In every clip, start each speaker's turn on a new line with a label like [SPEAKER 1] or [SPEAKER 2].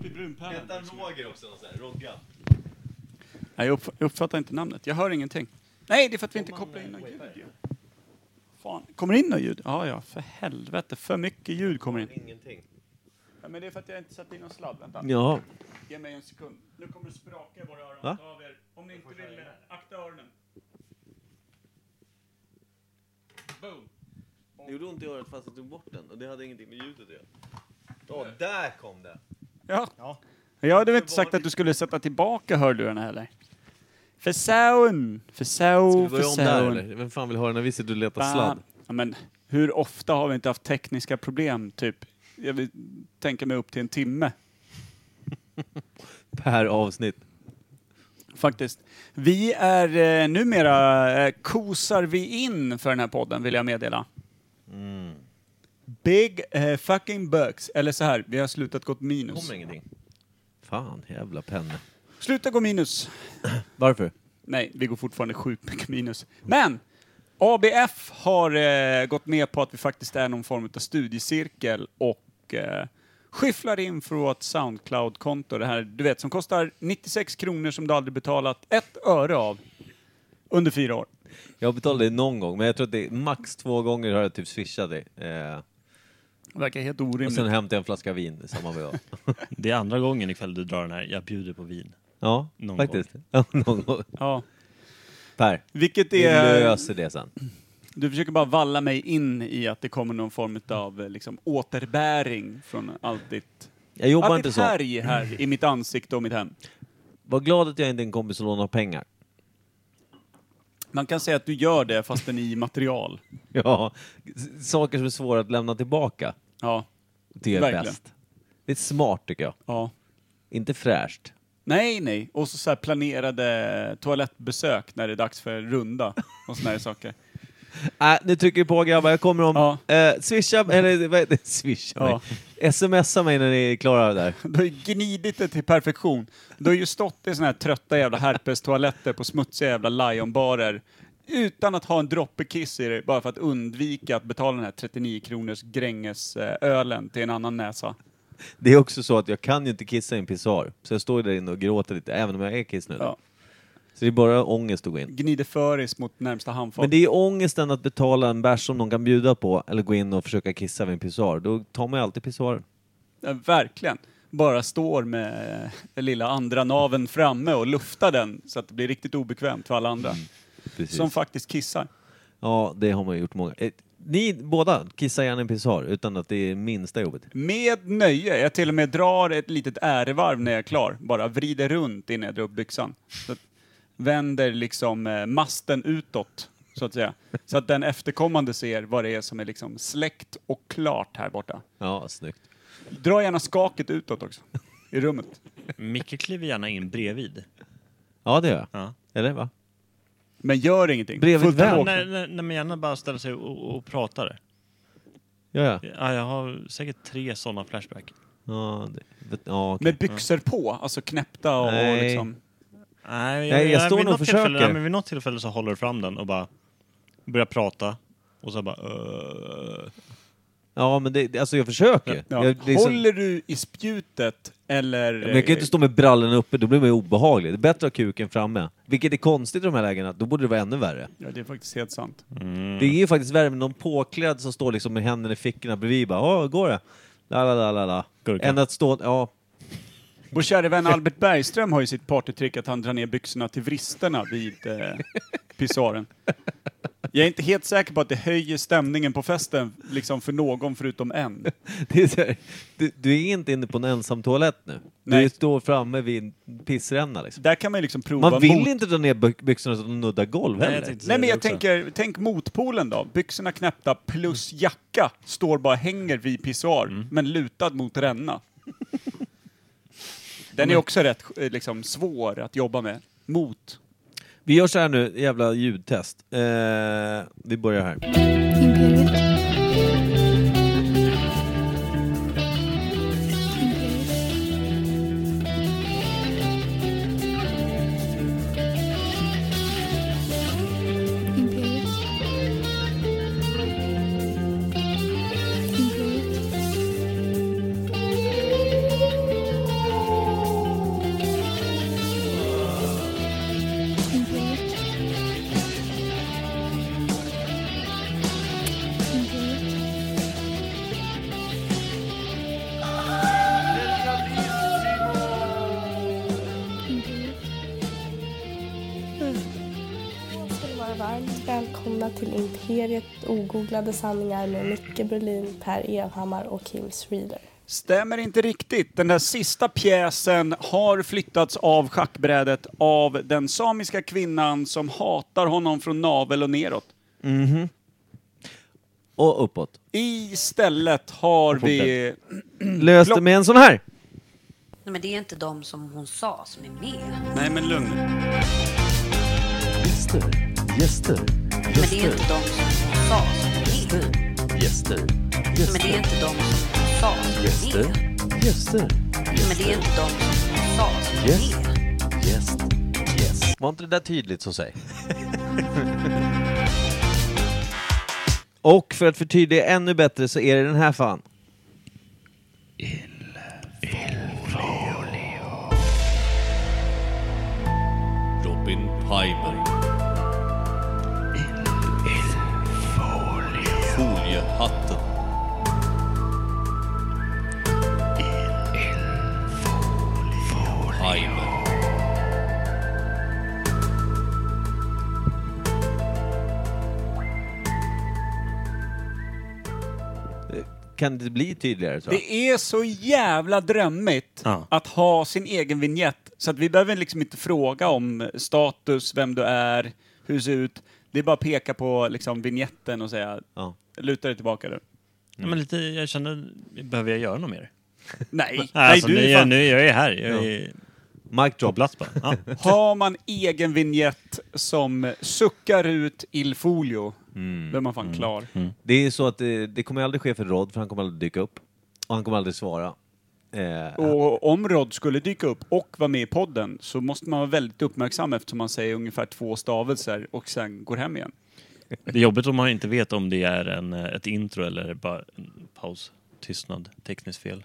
[SPEAKER 1] brunpärlan.
[SPEAKER 2] Hette han Roger också? så här, Rogga?
[SPEAKER 1] Nej, jag uppf- jag uppfattar inte namnet. Jag hör ingenting. Nej, det är för att vi inte kopplar in något ljud. ju. Fan. Kommer det in något ljud? Ja, ja, för helvete. För mycket ljud kommer in.
[SPEAKER 2] Ingenting.
[SPEAKER 1] Ja, men det är för att jag inte satte in någon sladd. Vänta.
[SPEAKER 2] Ja.
[SPEAKER 1] Ge mig en sekund. Nu kommer det spraka i våra öron.
[SPEAKER 2] Va?
[SPEAKER 1] Ta av er. Om ni inte vill, eh, akta öronen. Boom.
[SPEAKER 2] Det gjorde ont i örat fast jag tog bort den och det hade ingenting med ljudet att göra. Ja, där kom det!
[SPEAKER 1] Ja.
[SPEAKER 3] Ja.
[SPEAKER 1] Jag hade väl inte sagt att du skulle sätta tillbaka hörlurarna heller. För sound, för
[SPEAKER 2] Ska
[SPEAKER 1] sound,
[SPEAKER 2] vi
[SPEAKER 1] för
[SPEAKER 2] börja om där
[SPEAKER 1] sound.
[SPEAKER 2] eller? Vem fan vill höra när vi sitter och letar
[SPEAKER 1] Fan.
[SPEAKER 2] sladd?
[SPEAKER 1] Ja, men hur ofta har vi inte haft tekniska problem, typ? Jag vill tänka mig upp till en timme,
[SPEAKER 2] Per avsnitt.
[SPEAKER 1] faktiskt. Vi är eh, numera, eh, kosar vi in för den här podden, vill jag meddela. Big eh, fucking bucks. Eller så här, vi har slutat gå
[SPEAKER 2] Det
[SPEAKER 1] minus.
[SPEAKER 2] kommer ingenting. Fan, jävla penne.
[SPEAKER 1] Sluta gå minus.
[SPEAKER 2] Varför?
[SPEAKER 1] Nej, vi går fortfarande sjukt mycket minus. Men! ABF har eh, gått med på att vi faktiskt är någon form av studiecirkel och eh, skyfflar in för vårt Soundcloud-konto. Det här, du vet, som kostar 96 kronor som du aldrig betalat ett öre av under fyra år.
[SPEAKER 2] Jag betalade det någon gång, men jag tror att det är max två gånger har jag typ swishat dig. Eh,
[SPEAKER 1] Det verkar helt
[SPEAKER 2] och
[SPEAKER 1] orimligt.
[SPEAKER 2] sen hämtade jag en flaska vin, samma vad jag.
[SPEAKER 4] Det är andra gången ikväll du drar den här, jag bjuder på vin.
[SPEAKER 2] Ja,
[SPEAKER 4] Någon
[SPEAKER 2] faktiskt. Ja, någon gång.
[SPEAKER 1] Ja.
[SPEAKER 2] Per,
[SPEAKER 1] Vilket
[SPEAKER 2] vi
[SPEAKER 1] är...
[SPEAKER 2] löser det sen.
[SPEAKER 1] Du försöker bara valla mig in i att det kommer någon form av liksom, återbäring från allt ditt...
[SPEAKER 2] Jag jobbar
[SPEAKER 1] Allt
[SPEAKER 2] inte
[SPEAKER 1] ditt
[SPEAKER 2] så.
[SPEAKER 1] härj här i mitt ansikte och mitt hem.
[SPEAKER 2] Var glad att jag inte är en kompis som lånar pengar.
[SPEAKER 1] Man kan säga att du gör det fastän i material.
[SPEAKER 2] Ja, s- saker som är svåra att lämna tillbaka.
[SPEAKER 1] Ja.
[SPEAKER 2] Det är
[SPEAKER 1] Verkligen.
[SPEAKER 2] bäst. Det är smart tycker jag.
[SPEAKER 1] ja.
[SPEAKER 2] Inte fräscht.
[SPEAKER 1] Nej, nej. Och så, så här planerade toalettbesök när det är dags för runda och såna här saker.
[SPEAKER 2] Äh, nu trycker vi på grabbar, jag kommer om.
[SPEAKER 1] Ja.
[SPEAKER 2] Eh, swisha, eller vad heter det? Swisha mig. Smsa mig när ni är klara där.
[SPEAKER 1] Du har ju gnidit det till perfektion. Du har ju stått i såna här trötta jävla herpestoaletter på smutsiga jävla lionbarer utan att ha en droppe kiss i dig, bara för att undvika att betala den här 39 kronors Gränges-ölen till en annan näsa.
[SPEAKER 2] Det är också så att jag kan ju inte kissa i en pissoar. Så jag står ju där inne och gråter lite, även om jag är kissnödig.
[SPEAKER 1] Ja.
[SPEAKER 2] Så det är bara ångest att gå in.
[SPEAKER 1] Gnider föris mot närmsta handfat.
[SPEAKER 2] Men det är ju ångesten att betala en bärs som någon kan bjuda på, eller gå in och försöka kissa vid en pissoar. Då tar man ju alltid pissoaren.
[SPEAKER 1] Ja, verkligen. Bara står med eh, den lilla andra naven framme och luftar den så att det blir riktigt obekvämt för alla andra.
[SPEAKER 2] Precis.
[SPEAKER 1] Som faktiskt kissar.
[SPEAKER 2] Ja, det har man ju gjort många. Eh, Ni båda, kissa gärna i en pissoar utan att det är minsta jobbet.
[SPEAKER 1] Med nöje. Jag till och med drar ett litet ärevarv när jag är klar. Bara vrider runt innan jag drar upp byxan. Så att vänder liksom eh, masten utåt, så att säga. Så att den efterkommande ser vad det är som är liksom släckt och klart här borta.
[SPEAKER 2] Ja, snyggt.
[SPEAKER 1] Dra gärna skaket utåt också. I rummet.
[SPEAKER 4] Micke kliver gärna in bredvid.
[SPEAKER 2] Ja, det gör jag.
[SPEAKER 4] Ja.
[SPEAKER 2] Eller va?
[SPEAKER 1] Men gör ingenting.
[SPEAKER 2] Bredvid
[SPEAKER 1] Fullt
[SPEAKER 2] vem?
[SPEAKER 1] tråkigt.
[SPEAKER 4] Nej, nej, nej, men gärna bara ställa sig och, och pratar.
[SPEAKER 2] Ja, ja.
[SPEAKER 4] Ja, jag har säkert tre sådana flashback.
[SPEAKER 2] ja, det, ja okej.
[SPEAKER 1] Med byxor på, alltså knäppta och, och
[SPEAKER 2] Nej.
[SPEAKER 1] liksom...
[SPEAKER 4] Nej,
[SPEAKER 2] Nej, jag står
[SPEAKER 4] vid
[SPEAKER 2] nog
[SPEAKER 4] något
[SPEAKER 2] och
[SPEAKER 4] Tillfälle,
[SPEAKER 2] försöker.
[SPEAKER 4] nej, men vid något tillfälle så håller du fram den och bara börjar prata. Och så bara... "Öh."
[SPEAKER 2] Ja, men det, det- alltså jag försöker.
[SPEAKER 1] Ja.
[SPEAKER 2] Jag, liksom,
[SPEAKER 1] Håller du i spjutet eller...
[SPEAKER 2] men jag kan ju inte stå med brallorna uppe, då blir man ju obehaglig. Det är bättre att ha kuken framme. Vilket är konstigt i de här lägena, då borde det vara ännu värre.
[SPEAKER 1] Ja, det är faktiskt helt sant.
[SPEAKER 2] Mm. Det är ju faktiskt värre med någon påklädd som står liksom med händerna i fickorna bredvid bara ”Åh, hur går det?” la, la, la, la, la.
[SPEAKER 4] Gurka.
[SPEAKER 2] Än att stå... Ja,
[SPEAKER 1] Vår käre vän Albert Bergström har ju sitt partytrick att han drar ner byxorna till vristerna vid eh, pissoaren. Jag är inte helt säker på att det höjer stämningen på festen, liksom för någon förutom en.
[SPEAKER 2] det är så här, du, du är inte inne på en ensam toalett nu.
[SPEAKER 1] Nej.
[SPEAKER 2] Du står framme vid en pissränna liksom.
[SPEAKER 1] Där kan man ju liksom prova...
[SPEAKER 2] Man vill
[SPEAKER 1] mot-
[SPEAKER 2] inte dra ner by- byxorna så att de nuddar golv
[SPEAKER 4] Nej, jag
[SPEAKER 2] heller.
[SPEAKER 4] tänkte
[SPEAKER 1] Nej
[SPEAKER 4] säga
[SPEAKER 1] men
[SPEAKER 4] det
[SPEAKER 1] jag
[SPEAKER 4] också.
[SPEAKER 1] tänker, tänk motpolen då. Byxorna knäppta plus jacka står bara hänger vid pissoar, men lutad mot ränna. Den är också rätt eh, liksom, svår att jobba med. Mot.
[SPEAKER 2] Vi gör så här nu, jävla ljudtest. Eh, vi börjar här.
[SPEAKER 5] Imperiet. Imperiet. Imperiet. Imperiet.
[SPEAKER 3] välkomna till Imperiet ogooglade sanningar med Micke Berlin, Per Evhammar och Kim Schreeder.
[SPEAKER 1] Stämmer inte riktigt. Den där sista pjäsen har flyttats av schackbrädet av den samiska kvinnan som hatar honom från navel och neråt.
[SPEAKER 2] Och uppåt.
[SPEAKER 1] Istället har vi...
[SPEAKER 2] Löste med en sån här!
[SPEAKER 6] Nej, men det är inte de som hon sa som är med.
[SPEAKER 1] Nej men lugn nu.
[SPEAKER 7] Gäster, gäster,
[SPEAKER 6] Nej, men det är
[SPEAKER 7] gäster,
[SPEAKER 6] inte de som hon sa som är med.
[SPEAKER 7] gäster,
[SPEAKER 6] Nej, men det är
[SPEAKER 7] gäster,
[SPEAKER 6] inte de som hon
[SPEAKER 7] gäster, gäster,
[SPEAKER 6] sa som är med. Nej, men det är inte de som hon sa som är med.
[SPEAKER 7] gäst, gäst.
[SPEAKER 2] Var inte det där tydligt så säg? Och för att förtydliga ännu bättre så är det den här fan.
[SPEAKER 7] Robin Pimer. Foliehatten. Pimer.
[SPEAKER 2] Kan det bli tydligare tror jag?
[SPEAKER 1] Det är så jävla drömmigt
[SPEAKER 4] Ja.
[SPEAKER 1] att ha sin egen vignett så att vi behöver liksom inte fråga om status, vem du är, hur du ser ut. Det är bara att peka på liksom vignetten och säga
[SPEAKER 2] Ja.
[SPEAKER 1] luta dig tillbaka där.
[SPEAKER 4] Ja, men lite, jag kände, behöver jag göra något mer?
[SPEAKER 1] Nej, nej,
[SPEAKER 4] Alltså,
[SPEAKER 1] du
[SPEAKER 4] nu,
[SPEAKER 1] är
[SPEAKER 4] är
[SPEAKER 1] fan
[SPEAKER 4] jag, nu, jag är här. Jag är
[SPEAKER 2] Mic
[SPEAKER 4] på
[SPEAKER 2] drop.
[SPEAKER 4] plats bara. Ja.
[SPEAKER 1] Har man egen vignett som suckar ut Il Folio,
[SPEAKER 4] Mm.
[SPEAKER 1] då är man fan klar.
[SPEAKER 2] Det är så att det, det kommer aldrig ske för Rod, för han kommer aldrig dyka upp. Och han kommer aldrig svara. Eh,
[SPEAKER 1] Och om Rod skulle dyka upp och vara med i podden så måste man vara väldigt uppmärksam eftersom man säger ungefär två stavelser och sen går hem igen.
[SPEAKER 4] Det är jobbigt om man inte vet om det är en, eh, ett intro eller bara en paus, tystnad, tekniskt fel.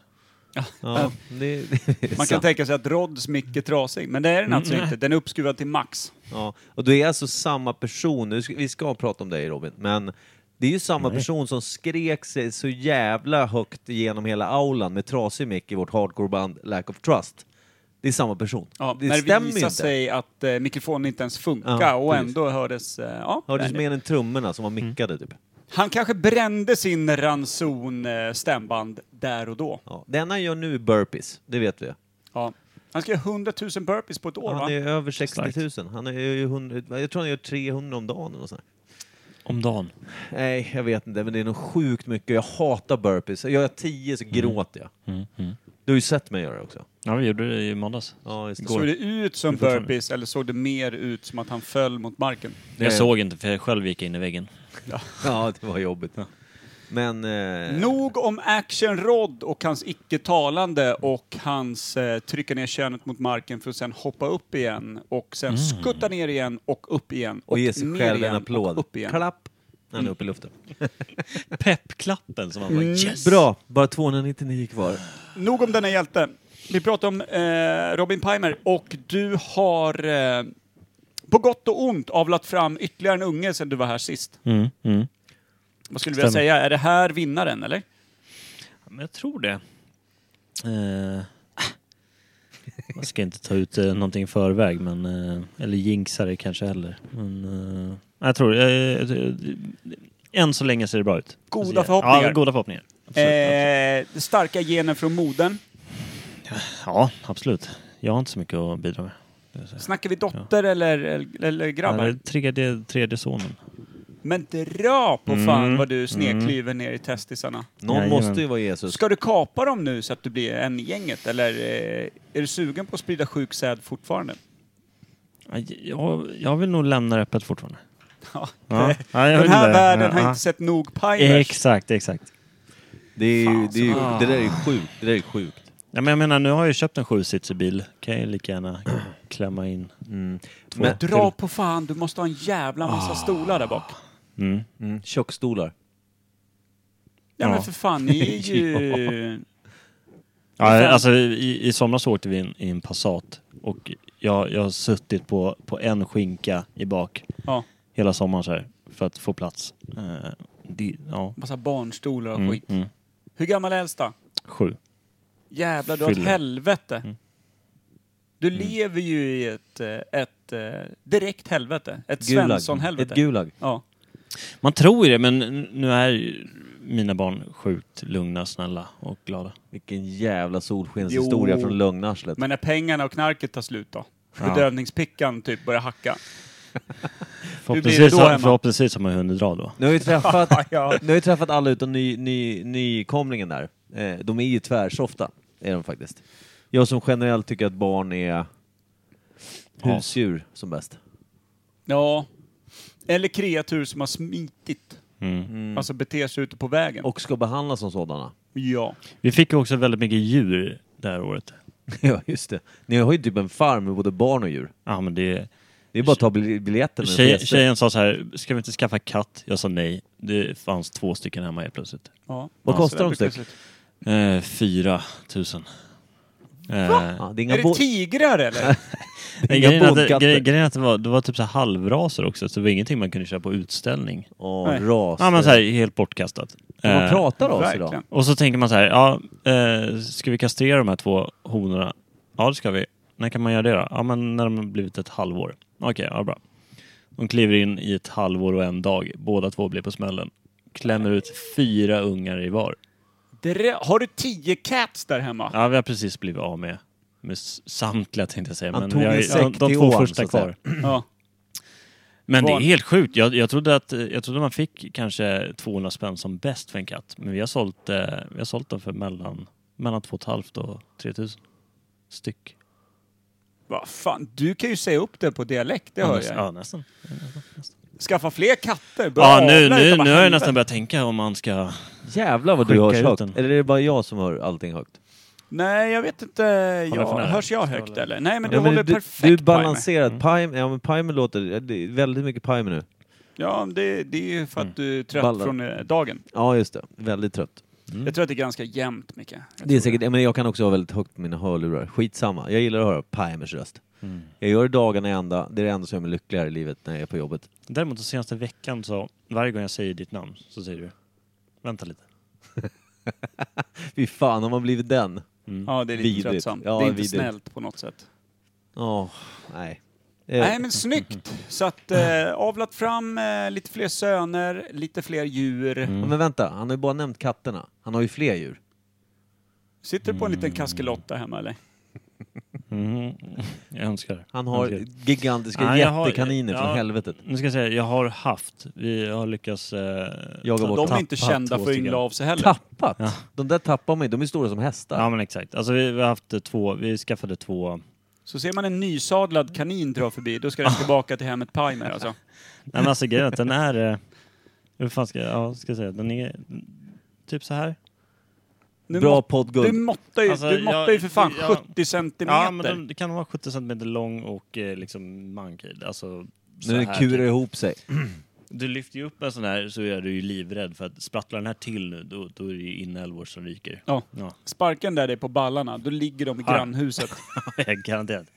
[SPEAKER 2] ja, det, det är
[SPEAKER 1] Oh. Man kan
[SPEAKER 2] sant. Mm.
[SPEAKER 1] tänka sig att Rods mick är trasig, men det är den alltså inte. Den är uppskruvad till max.
[SPEAKER 2] Ja, och du är alltså samma person, nu ska, vi ska prata om dig Robin, men det är ju samma person som skrek sig så jävla högt genom hela aulan med trasig mick i vårt hardcoreband Lack of Trust. Det är samma person.
[SPEAKER 1] Ja,
[SPEAKER 2] det
[SPEAKER 1] när det
[SPEAKER 2] stämmer ju
[SPEAKER 1] visar
[SPEAKER 2] inte.
[SPEAKER 1] sig att eh, mikrofonen inte ens funkar
[SPEAKER 2] Ja,
[SPEAKER 1] och
[SPEAKER 2] precis.
[SPEAKER 1] ändå hördes... Eh, ja,
[SPEAKER 2] Hördes
[SPEAKER 1] där.
[SPEAKER 2] mer än trummorna som var mickade typ.
[SPEAKER 1] Han kanske brände sin ranson eh, stämband där och då.
[SPEAKER 2] Ja, det enda han gör nu är burpees, det vet vi.
[SPEAKER 1] Ja. Han ska göra 100 000 burpees på ett år,
[SPEAKER 2] Han
[SPEAKER 1] va?
[SPEAKER 2] är ju över 60 000. Han är ju 100, jag tror han gör 300 om dagen eller nåt sånt där.
[SPEAKER 4] Om dagen.
[SPEAKER 2] Nej, jag vet inte, men det är nog sjukt mycket. Jag hatar burpees. Gör jag 10 så gråter jag. Du har ju sett mig göra det också.
[SPEAKER 4] Ja, vi gjorde det i måndags.
[SPEAKER 2] Ja, just det.
[SPEAKER 1] Såg det ut som
[SPEAKER 4] fortfarande.
[SPEAKER 1] burpees eller såg det mer ut som att han föll mot marken?
[SPEAKER 4] Jag såg inte för jag själv gick in i väggen.
[SPEAKER 2] Ja, det var jobbigt. Men... Eh,
[SPEAKER 1] Nog om Action Rod och hans icke-talande och hans eh, trycka ner könet mot marken för att sen hoppa upp igen och sen skutta ner igen och upp igen.
[SPEAKER 2] Mm. och ge sig
[SPEAKER 1] ner
[SPEAKER 2] själv en
[SPEAKER 1] igen och
[SPEAKER 2] applåd.
[SPEAKER 1] Upp igen.
[SPEAKER 2] Klapp! När han är uppe i luften.
[SPEAKER 4] Peppklappen som man bara yes!
[SPEAKER 2] Bra! Bara 299 kvar.
[SPEAKER 1] Nog om denna hjälte. Vi pratar om eh, Robin Pimer och du har eh, på gott och ont avlat fram ytterligare en unge sedan du var här sist.
[SPEAKER 4] Mm, mm.
[SPEAKER 1] Vad skulle du vilja
[SPEAKER 4] Stämmer.
[SPEAKER 1] säga? Är det här vinnaren, eller?
[SPEAKER 4] Ja, Men jag tror det. Eh, man ska inte ta ut eh, någonting i förväg, men, eh, eller jinxa det kanske heller. Men, eh, jag tror eh, eh, Än så länge ser det bra ut.
[SPEAKER 1] Goda
[SPEAKER 4] Ja,
[SPEAKER 1] förhoppningar.
[SPEAKER 4] Ja, goda förhoppningar. Absolut.
[SPEAKER 1] Eh, starka gener från modern.
[SPEAKER 4] Ja, absolut. Jag har inte så mycket att bidra med.
[SPEAKER 1] Snackar vi dotter eller, eller, eller grabbar?
[SPEAKER 4] Nej, Tredje, tredje sonen.
[SPEAKER 1] Men dra på
[SPEAKER 4] Mm.
[SPEAKER 1] fan vad du sneklyver ner i testisarna.
[SPEAKER 2] Någon
[SPEAKER 4] Jajamän.
[SPEAKER 2] måste ju vara Jesus.
[SPEAKER 1] Ska du kapa dem nu så att du blir en i gänget eller eh, är du sugen på att sprida sjuk säd fortfarande?
[SPEAKER 4] Aj, Jag, jag vill nog lämna det öppet fortfarande.
[SPEAKER 1] Ja.
[SPEAKER 4] Ja. Ja, jag
[SPEAKER 1] Den
[SPEAKER 4] vill
[SPEAKER 1] här
[SPEAKER 4] det.
[SPEAKER 1] världen har
[SPEAKER 4] Ja.
[SPEAKER 1] inte sett nog Pimers.
[SPEAKER 4] Exakt, exakt.
[SPEAKER 2] Det, är ju, det, är ju, det där är ju sjukt. Det där är sjukt.
[SPEAKER 4] Ja, men jag menar, nu har jag ju köpt en sjusitsig bil. Kan jag lika gärna klämma in.
[SPEAKER 2] Men,
[SPEAKER 1] Dra på fan, du måste ha en jävla
[SPEAKER 4] Ah.
[SPEAKER 1] massa stolar där bak.
[SPEAKER 2] mm, köksstolar.
[SPEAKER 1] Ja, men
[SPEAKER 4] Ja.
[SPEAKER 1] för fan, ni är ju...
[SPEAKER 4] Ja, alltså, i, I somras åkte vi in i en Passat och jag, jag har suttit på, på en skinka i bak
[SPEAKER 1] Ja,
[SPEAKER 4] hela sommaren så här, för att få plats. Eh, det, ja.
[SPEAKER 1] massa barnstolar och
[SPEAKER 4] Mm,
[SPEAKER 1] skit.
[SPEAKER 4] mm.
[SPEAKER 1] Hur gammal är äldsta?
[SPEAKER 4] Sju.
[SPEAKER 1] Jävlar, du har ett
[SPEAKER 4] Fyller.
[SPEAKER 1] helvete.
[SPEAKER 4] Mm.
[SPEAKER 1] Du lever ju i ett, eh, ett eh, direkt helvete. Ett
[SPEAKER 2] Gulag.
[SPEAKER 1] Svensson-helvete.
[SPEAKER 2] Ett Gulag.
[SPEAKER 1] Ja.
[SPEAKER 4] Man tror ju det, men nu är ju mina barn sjukt lugna, snälla och glada.
[SPEAKER 2] Vilken jävla solskenshistoria
[SPEAKER 1] Jo.
[SPEAKER 2] från lögnarslet.
[SPEAKER 1] Men när pengarna och knarket tar slut då? Bedövningspickan typ börjar hacka.
[SPEAKER 4] Förhoppningsvis,
[SPEAKER 1] då,
[SPEAKER 4] har-
[SPEAKER 1] Emma?
[SPEAKER 4] förhoppningsvis har man hunnit dra då.
[SPEAKER 2] Nu har vi träffat,
[SPEAKER 1] Ja.
[SPEAKER 2] nu har vi träffat alla utom ny, ny, nykomlingen där. Eh, de är ju tvärsofta, är de faktiskt. Jag som generellt tycker att barn är husdjur som bäst.
[SPEAKER 1] Ja. Eller kreatur som har smitit. Alltså beter sig ute på vägen.
[SPEAKER 2] Och ska behandlas som sådana.
[SPEAKER 1] ja.
[SPEAKER 4] Vi fick ju också väldigt mycket djur det här året.
[SPEAKER 2] ja, just det. Ni har ju typ en farm med både barn och djur.
[SPEAKER 4] Ja, men det,
[SPEAKER 2] Det är bara att ta bil- biljetten. när ni får
[SPEAKER 4] tjej,
[SPEAKER 2] gäster.
[SPEAKER 4] tjejen sa så här, ska vi inte skaffa katt? Jag sa nej. Det fanns två stycken hemma helt plötsligt.
[SPEAKER 1] ja.
[SPEAKER 2] Vad
[SPEAKER 1] Ja,
[SPEAKER 2] kostar
[SPEAKER 1] så där
[SPEAKER 2] de
[SPEAKER 1] brukar
[SPEAKER 2] styck?
[SPEAKER 1] det se ut.
[SPEAKER 4] Eh, fyra tusen. Eh,
[SPEAKER 2] Ja, det är inga
[SPEAKER 1] Är det typ-
[SPEAKER 2] bo-
[SPEAKER 1] tigrar eller?
[SPEAKER 4] nej,
[SPEAKER 2] inga
[SPEAKER 4] grejen, är att, det-
[SPEAKER 2] bondkatter.
[SPEAKER 4] grej, grejen är att det var, det var typ så här halvraser också, så det var ingenting man kunde köra på utställning.
[SPEAKER 2] Åh,
[SPEAKER 1] Nej.
[SPEAKER 2] ras. eh.
[SPEAKER 4] Ja, men så här, helt bortkastat.
[SPEAKER 2] De
[SPEAKER 4] Eh,
[SPEAKER 2] pratar av sig då.
[SPEAKER 1] Verkligen.
[SPEAKER 4] Och så tänker man så här, ja, eh, ska vi kastrera de här två honorna? Ja, det ska vi. När kan man göra det då? Ja, men när de har blivit ett halvår. Okej, ja bra. De kliver in i ett halvår och en dag. Båda två blir på smällen. Klämmer ut fyra ungar i var.
[SPEAKER 1] Dre- Har du tio cats där hemma?
[SPEAKER 4] Ja, vi har precis blivit av med, med s- samtliga tänkte jag säga.
[SPEAKER 2] Han
[SPEAKER 4] Men
[SPEAKER 2] tog
[SPEAKER 4] vi har,
[SPEAKER 2] en
[SPEAKER 4] ju-
[SPEAKER 2] säck
[SPEAKER 4] de, de
[SPEAKER 2] till
[SPEAKER 4] två
[SPEAKER 2] ån, så
[SPEAKER 4] första
[SPEAKER 2] att säga.
[SPEAKER 4] kvar.
[SPEAKER 1] Ja.
[SPEAKER 4] Men det är
[SPEAKER 1] Var-
[SPEAKER 4] helt sjukt. Jag, jag, trodde att, eh, jag trodde man fick kanske 200 spänn som bäst för en katt. Men vi har sålt, eh, vi har sålt dem för mellan, mellan 2 500 och 3 000 styck.
[SPEAKER 1] Vad fan, du kan ju säga upp det på dialekt, det
[SPEAKER 4] ja,
[SPEAKER 1] hör
[SPEAKER 4] nästan.
[SPEAKER 1] jag.
[SPEAKER 4] Ja, nästan.
[SPEAKER 1] Skaffa fler katter, börja
[SPEAKER 4] Ja, nu,
[SPEAKER 1] avla
[SPEAKER 4] nu,
[SPEAKER 1] utav
[SPEAKER 4] nu har jag
[SPEAKER 1] helvete.
[SPEAKER 4] nästan börjat tänka om man ska...
[SPEAKER 2] Jävlar vad du
[SPEAKER 4] Skicka
[SPEAKER 2] hörs
[SPEAKER 4] ut
[SPEAKER 2] högt.
[SPEAKER 4] den.
[SPEAKER 2] Eller är det bara jag som hör allting högt?
[SPEAKER 1] Nej, jag vet inte.
[SPEAKER 4] för
[SPEAKER 1] Jag,
[SPEAKER 4] nära.
[SPEAKER 1] hörs jag högt eller? Nej, men du
[SPEAKER 2] Ja, men
[SPEAKER 1] håller
[SPEAKER 2] du,
[SPEAKER 1] perfekt
[SPEAKER 2] du
[SPEAKER 1] Pimer.
[SPEAKER 2] balanserat. Pime, ja men Pime låter... Det är väldigt mycket Pime nu.
[SPEAKER 1] Ja, det, det är ju för
[SPEAKER 2] Mm.
[SPEAKER 1] att du är trött
[SPEAKER 2] Ballar.
[SPEAKER 1] från eh, dagen.
[SPEAKER 2] Ja, just det. Väldigt trött.
[SPEAKER 1] Jag tror att det är ganska jämnt, Micke. Jag
[SPEAKER 2] Mm. Det är
[SPEAKER 1] tror
[SPEAKER 2] säkert, men jag kan också ha väldigt högt på mina hörlurar. Skitsamma. Jag gillar att höra Pimers röst. Jag gör det dagarna i ända. Det är det enda som gör mig lyckligare i livet när jag är på jobbet.
[SPEAKER 4] Däremot den senaste veckan så, varje gång jag säger ditt namn så säger du Vänta lite.
[SPEAKER 2] Fy fan, har man blivit den?
[SPEAKER 1] Ja, det är lite
[SPEAKER 2] Vidrigt.
[SPEAKER 1] tröttsamt.
[SPEAKER 2] Ja,
[SPEAKER 1] det är inte
[SPEAKER 2] vidrigt.
[SPEAKER 1] snällt på något sätt.
[SPEAKER 2] Åh, nej. Eh, Mm.
[SPEAKER 1] Nej, men snyggt! Så att eh, avlat fram eh, lite fler söner, lite fler djur.
[SPEAKER 2] ja, men vänta, han har ju bara nämnt katterna. Han har ju fler djur.
[SPEAKER 1] Sitter du på en
[SPEAKER 2] Mm.
[SPEAKER 1] liten kaskelott där hemma eller?
[SPEAKER 4] Mhm.
[SPEAKER 1] Mm-hmm.
[SPEAKER 4] Jag önskar det.
[SPEAKER 2] Han har
[SPEAKER 4] Jag önskar det.
[SPEAKER 2] gigantiska
[SPEAKER 4] Nej, jag har-
[SPEAKER 2] jättekaniner
[SPEAKER 4] ja.
[SPEAKER 2] från helvetet.
[SPEAKER 4] Nu ska jag säga, jag har haft, vi har lyckats... Eh,
[SPEAKER 2] Jaga
[SPEAKER 4] ta-
[SPEAKER 2] bort
[SPEAKER 1] De är
[SPEAKER 2] tappat
[SPEAKER 1] inte kända för
[SPEAKER 4] två
[SPEAKER 1] att
[SPEAKER 4] stycken.
[SPEAKER 1] yngla av sig heller.
[SPEAKER 2] Tappat? De där tappar man ju. De är stora som hästar.
[SPEAKER 4] Ja men exakt. Alltså vi, vi har haft eh, två, vi skaffade två...
[SPEAKER 1] Så ser man en nysadlad kanin dra förbi, då ska
[SPEAKER 2] Ah.
[SPEAKER 1] den tillbaka till hemmet Pimer alltså.
[SPEAKER 4] Nej men alltså grejen är att den är... eh, Hur fan ska jag, ja, ska jag säga? Den är typ så här.
[SPEAKER 1] Nu
[SPEAKER 2] Bra
[SPEAKER 1] mått-
[SPEAKER 2] podd,
[SPEAKER 1] du
[SPEAKER 2] Guld.
[SPEAKER 1] måttar ju,
[SPEAKER 4] Alltså,
[SPEAKER 1] du måttar ju
[SPEAKER 4] jag-
[SPEAKER 1] för fan
[SPEAKER 4] jag-
[SPEAKER 1] 70 centimeter.
[SPEAKER 4] Ja men den, det kan vara 70 centimeter lång och eh, liksom mankid. Alltså så
[SPEAKER 2] Nu
[SPEAKER 4] här
[SPEAKER 2] kurar
[SPEAKER 4] typ.
[SPEAKER 2] ihop sig.
[SPEAKER 4] Du lyfter ju upp en sån här så är du ju livrädd för att sprattlar den här till nu då, då är det ju inälvor som ryker.
[SPEAKER 1] Ja.
[SPEAKER 4] Ja,
[SPEAKER 1] Sparken där dig på ballarna, då ligger de i
[SPEAKER 4] Ja.
[SPEAKER 1] grannhuset.
[SPEAKER 4] jag garanterat.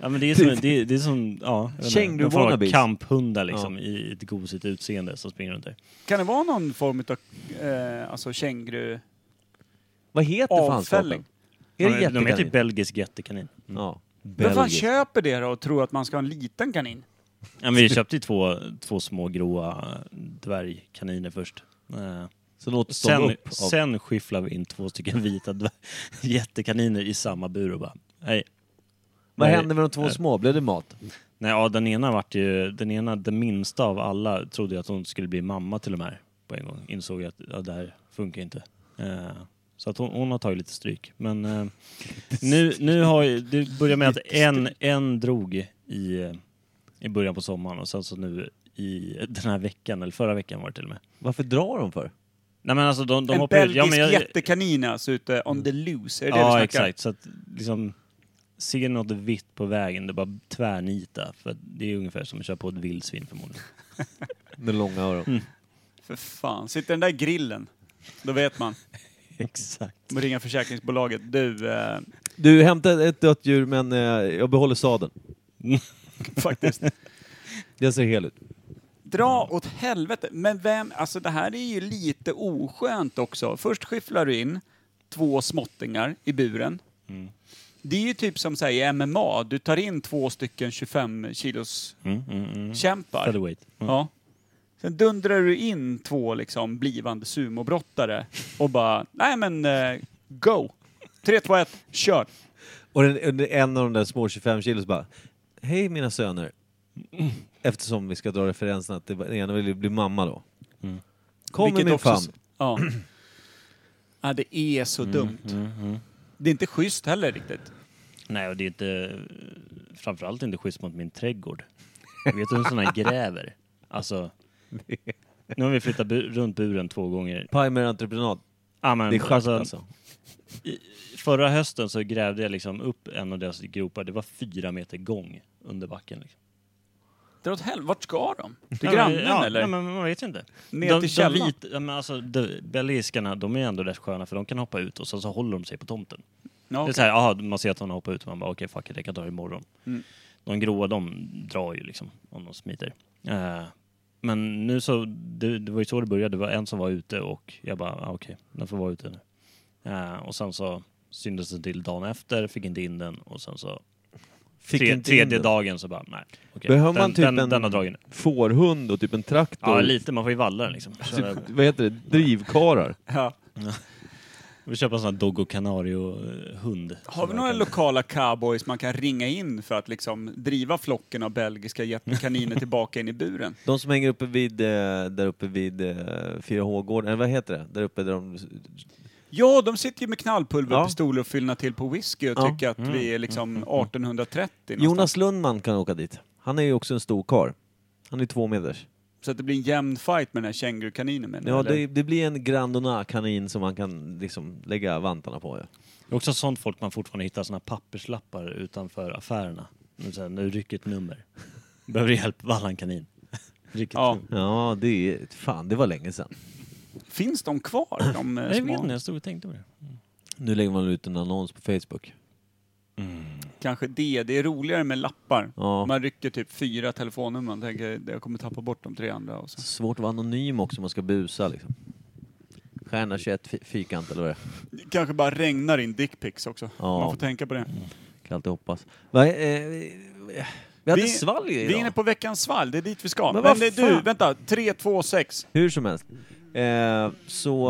[SPEAKER 4] Ja men det är som, det är, det är som ja, jag vet inte,
[SPEAKER 2] Känguru
[SPEAKER 4] någon form av
[SPEAKER 2] wannabes.
[SPEAKER 4] kamphundar liksom i ett gosigt utseende som springer runt där.
[SPEAKER 1] Kan det vara någon form av eh, alltså känguru...
[SPEAKER 2] Vad heter
[SPEAKER 1] Avfälling.
[SPEAKER 2] fanskapen? Är det
[SPEAKER 4] Ja, de är
[SPEAKER 2] jättekanin?
[SPEAKER 4] typ belgisk jättekanin.
[SPEAKER 2] Ja.
[SPEAKER 1] Vem fan
[SPEAKER 2] Belgisk.
[SPEAKER 1] köper det då och tror att man ska ha en liten kanin?
[SPEAKER 4] Ja, men vi köpte ju två, två små gråa dvärgkaniner först. Eh,
[SPEAKER 2] Så något som
[SPEAKER 4] sen,
[SPEAKER 2] upp av...
[SPEAKER 4] sen skyfflade vi in två stycken vita dvär- jättekaniner i samma bur och bara, nej.
[SPEAKER 2] Vad
[SPEAKER 4] nej,
[SPEAKER 2] hände med de två små? Blev det mat?
[SPEAKER 4] Nej, ja, den ena vart ju, den ena, den minsta av alla, trodde jag att hon skulle bli mamma till de här på en gång. Insåg jag att ja, det här funkar inte. Eh, så att hon, hon har tagit lite stryk. Men eh, nu, nu har ju, det börjar med att en, en drog i, i början på sommaren och sen så nu i den här veckan, eller förra veckan var det till och med.
[SPEAKER 2] Varför drar de för?
[SPEAKER 4] Nej men alltså de, de
[SPEAKER 1] en
[SPEAKER 4] hoppar ut.
[SPEAKER 1] belgisk
[SPEAKER 4] Ja, men jag-
[SPEAKER 1] jättekanin alltså ute on the loose, är det
[SPEAKER 4] Ja
[SPEAKER 1] det du snackar?
[SPEAKER 4] exakt, så att liksom ser något vitt på vägen, det är bara tvärnita. För att det är ungefär som att köra på ett vildsvin förmodligen.
[SPEAKER 2] Med långa öron.
[SPEAKER 1] För fan, sitter den där i grillen, då vet man.
[SPEAKER 4] Exakt.
[SPEAKER 1] Då ringer försäkringsbolaget. Du, eh,
[SPEAKER 2] Du hämtade ett dött djur men eh, jag behåller sadeln.
[SPEAKER 1] faktiskt.
[SPEAKER 2] Det ser hel ut.
[SPEAKER 1] Dra
[SPEAKER 2] Mm.
[SPEAKER 1] åt helvete. Men vem, alltså det här är ju lite oskönt också. Först skyfflar du in två småttingar i buren.
[SPEAKER 2] Mm.
[SPEAKER 1] Det är ju typ som så här, i MMA, du tar in två stycken 25 kilos
[SPEAKER 4] Mm, mm, mm.
[SPEAKER 1] kämpar.
[SPEAKER 4] Featherweight. Mm.
[SPEAKER 1] Ja. Sen dundrar du in två liksom blivande sumobrottare och bara, nej men eh, go! 3, 2, 1, kör!
[SPEAKER 2] Och den, en av de där små 25 kilos bara, hej mina söner. Eftersom vi ska dra referensen att det var- den ena ville bli mamma då. Kom med
[SPEAKER 1] Vilket
[SPEAKER 2] min
[SPEAKER 1] också-
[SPEAKER 2] famn.
[SPEAKER 1] Ja.
[SPEAKER 2] Mm,
[SPEAKER 1] ja, det är så dumt. Det är inte schysst heller riktigt.
[SPEAKER 4] Nej, och det är inte... Framförallt inte schysst mot min trädgård. Vet du hur sådana här gräver? Alltså... Nu har vi flyttat bu- runt buren två gånger.
[SPEAKER 2] Pimer entreprenad.
[SPEAKER 4] Ah, men,
[SPEAKER 2] Det är schakt alltså.
[SPEAKER 4] Förra hösten så grävde jag liksom upp en av deras gropar. Det var fyra meter gång under backen. Liksom.
[SPEAKER 1] Dra åt helvete, vart ska de? Till
[SPEAKER 4] Ja,
[SPEAKER 1] grannen
[SPEAKER 4] men- ja,
[SPEAKER 1] eller?
[SPEAKER 4] Ja, men man vet inte.
[SPEAKER 1] Ner
[SPEAKER 4] de,
[SPEAKER 1] till källan.
[SPEAKER 4] De vit, ja, men alltså, de, belgiskarna, de är ändå rätt sköna för de kan hoppa ut och så, så håller de sig på tomten.
[SPEAKER 1] Ja,
[SPEAKER 4] Det är
[SPEAKER 1] okej.
[SPEAKER 4] så här, aha, man ser att de hoppar ut och man bara okej, fuck it, jag kan ta det imorgon.
[SPEAKER 2] Mm.
[SPEAKER 4] De gråa, de drar ju liksom om de smiter. Eh, men nu så, det, det var ju så det började. Det var en som var ute och jag bara, ah, okej, den får vara ute nu. Eh, och sen så syndes det till dagen efter, fick inte in den och sen så
[SPEAKER 2] Fick
[SPEAKER 4] tre,
[SPEAKER 2] inte in
[SPEAKER 4] tredje
[SPEAKER 2] den.
[SPEAKER 4] dagen så bara, nej. okej,
[SPEAKER 2] Behöver
[SPEAKER 4] den,
[SPEAKER 2] man typ
[SPEAKER 4] den,
[SPEAKER 2] en
[SPEAKER 4] den har dragit nu.
[SPEAKER 2] fårhund och typ en traktor?
[SPEAKER 4] Ja, lite. Man får ju valla den liksom.
[SPEAKER 2] Typ,
[SPEAKER 4] Köra,
[SPEAKER 2] vad heter det? Drivkarar?
[SPEAKER 1] ja.
[SPEAKER 4] vi köper en sån här Doggo eh, Canario-hund.
[SPEAKER 1] Har vi några lokala cowboys man kan ringa in för att liksom driva flocken av belgiska jättekaniner tillbaka in i buren?
[SPEAKER 2] De som hänger uppe vid, eh, där uppe vid eh, 4H-gården, eller vad heter det? Där uppe där de...
[SPEAKER 1] Ja, de sitter ju med knallpulverpistoler och fyllnar till på whisky och
[SPEAKER 2] Ja.
[SPEAKER 1] tycker att
[SPEAKER 4] Mm.
[SPEAKER 1] vi är liksom 1830 någonstans.
[SPEAKER 2] Jonas Lundman kan åka dit. Han är ju också en stor kar. Han är två meters.
[SPEAKER 1] Så att det blir en jämn fight med den här känguru-kaninen menar
[SPEAKER 2] Ja,
[SPEAKER 1] jag, eller?
[SPEAKER 2] det, det blir en Grandona-kanin som man kan liksom lägga vantarna på. Ja.
[SPEAKER 4] Det är också sånt folk man fortfarande hittar såna papperslappar utanför affärerna. Nu, så här, nu rycker ett nummer. Behöver du hjälp? Valla en kanin. Ryck ett
[SPEAKER 1] Ja.
[SPEAKER 4] nummer.
[SPEAKER 2] ja, det är... Fan, det var länge sedan.
[SPEAKER 1] Finns de kvar, de eh,
[SPEAKER 4] Nej, Jag
[SPEAKER 1] små?
[SPEAKER 4] vet inte, jag stod och tänkte på det.
[SPEAKER 2] Nu lägger man ut en annons på Facebook.
[SPEAKER 1] Kanske det. Det är roligare med lappar.
[SPEAKER 2] Ja.
[SPEAKER 1] Man rycker typ fyra telefonnummer. Man tänker jag kommer tappa bort de tre andra. Och så.
[SPEAKER 2] Svårt att vara anonym också om man ska busa liksom. Stjärna 21 fi- fyrkant eller vad det är.
[SPEAKER 1] Kanske bara regnar in dickpics också.
[SPEAKER 2] Ja. Mm.
[SPEAKER 1] Man får tänka på det.
[SPEAKER 2] Kan alltid hoppas. Va, eh, vi hade svalg idag.
[SPEAKER 1] Vi är inne på veckans svalg. Det är dit vi ska. Men,
[SPEAKER 2] Men vad
[SPEAKER 1] eh, du,
[SPEAKER 2] fan?
[SPEAKER 1] vänta. 3, 2, 6.
[SPEAKER 2] Hur som helst. Eh, så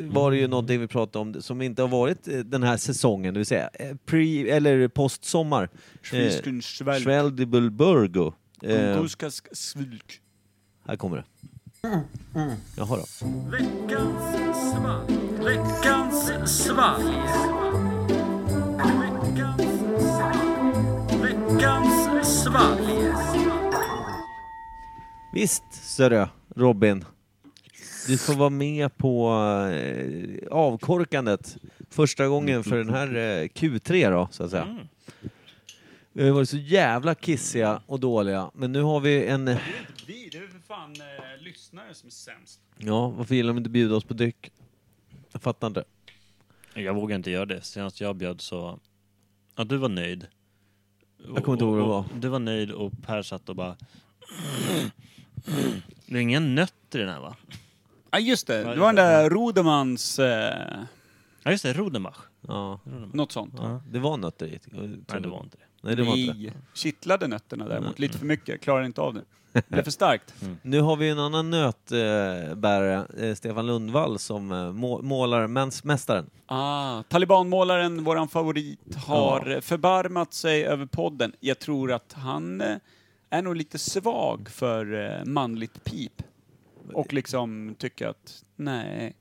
[SPEAKER 2] var det ju någonting vi pratade om som inte har varit eh, den här säsongen, det vill säga eh, pre, eller postsommar. Eh,
[SPEAKER 1] Schweizkunstschwälg.
[SPEAKER 2] Schweldibulburgo. Eh,
[SPEAKER 1] Unguskas svilk.
[SPEAKER 2] här kommer det. Jaha då. Visst, sörö, Robin. Du får vara med på eh, avkorkandet. Första gången för den här eh, Q3 då, så att säga. Vi har varit så jävla kissiga och dåliga, men nu har vi en...
[SPEAKER 1] Vi, det är för fan eh, lyssnare som är sämst.
[SPEAKER 2] Ja, varför gillar de inte bjuda oss på dryck? Jag fattar inte.
[SPEAKER 4] Jag vågar inte göra det. Senast jag bjöd så... Ja, du var nöjd.
[SPEAKER 2] Jag kommer inte ihåg vad det var.
[SPEAKER 4] Du var nöjd och Per satt och bara... Det är inga nötter i den här va?
[SPEAKER 1] Ja, just det. Det var den där Rodemans... Eh,
[SPEAKER 4] Ja just det, Rodenbach.
[SPEAKER 2] Ja,
[SPEAKER 1] något sånt.
[SPEAKER 2] ja. det var nötter i.
[SPEAKER 4] Nej det var inte det.
[SPEAKER 2] Nej, det var inte det.
[SPEAKER 1] Nej. Kittlade nötterna däremot. Lite för mycket. Klarar inte av det. Det är för starkt.
[SPEAKER 2] Nu har vi en annan nötbärare, eh, Stefan Lundvall, som eh, må- målar Mänsmästaren.
[SPEAKER 1] Ah, talibanmålaren, våran favorit, har eh, förbarmat sig över podden. Jag tror att han eh, är nog lite svag för eh, manligt pip. Och liksom tycker att, nej.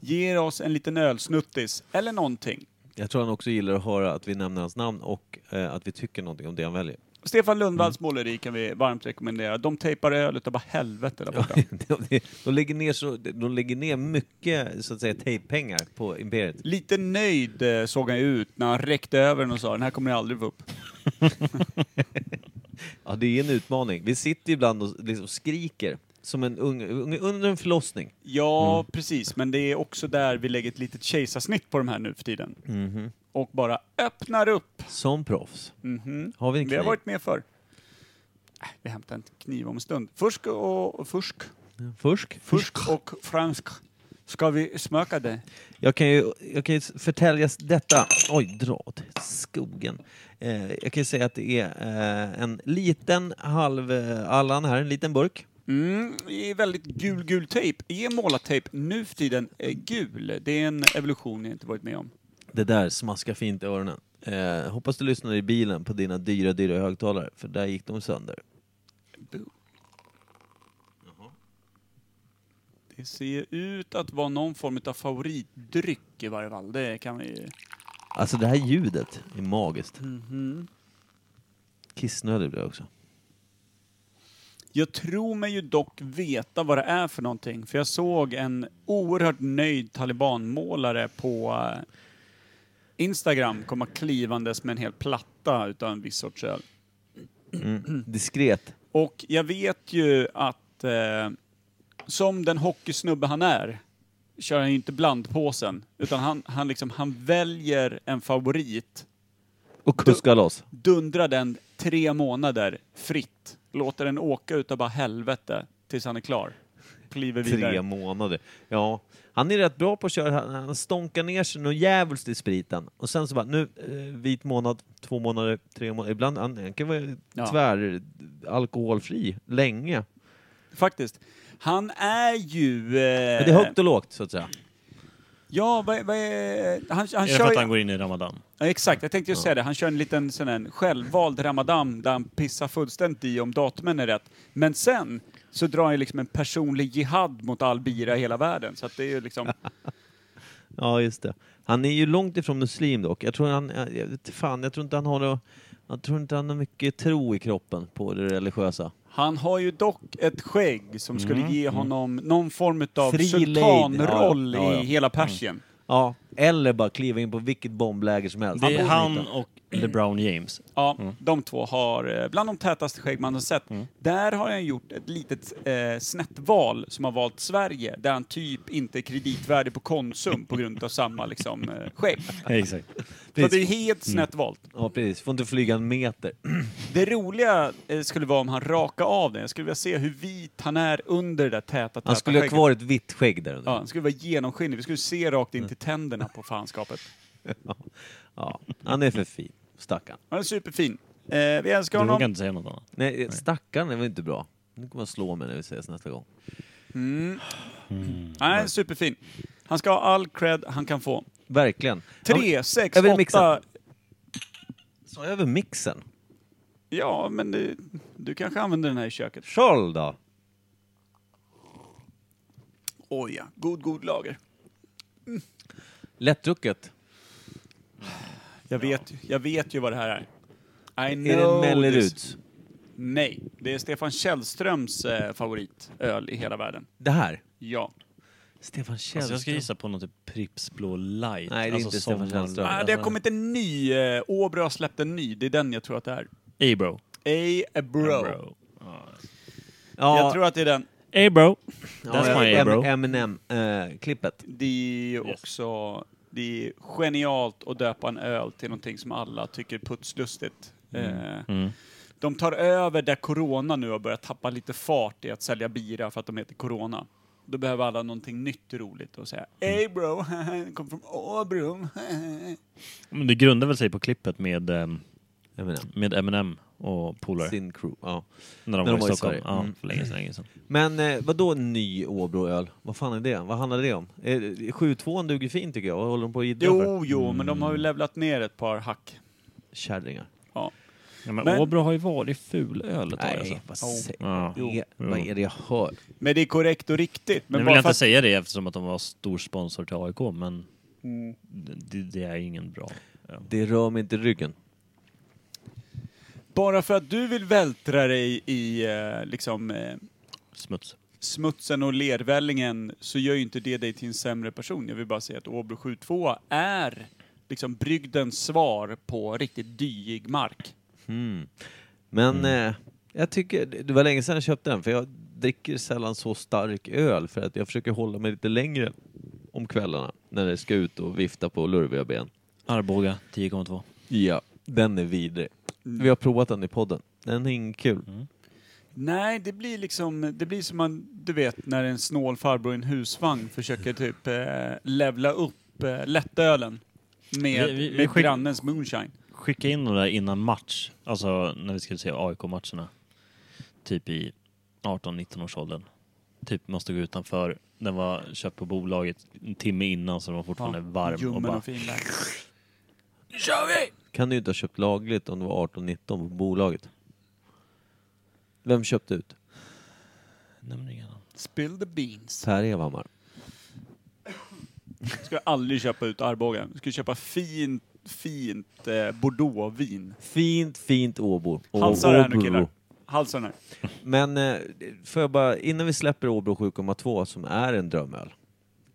[SPEAKER 1] Ger oss en liten ölsnuttis, eller någonting.
[SPEAKER 2] Jag tror han också gillar att höra att vi nämner hans namn och eh, att vi tycker någonting om det han väljer.
[SPEAKER 1] Stefan Lundvalls måleri kan vi varmt rekommendera. De tejpar ölet utav helvete där borta.
[SPEAKER 2] de, de, lägger ner så, de lägger ner mycket, så att säga, tejppengar på Imperiet.
[SPEAKER 1] Lite nöjd eh, såg han ut när han räckte över den och sa den här kommer ni aldrig få upp.
[SPEAKER 2] Ja, det är en utmaning. Vi sitter ju ibland och liksom skriker, som en ung, ung, under en förlossning.
[SPEAKER 1] Ja, precis. Men det är också där vi lägger ett litet kejsarsnitt på de här nu för tiden.
[SPEAKER 2] Mm.
[SPEAKER 4] Mhm.
[SPEAKER 1] Och bara öppnar upp.
[SPEAKER 2] Som proffs.
[SPEAKER 1] Mhm.
[SPEAKER 2] Har vi en
[SPEAKER 1] Vi har
[SPEAKER 2] kniv?
[SPEAKER 1] varit med förr. Äh, Vi hämtar en kniv om en stund. Fusk och, och fusk,
[SPEAKER 2] Fusk?
[SPEAKER 1] fusk och fransk. Ska vi smöka det?
[SPEAKER 2] Jag kan ju, jag kan ju förtälja detta. Oj, dra åt skogen. Eh, jag kan ju säga att det är eh, en liten halv eh, Allan här, en liten burk.
[SPEAKER 1] Mm, det är väldigt gul, gul tejp. Är målartejp nu för tiden eh, gul? Det är en evolution jag inte varit med om.
[SPEAKER 2] Det där smaskar fint i öronen. Eh, hoppas du lyssnar i bilen på dina dyra, dyra högtalare, för där gick de sönder.
[SPEAKER 1] Det ser ut att vara någon form av favoritdryck i varje fall. Det kan vi ju...
[SPEAKER 2] Alltså det här ljudet är magiskt. Kissnödig blir jag också.
[SPEAKER 1] Jag tror mig ju dock veta vad det är för någonting, för jag såg en oerhört nöjd talibanmålare på eh, Instagram komma klivandes med en hel platta utav en viss sorts öl.
[SPEAKER 2] Diskret.
[SPEAKER 1] Och jag vet ju att eh, som den hockeysnubbe han är, kör han ju inte blandpåsen, utan han, han, liksom, han väljer en favorit
[SPEAKER 2] Och kuska loss.
[SPEAKER 1] dundrar den tre månader fritt. Låter den åka utav bara helvete tills han är klar. Kliver vidare.
[SPEAKER 2] Tre månader. Ja. Han är rätt bra på att köra. Han- Han stånkar ner sig något djävulskt i spriten. Och sen så bara, nu, eh, vit månad, två månader, tre månader. Ibland, han, han kan vara
[SPEAKER 1] Ja.
[SPEAKER 2] tvär, alkoholfri,
[SPEAKER 4] Eh.
[SPEAKER 2] länge.
[SPEAKER 1] Faktiskt. Han är ju... Eh,
[SPEAKER 2] Men det är högt och lågt, så att säga.
[SPEAKER 1] Ja, vad, vad är... Han, han
[SPEAKER 4] Är det för
[SPEAKER 1] kör...
[SPEAKER 4] att han går in i Ramadan?
[SPEAKER 1] Ja, exakt, jag tänkte ju säga det. Han kör en liten sån här självvald ramadan där han pissar fullständigt i om datumen är rätt. Men sen så drar han ju liksom en personlig jihad mot all bira i hela världen. Så att det är ju liksom...
[SPEAKER 2] Ja, just det. Han är ju långt ifrån muslim dock. Jag tror han, jag, jag vet fan, jag tror inte han har något, jag tror inte han har mycket tro i kroppen på det religiösa.
[SPEAKER 1] Han har ju dock ett skägg som skulle ge honom någon form av
[SPEAKER 2] Mm, Fri lejd.
[SPEAKER 1] sultanroll
[SPEAKER 2] Ja, Mm. ja. Ja, ja.
[SPEAKER 1] i hela Persien.
[SPEAKER 2] Ja, eller bara kliva in på vilket bombläger som helst.
[SPEAKER 4] Det är han och LeBron James.
[SPEAKER 1] Ja,
[SPEAKER 2] Mm.
[SPEAKER 1] de två har eh, bland de tätaste skägg man har sett. Där har han gjort ett litet eh, snett val som har valt Sverige, där han typ inte är kreditvärdig på Konsum på grund av samma liksom, eh, skägg.
[SPEAKER 4] Exakt.
[SPEAKER 1] Så det är helt
[SPEAKER 2] Mm.
[SPEAKER 1] snett valt.
[SPEAKER 2] Ja, precis. Får inte flyga en meter.
[SPEAKER 1] Det roliga eh, skulle vara om han raka av den. Jag skulle vilja se hur vit han är under det där täta, täta
[SPEAKER 2] Han skulle ha
[SPEAKER 1] skägget.
[SPEAKER 2] kvar Mm. ett vitt skägg där under.
[SPEAKER 1] Ja, han skulle vara genomskinlig. Vi skulle se rakt in till tänderna på fanskapet.
[SPEAKER 2] Ja, han är för fin. Stackarn.
[SPEAKER 1] Han är superfin. Eh, vi älskar
[SPEAKER 4] Du
[SPEAKER 1] honom.
[SPEAKER 4] vågar inte säga något annat.
[SPEAKER 2] Nej, stackarn är väl inte bra. Nu kommer han slå mig när vi ses nästa gång.
[SPEAKER 1] Han är superfin. Han ska ha all cred han kan få.
[SPEAKER 2] Verkligen.
[SPEAKER 1] Tre,
[SPEAKER 2] Ja,
[SPEAKER 1] sex,
[SPEAKER 2] jag vill
[SPEAKER 1] åtta.
[SPEAKER 2] mixa. Så över mixen.
[SPEAKER 1] Ja, men du, du kanske använder den här i köket.
[SPEAKER 2] Kjol då!
[SPEAKER 1] Oj ja, god, god lager.
[SPEAKER 2] Lättdrucket.
[SPEAKER 1] Jag vet, jag vet ju vad det här är. I
[SPEAKER 2] Är
[SPEAKER 1] know
[SPEAKER 2] det
[SPEAKER 1] this.
[SPEAKER 2] Melleruds?
[SPEAKER 1] Nej, det är Stefan Källströms eh, favoritöl i hela världen.
[SPEAKER 2] Det här?
[SPEAKER 1] Ja.
[SPEAKER 2] Stefan Källström.
[SPEAKER 4] Alltså jag ska gissa på något typ Pripps Blå
[SPEAKER 2] Nej,
[SPEAKER 4] Light.
[SPEAKER 2] det är
[SPEAKER 4] alltså
[SPEAKER 2] inte Stefan
[SPEAKER 4] sommar-
[SPEAKER 2] Källström.
[SPEAKER 1] Ah, det har kommit en ny. Eh, Åbro har släppt en ny. Det är den jag tror att det är.
[SPEAKER 4] Ey bro.
[SPEAKER 1] Ey, a bro.
[SPEAKER 2] ja,
[SPEAKER 1] Jag tror att det är den.
[SPEAKER 4] Ey bro.
[SPEAKER 2] ja,
[SPEAKER 4] That's my
[SPEAKER 2] ja,
[SPEAKER 4] ey bro.
[SPEAKER 2] Eminem-klippet.
[SPEAKER 1] Det är också... Det är genialt att döpa en öl till någonting som alla tycker är putslustigt.
[SPEAKER 4] Mm.
[SPEAKER 1] Eh, De tar över där Corona nu har börjat tappa lite fart i att sälja bira för att de heter Corona. Då behöver alla någonting nytt och roligt och säga
[SPEAKER 4] Mm.
[SPEAKER 1] Ey bro, den kom från Åbro.
[SPEAKER 4] Men det grundar väl sig på klippet med, ehm,
[SPEAKER 2] Eminem.
[SPEAKER 4] med Eminem och polare.
[SPEAKER 2] Sin crew. Ja.
[SPEAKER 4] När de
[SPEAKER 2] när
[SPEAKER 4] var
[SPEAKER 2] de var
[SPEAKER 4] i
[SPEAKER 2] i
[SPEAKER 4] Stockholm.
[SPEAKER 2] Sverige.
[SPEAKER 4] Ja,
[SPEAKER 2] Mm.
[SPEAKER 4] för länge sedan. Länge sedan.
[SPEAKER 2] Men eh, vad då ny Åbroöl? Vad fan är det? Vad handlar det om? Eh, 7-2 duger fint tycker jag. Vad håller de på att jiddra för?
[SPEAKER 1] Jo, jo, men de har
[SPEAKER 4] Mm.
[SPEAKER 1] ju levlat ner ett par hack.
[SPEAKER 2] Kärringar.
[SPEAKER 1] Ja.
[SPEAKER 4] Ja, men,
[SPEAKER 1] Men-
[SPEAKER 4] Åbro har ju varit fulöl ett tag alltså.
[SPEAKER 2] Nej, vad, säger-
[SPEAKER 4] Ja.
[SPEAKER 2] det,
[SPEAKER 4] Jo.
[SPEAKER 2] vad är det jag hör?
[SPEAKER 1] Men det är korrekt och riktigt.
[SPEAKER 4] Nu
[SPEAKER 1] Men
[SPEAKER 4] vill jag
[SPEAKER 1] bara för
[SPEAKER 4] inte
[SPEAKER 1] att
[SPEAKER 4] säga det eftersom att de var stor sponsor till AIK, men
[SPEAKER 2] Mm.
[SPEAKER 4] det, det är ingen bra. Ja.
[SPEAKER 2] Det rör mig inte i ryggen.
[SPEAKER 1] Bara för att du vill vältra dig i eh, liksom, eh,
[SPEAKER 4] Smuts.
[SPEAKER 1] smutsen och lervällingen så gör ju inte det dig till en sämre person. Jag vill bara säga att Åbro 7-2 är liksom brygdens svar på riktigt dyig mark.
[SPEAKER 2] Men eh, jag tycker, det det var länge sedan jag köpte den för jag dricker sällan så stark öl för att jag försöker hålla mig lite längre om kvällarna när det ska ut och vifta på lurviga ben.
[SPEAKER 4] Arboga 10,2.
[SPEAKER 2] Ja, den är vidrig. Vi har provat den i podden. Den är inte kul.
[SPEAKER 1] Nej, det blir liksom, det blir som man, du vet när en snål farbror i en husvagn försöker typ eh, levla upp eh, lättölen med,
[SPEAKER 4] Vi- vi- vi
[SPEAKER 1] med
[SPEAKER 4] skick-
[SPEAKER 1] grannens moonshine.
[SPEAKER 4] Skicka in den där innan match, alltså när vi skulle se AIK-matcherna. Typ i 18-19 års åldern. Typ måste gå utanför. Den var köpt på bolaget en timme innan så den var fortfarande varm. Och
[SPEAKER 1] Ljummen
[SPEAKER 4] bara,
[SPEAKER 1] och fin där.
[SPEAKER 2] Kan du ju inte ha köpt lagligt om du var 18-19 på bolaget. Vem köpte ut?
[SPEAKER 4] nämner inga namn.
[SPEAKER 1] Spill the beans.
[SPEAKER 2] Per Evhammar.
[SPEAKER 1] Ska aldrig köpa ut Arboga. Ska köpa fint, fint eh, Bordeauxvin.
[SPEAKER 2] Fint, fint Åbo.
[SPEAKER 1] Halsa det här nu
[SPEAKER 2] Åbro.
[SPEAKER 1] killar. Halsa den här.
[SPEAKER 2] Men eh, får jag bara, innan vi släpper Åbro 7,2 som är en drömöl.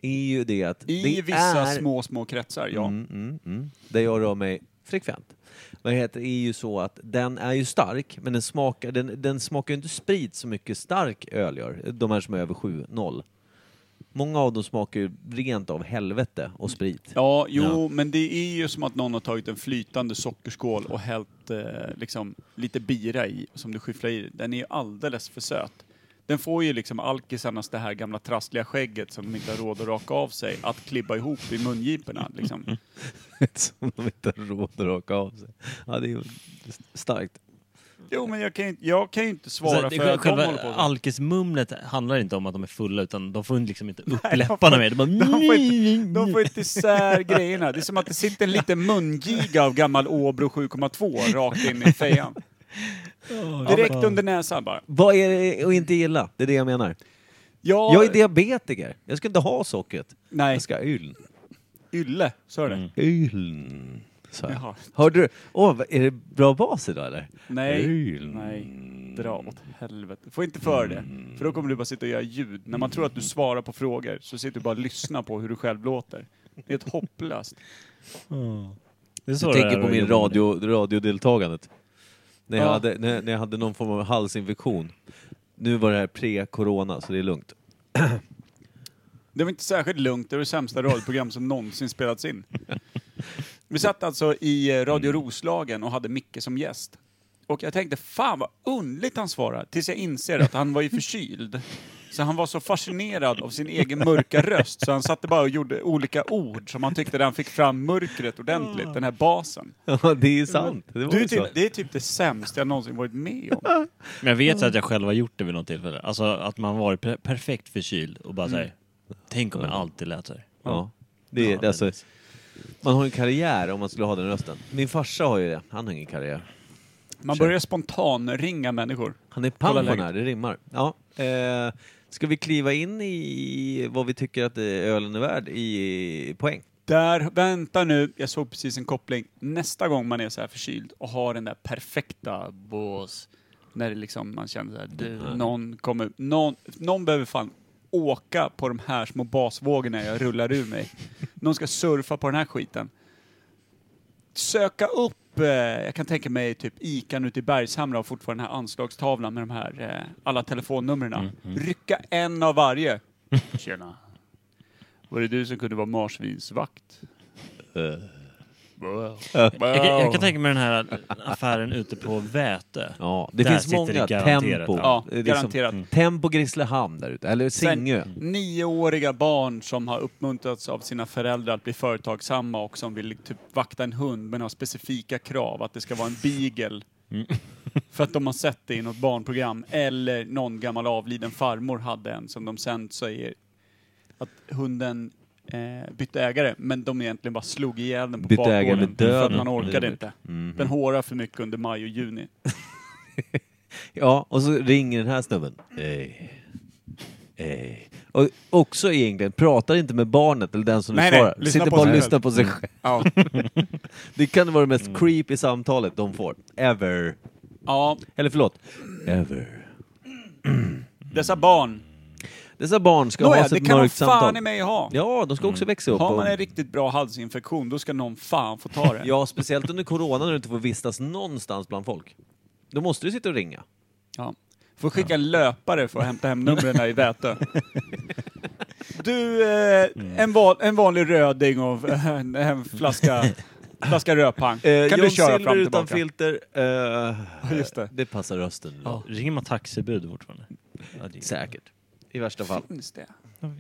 [SPEAKER 2] Är ju det att
[SPEAKER 1] I
[SPEAKER 2] det
[SPEAKER 1] vissa
[SPEAKER 2] är...
[SPEAKER 1] små, små kretsar, ja.
[SPEAKER 2] Mm, mm, mm. Där jag rör mig frekvent. Vad heter det är ju så att den är ju stark, men den smakar, den, den smakar ju inte sprit så mycket stark öl gör. De här som är över 7,0. Många av dem smakar ju rent av helvete och sprit.
[SPEAKER 1] Ja, jo, men det är ju som att någon har tagit en flytande sockerskål och hällt eh, liksom, lite bira i, som du skyfflar i. Den är ju alldeles för söt. Den får ju liksom alkisarnas det här gamla trassliga skägget som de inte har råd att raka av sig, att klibba ihop i mungiporna. Liksom.
[SPEAKER 2] som de inte har råd att raka av sig. Ja, det är ju starkt.
[SPEAKER 1] Jo, men jag kan ju, jag kan ju inte
[SPEAKER 4] Så
[SPEAKER 1] svara
[SPEAKER 4] Alltså, det,
[SPEAKER 1] för att de håller på
[SPEAKER 4] själva
[SPEAKER 1] så.
[SPEAKER 4] alkismumlet handlar inte om att de är fulla utan de får liksom inte upp
[SPEAKER 1] Nej, de får-
[SPEAKER 4] läpparna mer. De bara...
[SPEAKER 1] De får, inte, de får inte isär grejerna. Det är som att det sitter en liten mungiga av gammal Åbro 7,2 rakt in i fejan. Direkt under näsan bara.
[SPEAKER 2] Vad är det att inte gilla? Det är det jag menar.
[SPEAKER 1] Ja,
[SPEAKER 2] Jag är diabetiker. Jag ska inte ha sockret.
[SPEAKER 1] Nej.
[SPEAKER 2] Jag ska Mm. ha yln.
[SPEAKER 1] Ylle, så är det.
[SPEAKER 2] Yln. sa jag.
[SPEAKER 1] Jaha.
[SPEAKER 2] Hörde du? Åh, vad- är det bra bas idag eller?
[SPEAKER 1] Nej.
[SPEAKER 2] Yln.
[SPEAKER 1] Nej. Dra åt helvete. Få inte för det. För då kommer du bara sitta och göra ljud. När man tror att du svarar på frågor så sitter du bara och lyssnar på hur du själv låter. Det är ett hopplöst.
[SPEAKER 4] Det är så
[SPEAKER 2] Jag
[SPEAKER 4] det
[SPEAKER 2] tänker
[SPEAKER 4] är
[SPEAKER 2] på
[SPEAKER 4] att
[SPEAKER 2] min
[SPEAKER 4] jobba med
[SPEAKER 2] radio, radiodeltagandet. När jag,
[SPEAKER 1] Ja.
[SPEAKER 2] hade, när, när jag hade någon form av halsinfektion. Nu var det här pre-corona, så det är lugnt.
[SPEAKER 1] Det var inte särskilt lugnt. Det var det sämsta radioprogram som någonsin spelats in. Vi satt alltså i eh, Radio Roslagen och hade Micke som gäst. Och jag tänkte, fan vad underligt han svarar. Tills jag inser att han var ju förkyld. Så han var så fascinerad av sin egen mörka röst så han satte bara och gjorde olika ord som han tyckte där han fick fram mörkret ordentligt, den här basen.
[SPEAKER 2] Ja, det är sant. Det var
[SPEAKER 1] Du,
[SPEAKER 2] ju
[SPEAKER 1] är
[SPEAKER 2] så.
[SPEAKER 1] typ, det är typ det sämsta jag någonsin varit med om.
[SPEAKER 4] Men jag vet så att jag själv har gjort det vid något tillfälle. Alltså att man varit per- perfekt förkyld och bara såhär, tänk om jag
[SPEAKER 1] Mm.
[SPEAKER 4] alltid lät såhär.
[SPEAKER 2] Ja. Det
[SPEAKER 4] Ja,
[SPEAKER 2] är,
[SPEAKER 4] men-
[SPEAKER 2] alltså, man har en karriär om man skulle ha den rösten. Min farsa har ju det. Han har ingen karriär.
[SPEAKER 1] Man börjar spontan ringa människor.
[SPEAKER 2] Han är
[SPEAKER 1] Kolla
[SPEAKER 2] pensionär, det rimmar. Ja. Eh, ska vi kliva in i vad vi tycker att eh, ölen är värd i poäng?
[SPEAKER 1] Där, vänta nu, jag såg precis en koppling. Nästa gång man är så här förkyld och har den där perfekta bås, när det liksom, man känner så här, du, någon kommer, någon, någon behöver fan åka på de här små basvågorna jag rullar ur mig. Någon ska surfa på den här skiten. Söka upp, eh, jag kan tänka mig typ Ican ute i Bergshamra har fortfarande den här anslagstavlan med de här, eh, alla telefonnumren. Rycka en av varje. Mm, Tjena. Var det du som kunde vara marsvinsvakt?
[SPEAKER 4] Jag, kan- jag kan tänka mig den här affären ute på Vätö.
[SPEAKER 2] Ja, det
[SPEAKER 4] Där
[SPEAKER 2] finns
[SPEAKER 4] sitter
[SPEAKER 2] många.
[SPEAKER 4] det garanterat.
[SPEAKER 2] Tempo.
[SPEAKER 1] Ja,
[SPEAKER 2] Det är
[SPEAKER 1] garanterat. Mm.
[SPEAKER 2] Som, tempo Grisslehamn där ute, eller Singö.
[SPEAKER 1] Sen, nioåriga barn som har uppmuntrats av sina föräldrar att bli företagsamma och som vill typ vakta en hund men har specifika krav att det ska vara en beagle.
[SPEAKER 2] Mm.
[SPEAKER 1] För att de har sett det i något barnprogram eller någon gammal avliden farmor hade en som de sen säger att hunden eh, bytte ägare men de egentligen bara slog ihjäl den på
[SPEAKER 2] Bytte ägare
[SPEAKER 1] bakgården.
[SPEAKER 2] med
[SPEAKER 1] För att
[SPEAKER 2] döden. Mm.
[SPEAKER 1] man orkade inte. Den hårar för mycket under maj och juni.
[SPEAKER 2] Ja, och så ringer den här snubben. Hej. Hej. Och också egentligen, pratar inte med barnet eller den som
[SPEAKER 1] Nej,
[SPEAKER 2] du
[SPEAKER 1] nej.
[SPEAKER 2] svarar.
[SPEAKER 1] Lyssna
[SPEAKER 2] Sitter
[SPEAKER 1] på
[SPEAKER 2] bara och
[SPEAKER 1] sig
[SPEAKER 2] lyssnar
[SPEAKER 1] själv.
[SPEAKER 2] på sig själv.
[SPEAKER 1] Ja.
[SPEAKER 2] Det kan vara det mest creepy samtalet de får. Ever.
[SPEAKER 1] ja,
[SPEAKER 2] Eller förlåt. Ever.
[SPEAKER 1] dessa barn.
[SPEAKER 2] Dessa barn ska
[SPEAKER 1] Nåja,
[SPEAKER 2] ha
[SPEAKER 1] det
[SPEAKER 2] sitt
[SPEAKER 1] kan man
[SPEAKER 2] mörkt
[SPEAKER 1] fan
[SPEAKER 2] samtal.
[SPEAKER 1] i mig ha.
[SPEAKER 2] Ja, de ska också växa upp.
[SPEAKER 1] Har
[SPEAKER 2] och-
[SPEAKER 1] man en riktigt bra halsinfektion, då ska någon fan få ta det.
[SPEAKER 2] Ja, speciellt under corona när du inte får vistas någonstans bland folk. Då måste du sitta och ringa.
[SPEAKER 1] Ja. Får skicka en löpare för att hämta hem numren i Vätö. Du, eh, en, van, en vanlig röding och eh, en, en flaska, flaska rödpang. Kan
[SPEAKER 2] Eh,
[SPEAKER 1] du köra
[SPEAKER 2] John Silver
[SPEAKER 1] fram och
[SPEAKER 2] utan
[SPEAKER 1] tillbaka?
[SPEAKER 2] filter. Eh,
[SPEAKER 1] Just det.
[SPEAKER 2] det passar rösten. Ja.
[SPEAKER 4] Ringer man taxibud fortfarande? Ja det,
[SPEAKER 2] Säkert. I värsta fall.
[SPEAKER 1] Finns det?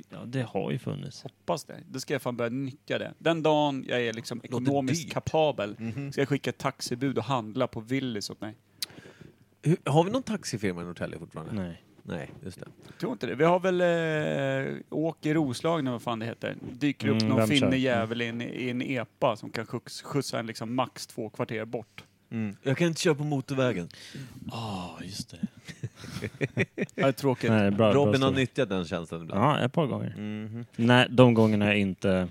[SPEAKER 4] ja, det har ju funnits.
[SPEAKER 1] Hoppas det. Då ska jag fan börja nyttja det. Den dagen jag är liksom ekonomiskt
[SPEAKER 2] dyrt. Mhm.
[SPEAKER 1] kapabel ska jag skicka ett taxibud och handla på Willys åt mig.
[SPEAKER 2] Hur, har vi någon taxifirma i Norrtälje fortfarande?
[SPEAKER 4] Nej.
[SPEAKER 2] Nej, just det.
[SPEAKER 1] Jag tror inte det. Vi har väl eh, Åke Roslagen, eller vad fan det heter. Dyker upp
[SPEAKER 4] Mm,
[SPEAKER 1] någon
[SPEAKER 4] vem kör?
[SPEAKER 1] finne jävel i en, i en epa som kan skjuts- skjutsa en liksom max två kvarter bort.
[SPEAKER 2] Mm. Jag kan inte köra på motorvägen.
[SPEAKER 4] Ja, just det.
[SPEAKER 1] Det är tråkigt.
[SPEAKER 4] Nej, bra, bra
[SPEAKER 2] Robin har
[SPEAKER 4] story.
[SPEAKER 2] nyttjat den tjänsten ibland.
[SPEAKER 4] Ja, ett par gånger.
[SPEAKER 2] Mhm.
[SPEAKER 4] Nej, de gångerna jag inte...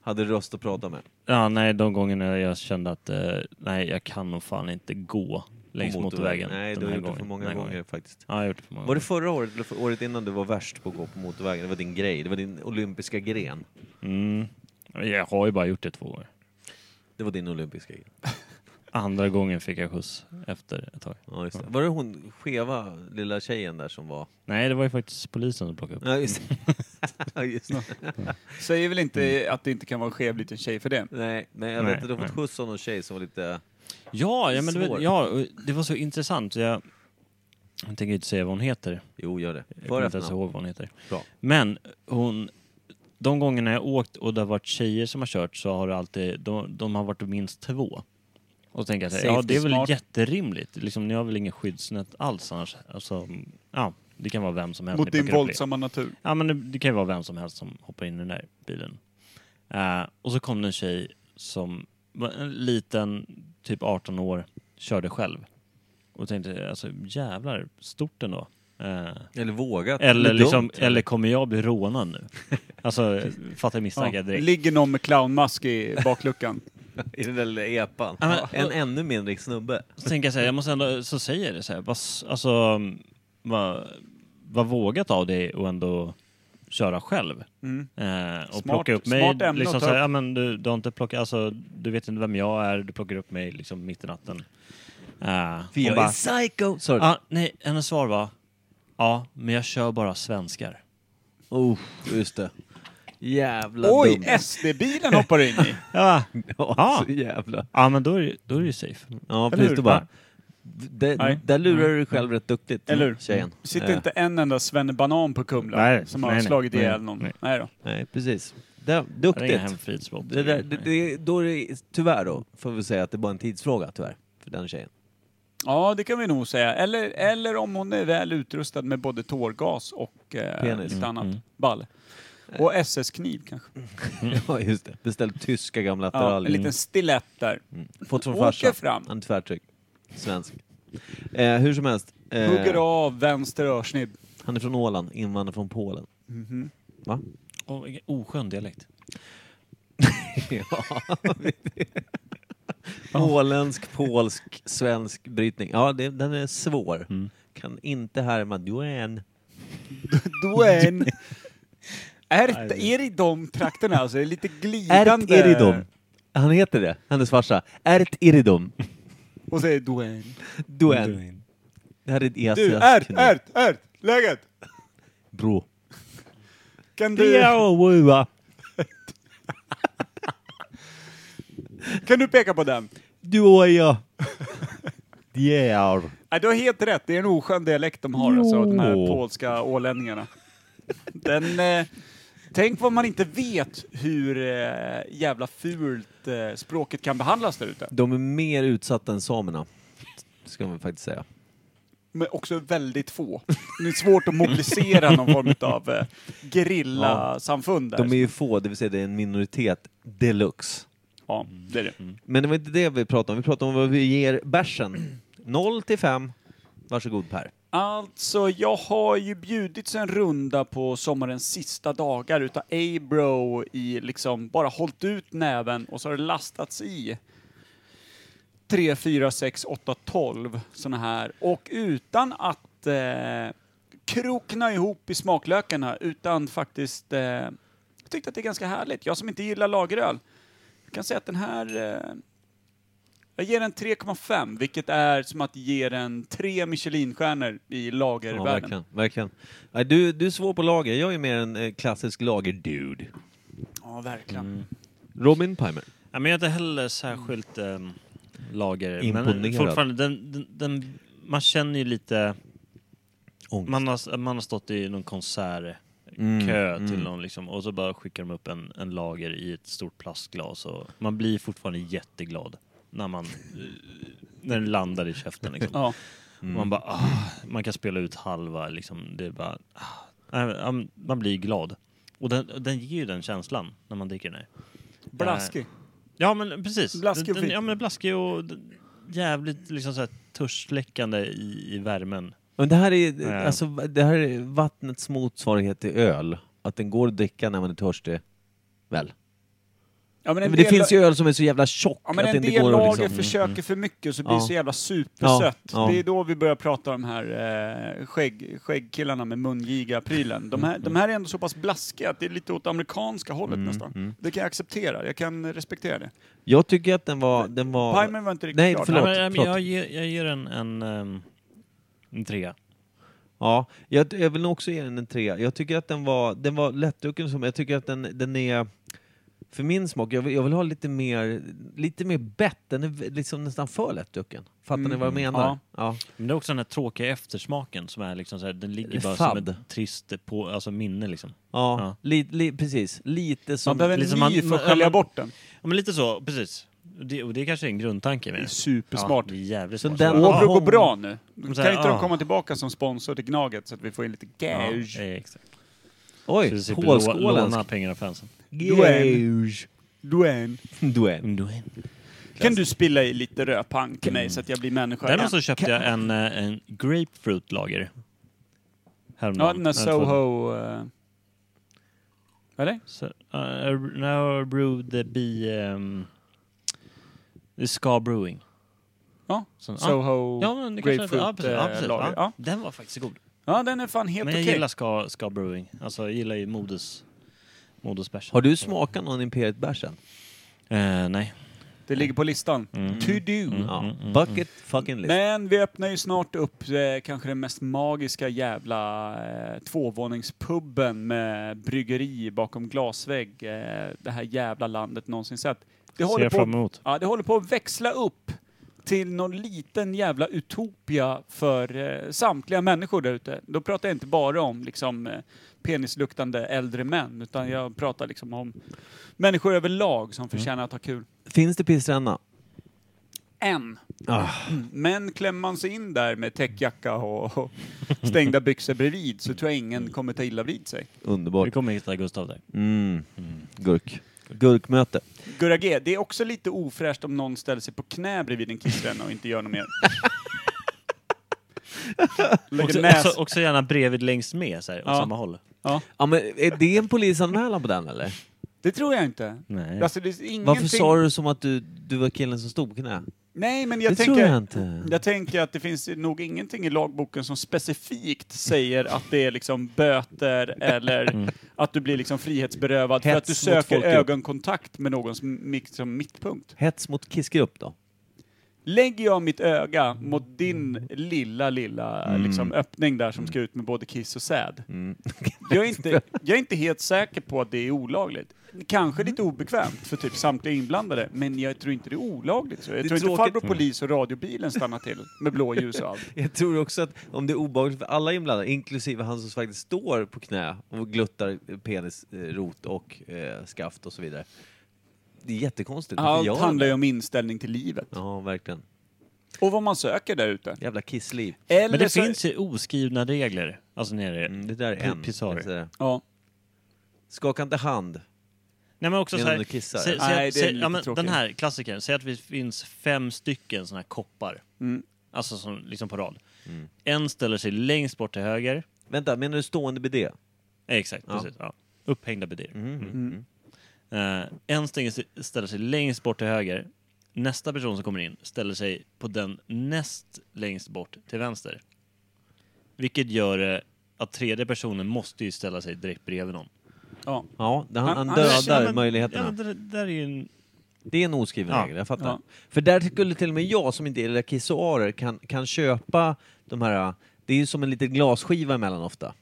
[SPEAKER 2] Hade röst att prata med.
[SPEAKER 4] Ja, nej, de gångerna jag kände att eh, nej, jag kan nog fan inte gå längs
[SPEAKER 2] På
[SPEAKER 4] motorvägen.
[SPEAKER 2] Nej,
[SPEAKER 4] den
[SPEAKER 2] du har
[SPEAKER 4] här
[SPEAKER 2] gjort det för
[SPEAKER 4] gången.
[SPEAKER 2] många
[SPEAKER 4] Den här
[SPEAKER 2] gånger,
[SPEAKER 4] gången.
[SPEAKER 2] faktiskt.
[SPEAKER 4] Ja, jag har gjort det för många
[SPEAKER 2] Var det
[SPEAKER 4] gånger.
[SPEAKER 2] förra året, eller för året innan, du var värst på att gå på motorvägen? Det var din grej, det var din olympiska gren.
[SPEAKER 4] Mm. Jag har ju bara gjort det två gånger.
[SPEAKER 2] Det var din olympiska grej.
[SPEAKER 4] Andra gången fick jag skjuts efter ett tag.
[SPEAKER 2] Ja, just det. Var det hon skeva lilla tjejen där som var...
[SPEAKER 4] Nej, det var ju faktiskt polisen som plockade upp.
[SPEAKER 2] Ja, just det. just det.
[SPEAKER 1] Säger väl
[SPEAKER 4] Mm.
[SPEAKER 1] inte att det inte kan vara en skev liten tjej för det.
[SPEAKER 2] Nej, men jag
[SPEAKER 4] Nej,
[SPEAKER 2] vet att du har fått
[SPEAKER 4] nej.
[SPEAKER 2] skjuts av någon tjej som var lite...
[SPEAKER 4] Ja, ja, men det, var,
[SPEAKER 2] Svår.
[SPEAKER 4] ja, och det var så intressant. Jag, jag tänker inte säga vad hon heter.
[SPEAKER 2] Jo, gör det.
[SPEAKER 4] Jag
[SPEAKER 2] För
[SPEAKER 4] kommer inte ens
[SPEAKER 2] efternamn.
[SPEAKER 4] ihåg vad hon heter.
[SPEAKER 2] Bra.
[SPEAKER 4] Men hon, de gångerna jag åkt och det har varit tjejer som har kört så har det alltid, de, de har varit minst två. Och tänker jag så här, ja
[SPEAKER 1] Safety
[SPEAKER 4] det är väl
[SPEAKER 1] smart.
[SPEAKER 4] jätterimligt. Liksom, ni har väl ingen skyddsnät alls annars. Alltså, ja, det kan vara vem som helst.
[SPEAKER 1] Mot
[SPEAKER 4] ni
[SPEAKER 1] din
[SPEAKER 4] plockar upp i.
[SPEAKER 1] våldsamma natur.
[SPEAKER 4] Ja, men det, det kan ju vara vem som helst som hoppar in i den där bilen. Eh, och så kom det en tjej som var en liten, typ 18 år, körde själv. Och tänkte, alltså jävlar, stort ändå. Eh,
[SPEAKER 2] Eller vågat.
[SPEAKER 4] eller, liksom,
[SPEAKER 2] dumt.
[SPEAKER 4] eller kommer jag bli rånad nu? Alltså, fattar
[SPEAKER 1] Ja.
[SPEAKER 4] misstankar direkt.
[SPEAKER 1] Ligger någon med clownmask i bakluckan.
[SPEAKER 2] I den där lilla epan.
[SPEAKER 4] Ja, men-
[SPEAKER 2] En ännu mindre snubbe.
[SPEAKER 4] Så tänker jag så här, jag måste ändå, så säger jag det så här, vad, s- alltså, vad, vad vågat av dig att ändå köra själv?
[SPEAKER 1] Mm.
[SPEAKER 4] Eh, och
[SPEAKER 1] Smart-
[SPEAKER 4] plocka upp mig.
[SPEAKER 1] smart ämne att ta
[SPEAKER 4] liksom såhär,
[SPEAKER 1] upp.
[SPEAKER 4] ja, men du, du, har inte plockat, alltså, du vet inte vem jag är, du plockar upp mig liksom mitt i natten. Eh,
[SPEAKER 2] För
[SPEAKER 4] hon
[SPEAKER 2] jag
[SPEAKER 4] bara,
[SPEAKER 2] är psycho! Sorry.
[SPEAKER 4] ah, nej, hennes svar var, ja, men jag kör bara svenskar.
[SPEAKER 2] Oh, just det. Jävla
[SPEAKER 1] Oj,
[SPEAKER 2] dumt.
[SPEAKER 1] SD-bilen hoppar in i.
[SPEAKER 4] Ja,
[SPEAKER 2] Ja, så jävla.
[SPEAKER 4] ja men då är, det- då är det ju safe.
[SPEAKER 2] Ja,
[SPEAKER 1] Eller
[SPEAKER 2] precis.
[SPEAKER 1] hur?
[SPEAKER 2] Du
[SPEAKER 1] Ja.
[SPEAKER 2] bara, det,
[SPEAKER 1] Nej.
[SPEAKER 2] där lurar du dig själv rätt duktigt.
[SPEAKER 1] Eller hur?
[SPEAKER 2] Tjejen.
[SPEAKER 1] Sitter
[SPEAKER 2] Eh,
[SPEAKER 1] inte en enda Svenne Banan på Kumla
[SPEAKER 4] Nej,
[SPEAKER 1] som har
[SPEAKER 4] nej, nej,
[SPEAKER 1] slagit
[SPEAKER 4] nej,
[SPEAKER 1] ihjäl någon?
[SPEAKER 4] nej.
[SPEAKER 1] Nej, då.
[SPEAKER 2] Nej, precis. Det,
[SPEAKER 4] Det är inga
[SPEAKER 2] duktigt.
[SPEAKER 4] hemfridsbrott.
[SPEAKER 2] Det där, det, det, då är det, tyvärr då, får vi säga att det är bara en tidsfråga tyvärr, för den tjejen.
[SPEAKER 1] Ja, det kan vi nog säga. Eller, eller om hon är väl utrustad med både tårgas och eh,
[SPEAKER 2] Penis.
[SPEAKER 1] lite annat
[SPEAKER 4] mm.
[SPEAKER 1] ball. Och SS-kniv kanske.
[SPEAKER 2] Ja, just det. Beställt tyska gamla
[SPEAKER 1] Mm. Ja, en
[SPEAKER 2] attiraljer.
[SPEAKER 1] liten stilett där.
[SPEAKER 2] Fått från
[SPEAKER 1] Åker
[SPEAKER 2] farsan.
[SPEAKER 1] fram.
[SPEAKER 2] Han är tvärtryck. Svensk. Eh, hur som helst. eh,
[SPEAKER 1] Hugger av vänster örsnibb. Mhm.
[SPEAKER 2] han är från Åland, invandrare från Polen. Va?
[SPEAKER 4] Och vilken oskön dialekt.
[SPEAKER 2] Åländsk, polsk, svensk brytning. Ja, det, den är svår.
[SPEAKER 1] Mm.
[SPEAKER 2] Kan inte härma Duane.
[SPEAKER 1] Duen. Är, det- är det i de trakterna alltså? Det är lite
[SPEAKER 2] Ert
[SPEAKER 1] glidande.
[SPEAKER 2] Iridum. Han heter det, hennes farsa. Ert Iridum.
[SPEAKER 1] Och säger Duen.
[SPEAKER 2] Duane. Det här är ett
[SPEAKER 1] Du,
[SPEAKER 2] E asiatiskt
[SPEAKER 1] Ert,
[SPEAKER 2] knep.
[SPEAKER 1] Ert, Ert! Läget?
[SPEAKER 2] Bro.
[SPEAKER 1] Kan du,
[SPEAKER 2] Diawua.
[SPEAKER 1] kan du peka på den?
[SPEAKER 2] Duoja. Diar.
[SPEAKER 1] Nej, du har helt rätt. Det är en oskön dialekt de har, alltså, de här polska ålänningarna. Den, eh, tänk vad man inte vet hur eh, jävla fult eh, språket kan behandlas där ute.
[SPEAKER 2] De är mer utsatta än samerna. Ska man faktiskt säga.
[SPEAKER 1] Men också väldigt få. Det är svårt att mobilisera någon form av eh, gerillasamfund där.
[SPEAKER 2] De är ju få, det vill säga det är en minoritet deluxe.
[SPEAKER 1] Ja, det är det.
[SPEAKER 2] Men det var inte det vi pratade om. Vi pratade om vad vi ger bärsen. 0 till 5. Varsågod Per.
[SPEAKER 1] Alltså, jag har ju bjudits en runda på sommarens sista dagar utav A-Bro i liksom bara hållit ut näven och så har det lastats i 3, 4, 6, 8, 12 såna här. Och utan att eh, krokna ihop i smaklökarna, utan faktiskt... Eh, jag tyckte att det är ganska härligt. Jag som inte gillar lageröl. Jag kan säga att den här... Eh, jag ger den 3,5, vilket är som att ge den tre Michelinstjärnor i
[SPEAKER 2] Ja,
[SPEAKER 1] lagervärlden.
[SPEAKER 2] verkligen. verkligen. Nej, Du, du är svår på lager. Jag är mer en eh, klassisk lager-dude.
[SPEAKER 1] Ja, verkligen.
[SPEAKER 2] Mm. Robin Pimer.
[SPEAKER 4] Ja, men jag är inte heller särskilt ehm, lager. Men
[SPEAKER 2] Imponerad.
[SPEAKER 4] fortfarande, den, den, den, man känner ju lite...
[SPEAKER 2] Ångest.
[SPEAKER 4] Man har, man har stått i någon konsertkö till någon liksom, och så bara skickar de upp en, en lager i ett stort plastglas. Och man blir fortfarande jätteglad när man eh, när den landar i käften. Liksom.
[SPEAKER 1] Ja.
[SPEAKER 4] Man bara, ah, man kan spela ut halva liksom. Det är bara, ah, äh, ähm, man blir glad. Och den, den ger ju den känslan när man dricker den här.
[SPEAKER 2] Eh,
[SPEAKER 1] Blaskig.
[SPEAKER 4] Ja men precis.
[SPEAKER 1] Blaskig och
[SPEAKER 4] Den- den-
[SPEAKER 1] fin.
[SPEAKER 4] Ja men blaskig och den- jävligt liksom så här törstsläckande i, i värmen.
[SPEAKER 2] Men det här är,
[SPEAKER 4] Ja.
[SPEAKER 2] alltså, det här är vattnets motsvarighet till öl. Att den går att dricka när man är törstig. Väl?
[SPEAKER 1] Ja, men en
[SPEAKER 2] Men det
[SPEAKER 1] del-
[SPEAKER 2] finns ju öl som är så jävla tjock
[SPEAKER 1] Ja, men
[SPEAKER 2] att det
[SPEAKER 1] en
[SPEAKER 2] inte
[SPEAKER 1] del
[SPEAKER 2] går
[SPEAKER 1] lager
[SPEAKER 2] att liksom...
[SPEAKER 1] försöker för mycket och så blir
[SPEAKER 2] Ja.
[SPEAKER 1] det så jävla supersött.
[SPEAKER 2] Ja, ja.
[SPEAKER 1] Det är då vi börjar prata om de här eh, skägg, skäggkillarna med mungiga-prylen.
[SPEAKER 2] Mm,
[SPEAKER 1] De här, de här är ändå så pass blaskiga att det är lite åt amerikanska hållet nästan.
[SPEAKER 2] mm.
[SPEAKER 1] Det kan jag acceptera, jag kan respektera det.
[SPEAKER 2] Jag tycker att den var... Den var...
[SPEAKER 1] Pimen var inte riktigt
[SPEAKER 2] Nej,
[SPEAKER 1] klar.
[SPEAKER 2] förlåt,
[SPEAKER 4] Nej, men,
[SPEAKER 2] förlåt.
[SPEAKER 4] Jag, ger, jag ger en, en, ehm, en trea.
[SPEAKER 2] Ja, jag, jag vill nog också ge den en trea. Jag tycker att den var, den var lättdrucken, som- jag tycker att den, den är... För min smak, jag vill, jag vill ha lite mer, lite mer bett. Den är v- liksom nästan för lättdrucken. Fattar ni vad jag menar?
[SPEAKER 1] Mm, ja.
[SPEAKER 2] ja.
[SPEAKER 4] Men det är också den här tråkiga eftersmaken som är liksom så här, den ligger bara
[SPEAKER 2] Fadd.
[SPEAKER 4] som ett trist på, alltså minne liksom.
[SPEAKER 2] Ja,
[SPEAKER 4] Ja.
[SPEAKER 2] Li, li, precis. Lite som...
[SPEAKER 1] Man behöver en
[SPEAKER 4] liksom
[SPEAKER 1] liksom
[SPEAKER 4] man-
[SPEAKER 1] för att
[SPEAKER 4] man-
[SPEAKER 1] skölja
[SPEAKER 4] man-
[SPEAKER 1] bort den.
[SPEAKER 4] Ja men lite så, precis. Det, och det är kanske är en grundtanke
[SPEAKER 1] Det
[SPEAKER 4] med
[SPEAKER 1] är
[SPEAKER 4] det.
[SPEAKER 1] supersmart.
[SPEAKER 4] Ja, det är jävligt
[SPEAKER 2] Så
[SPEAKER 4] smart.
[SPEAKER 2] den-
[SPEAKER 1] Åbro går
[SPEAKER 2] Hon-
[SPEAKER 1] bra nu. Kan
[SPEAKER 4] Hon
[SPEAKER 1] inte
[SPEAKER 4] säger,
[SPEAKER 1] de
[SPEAKER 4] ah.
[SPEAKER 1] komma tillbaka som sponsor till Gnaget så att vi får in lite
[SPEAKER 4] ja,
[SPEAKER 1] gage?
[SPEAKER 4] ja, exakt. Så vi
[SPEAKER 2] Oj,
[SPEAKER 4] slipper lå- låna
[SPEAKER 2] hålskålen.
[SPEAKER 4] pengar av fansen.
[SPEAKER 2] Gage.
[SPEAKER 1] Duane.
[SPEAKER 2] Duell.
[SPEAKER 1] Kan du spilla i lite rödpang till mig så att jag blir människa
[SPEAKER 4] Däremot
[SPEAKER 1] igen?
[SPEAKER 4] så köpte jag en, eh, en grapefruit-lager. Häromdagen.
[SPEAKER 1] Ja, den där Soho... eh, Eller?
[SPEAKER 4] Så, uh, now brewed be... Um, det är Ska Brewing.
[SPEAKER 1] Ja.
[SPEAKER 4] Så, ja.
[SPEAKER 1] Soho
[SPEAKER 4] Ja, men det kanske
[SPEAKER 1] grapefruit
[SPEAKER 4] är ja, precis, ja,
[SPEAKER 1] eh,
[SPEAKER 4] precis,
[SPEAKER 1] lager.
[SPEAKER 4] ja.
[SPEAKER 1] Ja.
[SPEAKER 4] Den var faktiskt god.
[SPEAKER 1] ja, den är fan helt
[SPEAKER 4] Men jag
[SPEAKER 1] okej.
[SPEAKER 4] gillar ska, ska Brewing. Alltså jag gillar ju Modus. Modusbärs.
[SPEAKER 2] Har du smakat någon Imperiet Bärs än?
[SPEAKER 1] Mm,
[SPEAKER 4] Eh, nej. Mm.
[SPEAKER 1] Det ligger på listan. To do.
[SPEAKER 2] Ja.
[SPEAKER 1] mm,
[SPEAKER 2] Bucket fucking list.
[SPEAKER 1] Men vi öppnar ju snart upp eh, kanske den mest magiska jävla eh, tvåvåningspubben med bryggeri bakom glasvägg. Eh, det här jävla landet någonsin sett. Det
[SPEAKER 4] Ser
[SPEAKER 1] håller,
[SPEAKER 4] jag fram
[SPEAKER 1] på,
[SPEAKER 4] emot.
[SPEAKER 1] ja, det håller på att växla upp till någon liten jävla utopia för eh, samtliga människor där ute. Då pratar jag inte bara om liksom, eh, penisluktande äldre män, utan jag pratar liksom om människor överlag som förtjänar att ha kul.
[SPEAKER 2] Finns det pissränna?
[SPEAKER 1] En. Mm. Men klämmer man sig in där med täckjacka och, och stängda byxor bredvid så tror jag ingen kommer ta illa vid sig.
[SPEAKER 4] Vi
[SPEAKER 2] Underbart.
[SPEAKER 4] kommer hitta Gustav där.
[SPEAKER 2] Mm. Gurk. Gurkmöte.
[SPEAKER 1] Gurra G, det är också lite ofräscht om någon ställer sig på knä bredvid en kissränna och inte gör något mer. Lägger
[SPEAKER 4] Också,
[SPEAKER 1] näs...
[SPEAKER 2] alltså,
[SPEAKER 4] också, också gärna bredvid längs med, så här, åt
[SPEAKER 1] Ja.
[SPEAKER 4] samma håll.
[SPEAKER 1] Ja,
[SPEAKER 2] Ja, men är det en polisanmälan på den eller?
[SPEAKER 1] det tror jag inte.
[SPEAKER 4] Nej.
[SPEAKER 1] Alltså, det är ingenting...
[SPEAKER 2] Varför sa du som att du, du var killen som stod på knä?
[SPEAKER 1] Nej, men jag
[SPEAKER 2] Det
[SPEAKER 1] tänker...
[SPEAKER 2] tror jag inte.
[SPEAKER 1] Jag tänker att det finns nog ingenting i lagboken som specifikt säger att det är liksom böter eller
[SPEAKER 2] Mm.
[SPEAKER 1] att du blir liksom frihetsberövad för
[SPEAKER 2] Hets
[SPEAKER 1] att du
[SPEAKER 2] mot
[SPEAKER 1] söker
[SPEAKER 2] folkgrupp.
[SPEAKER 1] ögonkontakt med någons mitt, som mittpunkt.
[SPEAKER 2] Hets mot kissgrupp då?
[SPEAKER 1] Lägger jag mitt öga mot din lilla, lilla liksom, öppning där som ska ut med både kiss och säd. Jag, är inte, jag är inte helt säker på att det är olagligt. Kanske lite obekvämt för typ samtliga inblandade, men jag tror inte det är olagligt. Så. Jag
[SPEAKER 2] är
[SPEAKER 1] tror inte
[SPEAKER 2] tråkigt.
[SPEAKER 1] farbror polis och radiobilen stannar till med blåljus och allt.
[SPEAKER 2] Jag tror också att om det är obehagligt för alla inblandade, inklusive han som faktiskt står på knä och gluttar penisrot och eh, skaft och så vidare. Det är jättekonstigt. Varför gör
[SPEAKER 1] Allt
[SPEAKER 2] han
[SPEAKER 1] handlar
[SPEAKER 2] det?
[SPEAKER 1] ju om inställning till livet.
[SPEAKER 2] Ja, verkligen.
[SPEAKER 1] Och vad man söker där ute.
[SPEAKER 2] Jävla kissliv.
[SPEAKER 1] Eller
[SPEAKER 4] Men det
[SPEAKER 1] så-
[SPEAKER 4] finns ju oskrivna regler. Alltså nere.
[SPEAKER 2] Mm, det där är en.
[SPEAKER 4] Pissar.
[SPEAKER 2] Jag säger det.
[SPEAKER 1] Ja.
[SPEAKER 2] Skaka inte hand.
[SPEAKER 4] Nej men också
[SPEAKER 2] Medan
[SPEAKER 4] så här,
[SPEAKER 2] du kissar.
[SPEAKER 4] Säg,
[SPEAKER 1] Nej, det är
[SPEAKER 4] säg, säg,
[SPEAKER 1] lite
[SPEAKER 4] ja, men
[SPEAKER 1] tråkigt.
[SPEAKER 4] den här klassikern, säg att det finns fem stycken såna här koppar.
[SPEAKER 1] Mm.
[SPEAKER 4] Alltså som, liksom på rad.
[SPEAKER 2] Mm.
[SPEAKER 4] En ställer sig längst bort till höger.
[SPEAKER 2] Vänta, menar du stående bidé?
[SPEAKER 4] Eh, Exakt,
[SPEAKER 2] Ja. Mm,
[SPEAKER 4] precis. Ja. Upphängda bidéer. Eh, en stänger sig, ställer sig längst bort till höger. Nästa person som kommer in ställer sig på den näst längst bort till vänster. Vilket gör eh, att tredje personen måste ju ställa sig direkt bredvid någon.
[SPEAKER 1] Ja.
[SPEAKER 2] Ja, det- han,
[SPEAKER 1] Han-
[SPEAKER 2] han
[SPEAKER 1] han-
[SPEAKER 2] dödar
[SPEAKER 4] Ja, men-
[SPEAKER 2] möjligheterna.
[SPEAKER 4] Ja, men det, där är ju en...
[SPEAKER 2] Det är en oskriven
[SPEAKER 4] Ja.
[SPEAKER 2] regel, jag fattar.
[SPEAKER 1] Ja.
[SPEAKER 2] För där skulle till och med jag som inte gillar kissoarer kan, kan köpa de här, det är ju som en liten glasskiva emellan ofta.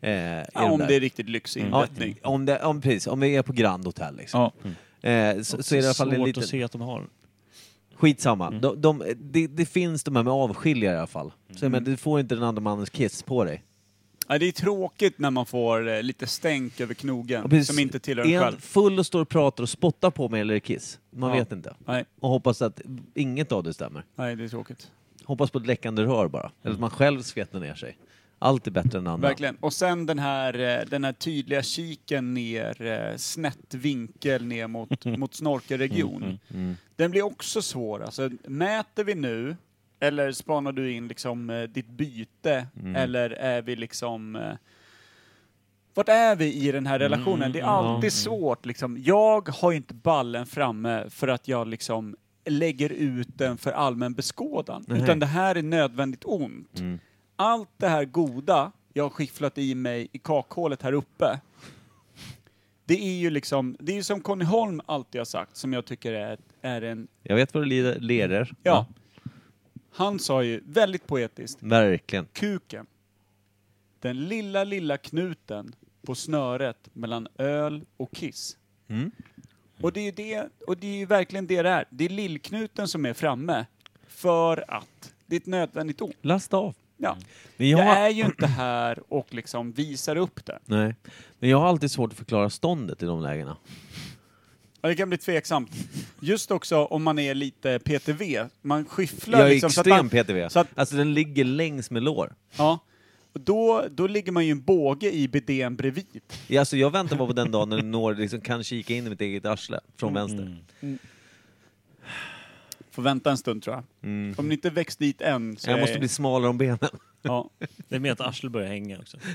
[SPEAKER 2] Eh, i de
[SPEAKER 1] Ja, om
[SPEAKER 2] där. Mm.
[SPEAKER 1] det är riktigt lyxig
[SPEAKER 2] ja,
[SPEAKER 1] inrättning.
[SPEAKER 2] om, det, om, precis, om vi är på Grand Hotel liksom.
[SPEAKER 1] Ja.
[SPEAKER 2] Eh, så, så är det i alla fall en
[SPEAKER 4] svårt
[SPEAKER 2] liten...
[SPEAKER 4] att se att de har.
[SPEAKER 2] Skitsamma. De, de, det, det finns de här med avskiljare i alla fall. Så jag menar, du får inte den andra mannens kiss på dig.
[SPEAKER 1] Ja, det är tråkigt när man får eh, lite stänk över knogen
[SPEAKER 2] Och precis,
[SPEAKER 1] som inte tillhör
[SPEAKER 2] är
[SPEAKER 1] en
[SPEAKER 2] han
[SPEAKER 1] själv.
[SPEAKER 2] full och står och pratar och spottar på mig eller är det kiss? Man
[SPEAKER 1] Ja.
[SPEAKER 2] vet inte.
[SPEAKER 1] Nej,
[SPEAKER 2] Och hoppas att inget av det stämmer.
[SPEAKER 1] nej, det är tråkigt.
[SPEAKER 2] Hoppas på ett läckande rör bara. Eller att man själv svettar ner sig. Allt är bättre än andra.
[SPEAKER 1] Mm. Verkligen. Och sen den här, eh, den här tydliga kiken ner, eh, snett vinkel ner mot, mot snorkelregion. Den blir också svår. Alltså, mäter vi nu, eller spanar du in liksom eh, ditt byte, eller är vi liksom... eh, Vart är vi i den här relationen? det är alltid svårt liksom. Jag har inte ballen framme för att jag liksom lägger ut den för allmän beskådan. Utan det här är nödvändigt ont. Allt det här goda jag har skifflat i mig i kakhålet här uppe. Det är ju liksom, det är ju som Conny Holm alltid har sagt, som jag tycker är, är en,
[SPEAKER 2] Jag vet vad det lider- leder.
[SPEAKER 1] ja. Han sa ju väldigt poetiskt,
[SPEAKER 2] Verkligen.
[SPEAKER 1] kuken. Den lilla, lilla knuten på snöret mellan öl och kiss. Mm. Och det är ju det, och det är ju verkligen det det är. Det är lillknuten som är framme för att det är ett nödvändigt ont.
[SPEAKER 2] Lasta av.
[SPEAKER 1] Ja.
[SPEAKER 2] Men
[SPEAKER 1] Jag
[SPEAKER 2] jag,
[SPEAKER 1] Mm. är ju inte här och liksom visar upp det.
[SPEAKER 2] nej. Men jag har alltid svårt att förklara ståndet i de lägena.
[SPEAKER 1] Ja, det kan bli tveksamt. Just också om man är lite PTV. Man skifflar
[SPEAKER 2] Jag är
[SPEAKER 1] liksom.
[SPEAKER 2] extrem
[SPEAKER 1] man,
[SPEAKER 2] PTV.
[SPEAKER 1] Så att,
[SPEAKER 2] Alltså den ligger längs med lår.
[SPEAKER 1] ja. Och Då, då ligger man ju en båge i bidén bredvid.
[SPEAKER 2] Ja, Alltså jag väntar bara på den dagen när den når, liksom, kan kika in i mitt eget arsle från
[SPEAKER 1] Mm,
[SPEAKER 2] vänster.
[SPEAKER 1] Får vänta en stund tror jag. Om ni inte växt dit än så
[SPEAKER 2] Mm. Jag
[SPEAKER 1] är-
[SPEAKER 2] måste bli smalare om benen.
[SPEAKER 1] ja.
[SPEAKER 4] Det är med att arslet börjar hänga också.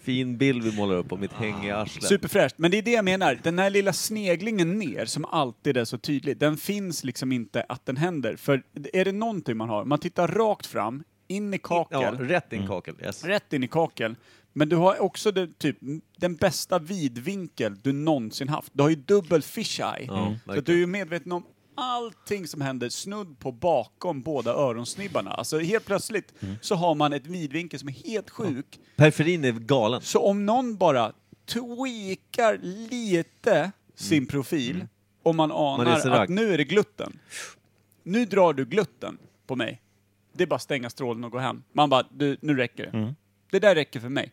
[SPEAKER 2] Fin bild vi målar upp på mitt hängiga arsle.
[SPEAKER 1] Superfräscht. Men det är det jag menar. Den här lilla sneglingen ner som alltid är så tydlig. Den finns liksom inte att den händer. För är det någonting man har, man tittar rakt fram, in i kakel.
[SPEAKER 2] Ja, rätt in kakel. Yes.
[SPEAKER 1] Mm. rätt in i kakeln. Men du har också det, typ, den bästa vidvinkel du någonsin haft. Du har ju dubbel fisheye. så att du är ju medveten om allting som händer snudd på bakom båda öronsnibbarna. Alltså helt plötsligt så har man ett vidvinkel som är helt sjuk.
[SPEAKER 2] Periferin är galen.
[SPEAKER 1] Så om någon bara tweakar lite
[SPEAKER 2] Mm.
[SPEAKER 1] sin profil och man anar
[SPEAKER 2] reser
[SPEAKER 1] att
[SPEAKER 2] rakt.
[SPEAKER 1] nu är det glutten. Nu drar du glutten på mig. Det är bara att stänga strålen och gå hem. Man bara, du, nu räcker det.
[SPEAKER 2] Mm.
[SPEAKER 1] Det där räcker för mig.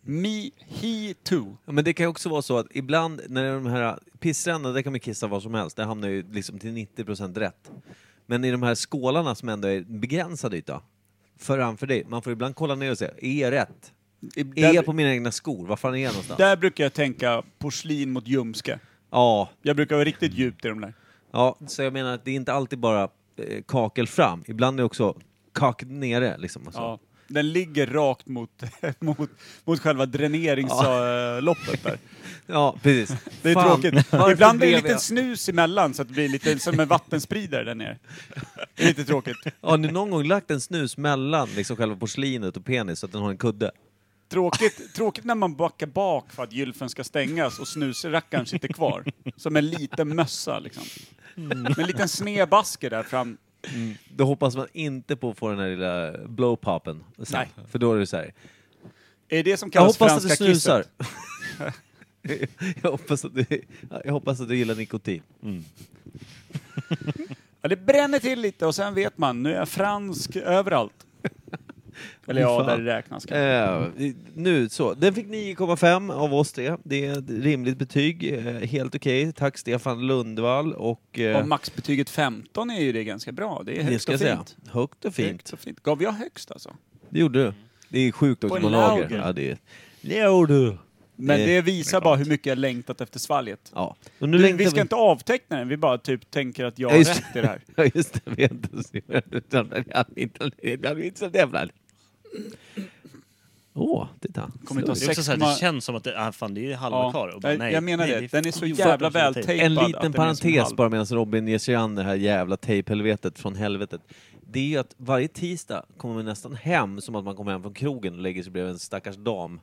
[SPEAKER 1] Me, he too.
[SPEAKER 2] Ja, Men det kan ju också vara så att ibland när de här pissränderna, där kan man kissa vad som helst, det hamnar ju liksom till 90% rätt. Men i de här skålarna som ändå är en begränsad yta, framför dig, man får ibland kolla ner och se, är jag rätt?
[SPEAKER 1] I-
[SPEAKER 2] Är
[SPEAKER 1] Där,
[SPEAKER 2] jag E på mina egna skor? Var fan är jag någonstans?
[SPEAKER 1] där brukar jag tänka porslin mot ljumske.
[SPEAKER 2] Ja,
[SPEAKER 1] Jag brukar vara riktigt djupt i de där.
[SPEAKER 2] ja, så jag menar att det är inte alltid bara eh, kakel fram, ibland är det också kak nere liksom. Och så.
[SPEAKER 1] Ja. Den ligger rakt mot, mot, mot själva dräneringsloppet där.
[SPEAKER 2] Ja, precis.
[SPEAKER 1] Det är
[SPEAKER 2] Fan,
[SPEAKER 1] tråkigt.
[SPEAKER 2] varför
[SPEAKER 1] Ibland blir det en
[SPEAKER 2] blev
[SPEAKER 1] liten
[SPEAKER 2] jag-
[SPEAKER 1] snus emellan så att det blir lite som en vattenspridare där nere. Det är lite tråkigt.
[SPEAKER 2] Har ni någon gång lagt en snus mellan liksom själva porslinet och penis så att den har en kudde?
[SPEAKER 1] Tråkigt, tråkigt när man backar bak för att gylfen ska stängas och snusrackaren sitter kvar. Som en liten mössa liksom.
[SPEAKER 2] Mm.
[SPEAKER 1] Med en liten snedbasker där fram.
[SPEAKER 2] Då hoppas man inte på att få den här lilla blowpoppen. sen.
[SPEAKER 1] Nej.
[SPEAKER 2] För då är det så här.
[SPEAKER 1] Är det det som
[SPEAKER 2] Jag
[SPEAKER 1] kallas
[SPEAKER 2] hoppas att du
[SPEAKER 1] franska
[SPEAKER 2] snusar.
[SPEAKER 1] kisset?
[SPEAKER 2] jag, hoppas att du, jag hoppas att du gillar nikotin.
[SPEAKER 1] Ja, det bränner till lite och sen vet man, nu är jag fransk överallt. Eller ja,
[SPEAKER 2] Fan.
[SPEAKER 1] där det räknas kanske.
[SPEAKER 2] Eh, nu så. Den fick 9,5 av oss tre. Det är ett rimligt betyg. Eh, helt okej. Tack Stefan Lundvall och... eh,
[SPEAKER 1] Och maxbetyget 15 är ju det ganska bra. Det är
[SPEAKER 2] det
[SPEAKER 1] högt
[SPEAKER 2] ska
[SPEAKER 1] och
[SPEAKER 2] jag
[SPEAKER 1] fint.
[SPEAKER 2] säga. Högt och
[SPEAKER 1] Högt
[SPEAKER 2] fint.
[SPEAKER 1] och fint. Gav jag högst alltså?
[SPEAKER 2] Det gjorde du. Det är sjukt
[SPEAKER 1] På
[SPEAKER 2] också
[SPEAKER 1] en
[SPEAKER 2] på lager.
[SPEAKER 1] lager.
[SPEAKER 2] Ja, det är... Det gjorde du.
[SPEAKER 1] Men
[SPEAKER 2] Det-
[SPEAKER 1] det visar bara hur mycket jag längtat efter svalget.
[SPEAKER 2] Ja. Och nu
[SPEAKER 1] Du,
[SPEAKER 2] längtar
[SPEAKER 1] vi ska inte avteckna den, vi bara typ tänker att jag
[SPEAKER 2] Ja,
[SPEAKER 1] har
[SPEAKER 2] just-
[SPEAKER 1] rätt i det här.
[SPEAKER 2] Ja just det, vi har inte sett inte så jävla... Åh, titta.
[SPEAKER 1] Kommer inte att
[SPEAKER 4] Det, är också så här,
[SPEAKER 1] Sex komma-
[SPEAKER 4] det känns som att det, ah, fan, det är halva
[SPEAKER 1] Ja.
[SPEAKER 4] kvar. Och
[SPEAKER 1] Nej, jag menar det. Den är så
[SPEAKER 4] fan
[SPEAKER 1] jävla
[SPEAKER 4] som en
[SPEAKER 1] väl
[SPEAKER 4] tejp.
[SPEAKER 1] tejpad
[SPEAKER 2] En
[SPEAKER 1] att
[SPEAKER 2] liten
[SPEAKER 1] den är som
[SPEAKER 2] parentes
[SPEAKER 1] halv.
[SPEAKER 2] bara medan Robin ger sig an det här jävla tejphelvetet från helvetet. Det är ju att varje tisdag kommer man nästan hem som att man kommer hem från krogen och lägger sig bredvid en stackars dam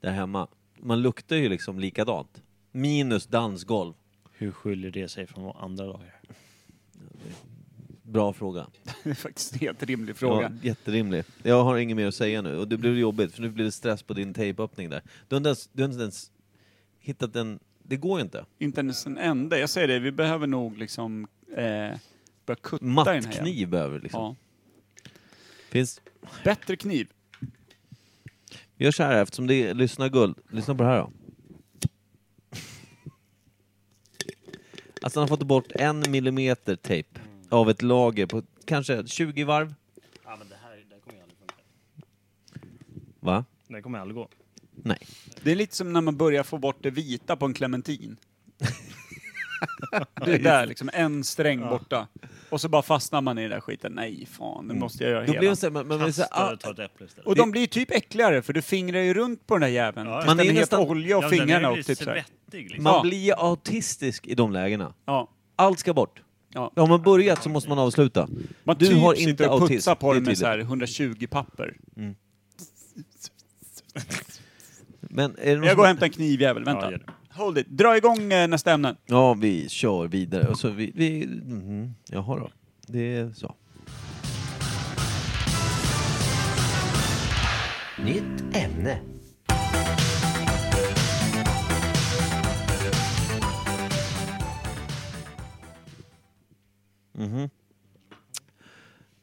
[SPEAKER 2] där hemma. Man luktar ju liksom likadant. Minus dansgolv.
[SPEAKER 4] Hur skiljer det sig från andra dagar?
[SPEAKER 2] Bra fråga.
[SPEAKER 1] Det är faktiskt en helt rimlig
[SPEAKER 2] Ja,
[SPEAKER 1] fråga.
[SPEAKER 2] jätterimlig. Jag har inget mer att säga nu och det blev jobbigt för nu blir det stress på din tejpöppning där. Du har inte ens, du har inte ens hittat en... Det går ju inte.
[SPEAKER 1] Inte ens en ände. Jag säger det, vi behöver nog liksom eh, börja kutta i den här. igen.
[SPEAKER 2] Mattkniv behöver liksom.
[SPEAKER 1] Ja.
[SPEAKER 2] Finns...
[SPEAKER 1] Bättre kniv.
[SPEAKER 2] Gör så här eftersom det är lyssna guld. Lyssna på det här då. Alltså han har fått bort en millimeter tejp. av ett lager på kanske 20 varv.
[SPEAKER 4] Ja, men det här, det här kommer ju aldrig funka.
[SPEAKER 2] Va?
[SPEAKER 4] Det här kommer aldrig gå.
[SPEAKER 2] Nej.
[SPEAKER 1] Det är lite som när man börjar få bort det vita på en clementin. Det är där liksom, en sträng borta. Och så bara fastnar man i den där skiten. Nej, fan, nu måste jag göra
[SPEAKER 2] Mm. Då blir
[SPEAKER 1] hela.
[SPEAKER 2] det så här, man, man, blir så
[SPEAKER 4] Kasta
[SPEAKER 2] här, ah,
[SPEAKER 4] och ta ett äpple istället.
[SPEAKER 1] Och de blir typ äckligare för du fingrar ju runt på den där jäveln.
[SPEAKER 4] Ja, ja.
[SPEAKER 1] Man
[SPEAKER 2] Man
[SPEAKER 1] är
[SPEAKER 2] är
[SPEAKER 1] helt
[SPEAKER 2] nästan-
[SPEAKER 1] olja och
[SPEAKER 4] Ja, men den
[SPEAKER 1] fingrarna
[SPEAKER 4] är ju
[SPEAKER 1] och typ så här.
[SPEAKER 4] svettig liksom.
[SPEAKER 2] man
[SPEAKER 1] Ja.
[SPEAKER 2] blir autistisk i de lägena.
[SPEAKER 1] Ja.
[SPEAKER 2] Allt ska bort.
[SPEAKER 1] Ja.
[SPEAKER 2] Har man börjat så måste man avsluta.
[SPEAKER 1] Man
[SPEAKER 2] du
[SPEAKER 1] typ
[SPEAKER 2] har
[SPEAKER 1] sitter
[SPEAKER 2] inte
[SPEAKER 1] och
[SPEAKER 2] autism.
[SPEAKER 1] putsar på
[SPEAKER 2] det är
[SPEAKER 1] den med
[SPEAKER 2] tydligt. Mm.
[SPEAKER 1] så här 120 papper.
[SPEAKER 2] Men är det någon
[SPEAKER 1] Jag
[SPEAKER 2] som-
[SPEAKER 1] går och hämtar en knivjävel,
[SPEAKER 4] Ja,
[SPEAKER 1] vänta.
[SPEAKER 4] gör det.
[SPEAKER 1] Hold it. Dra igång eh, nästa ämne.
[SPEAKER 2] Ja, vi kör vidare. Och så vi, vi, mhm. Jaha då. Det är så.
[SPEAKER 8] Nytt ämne.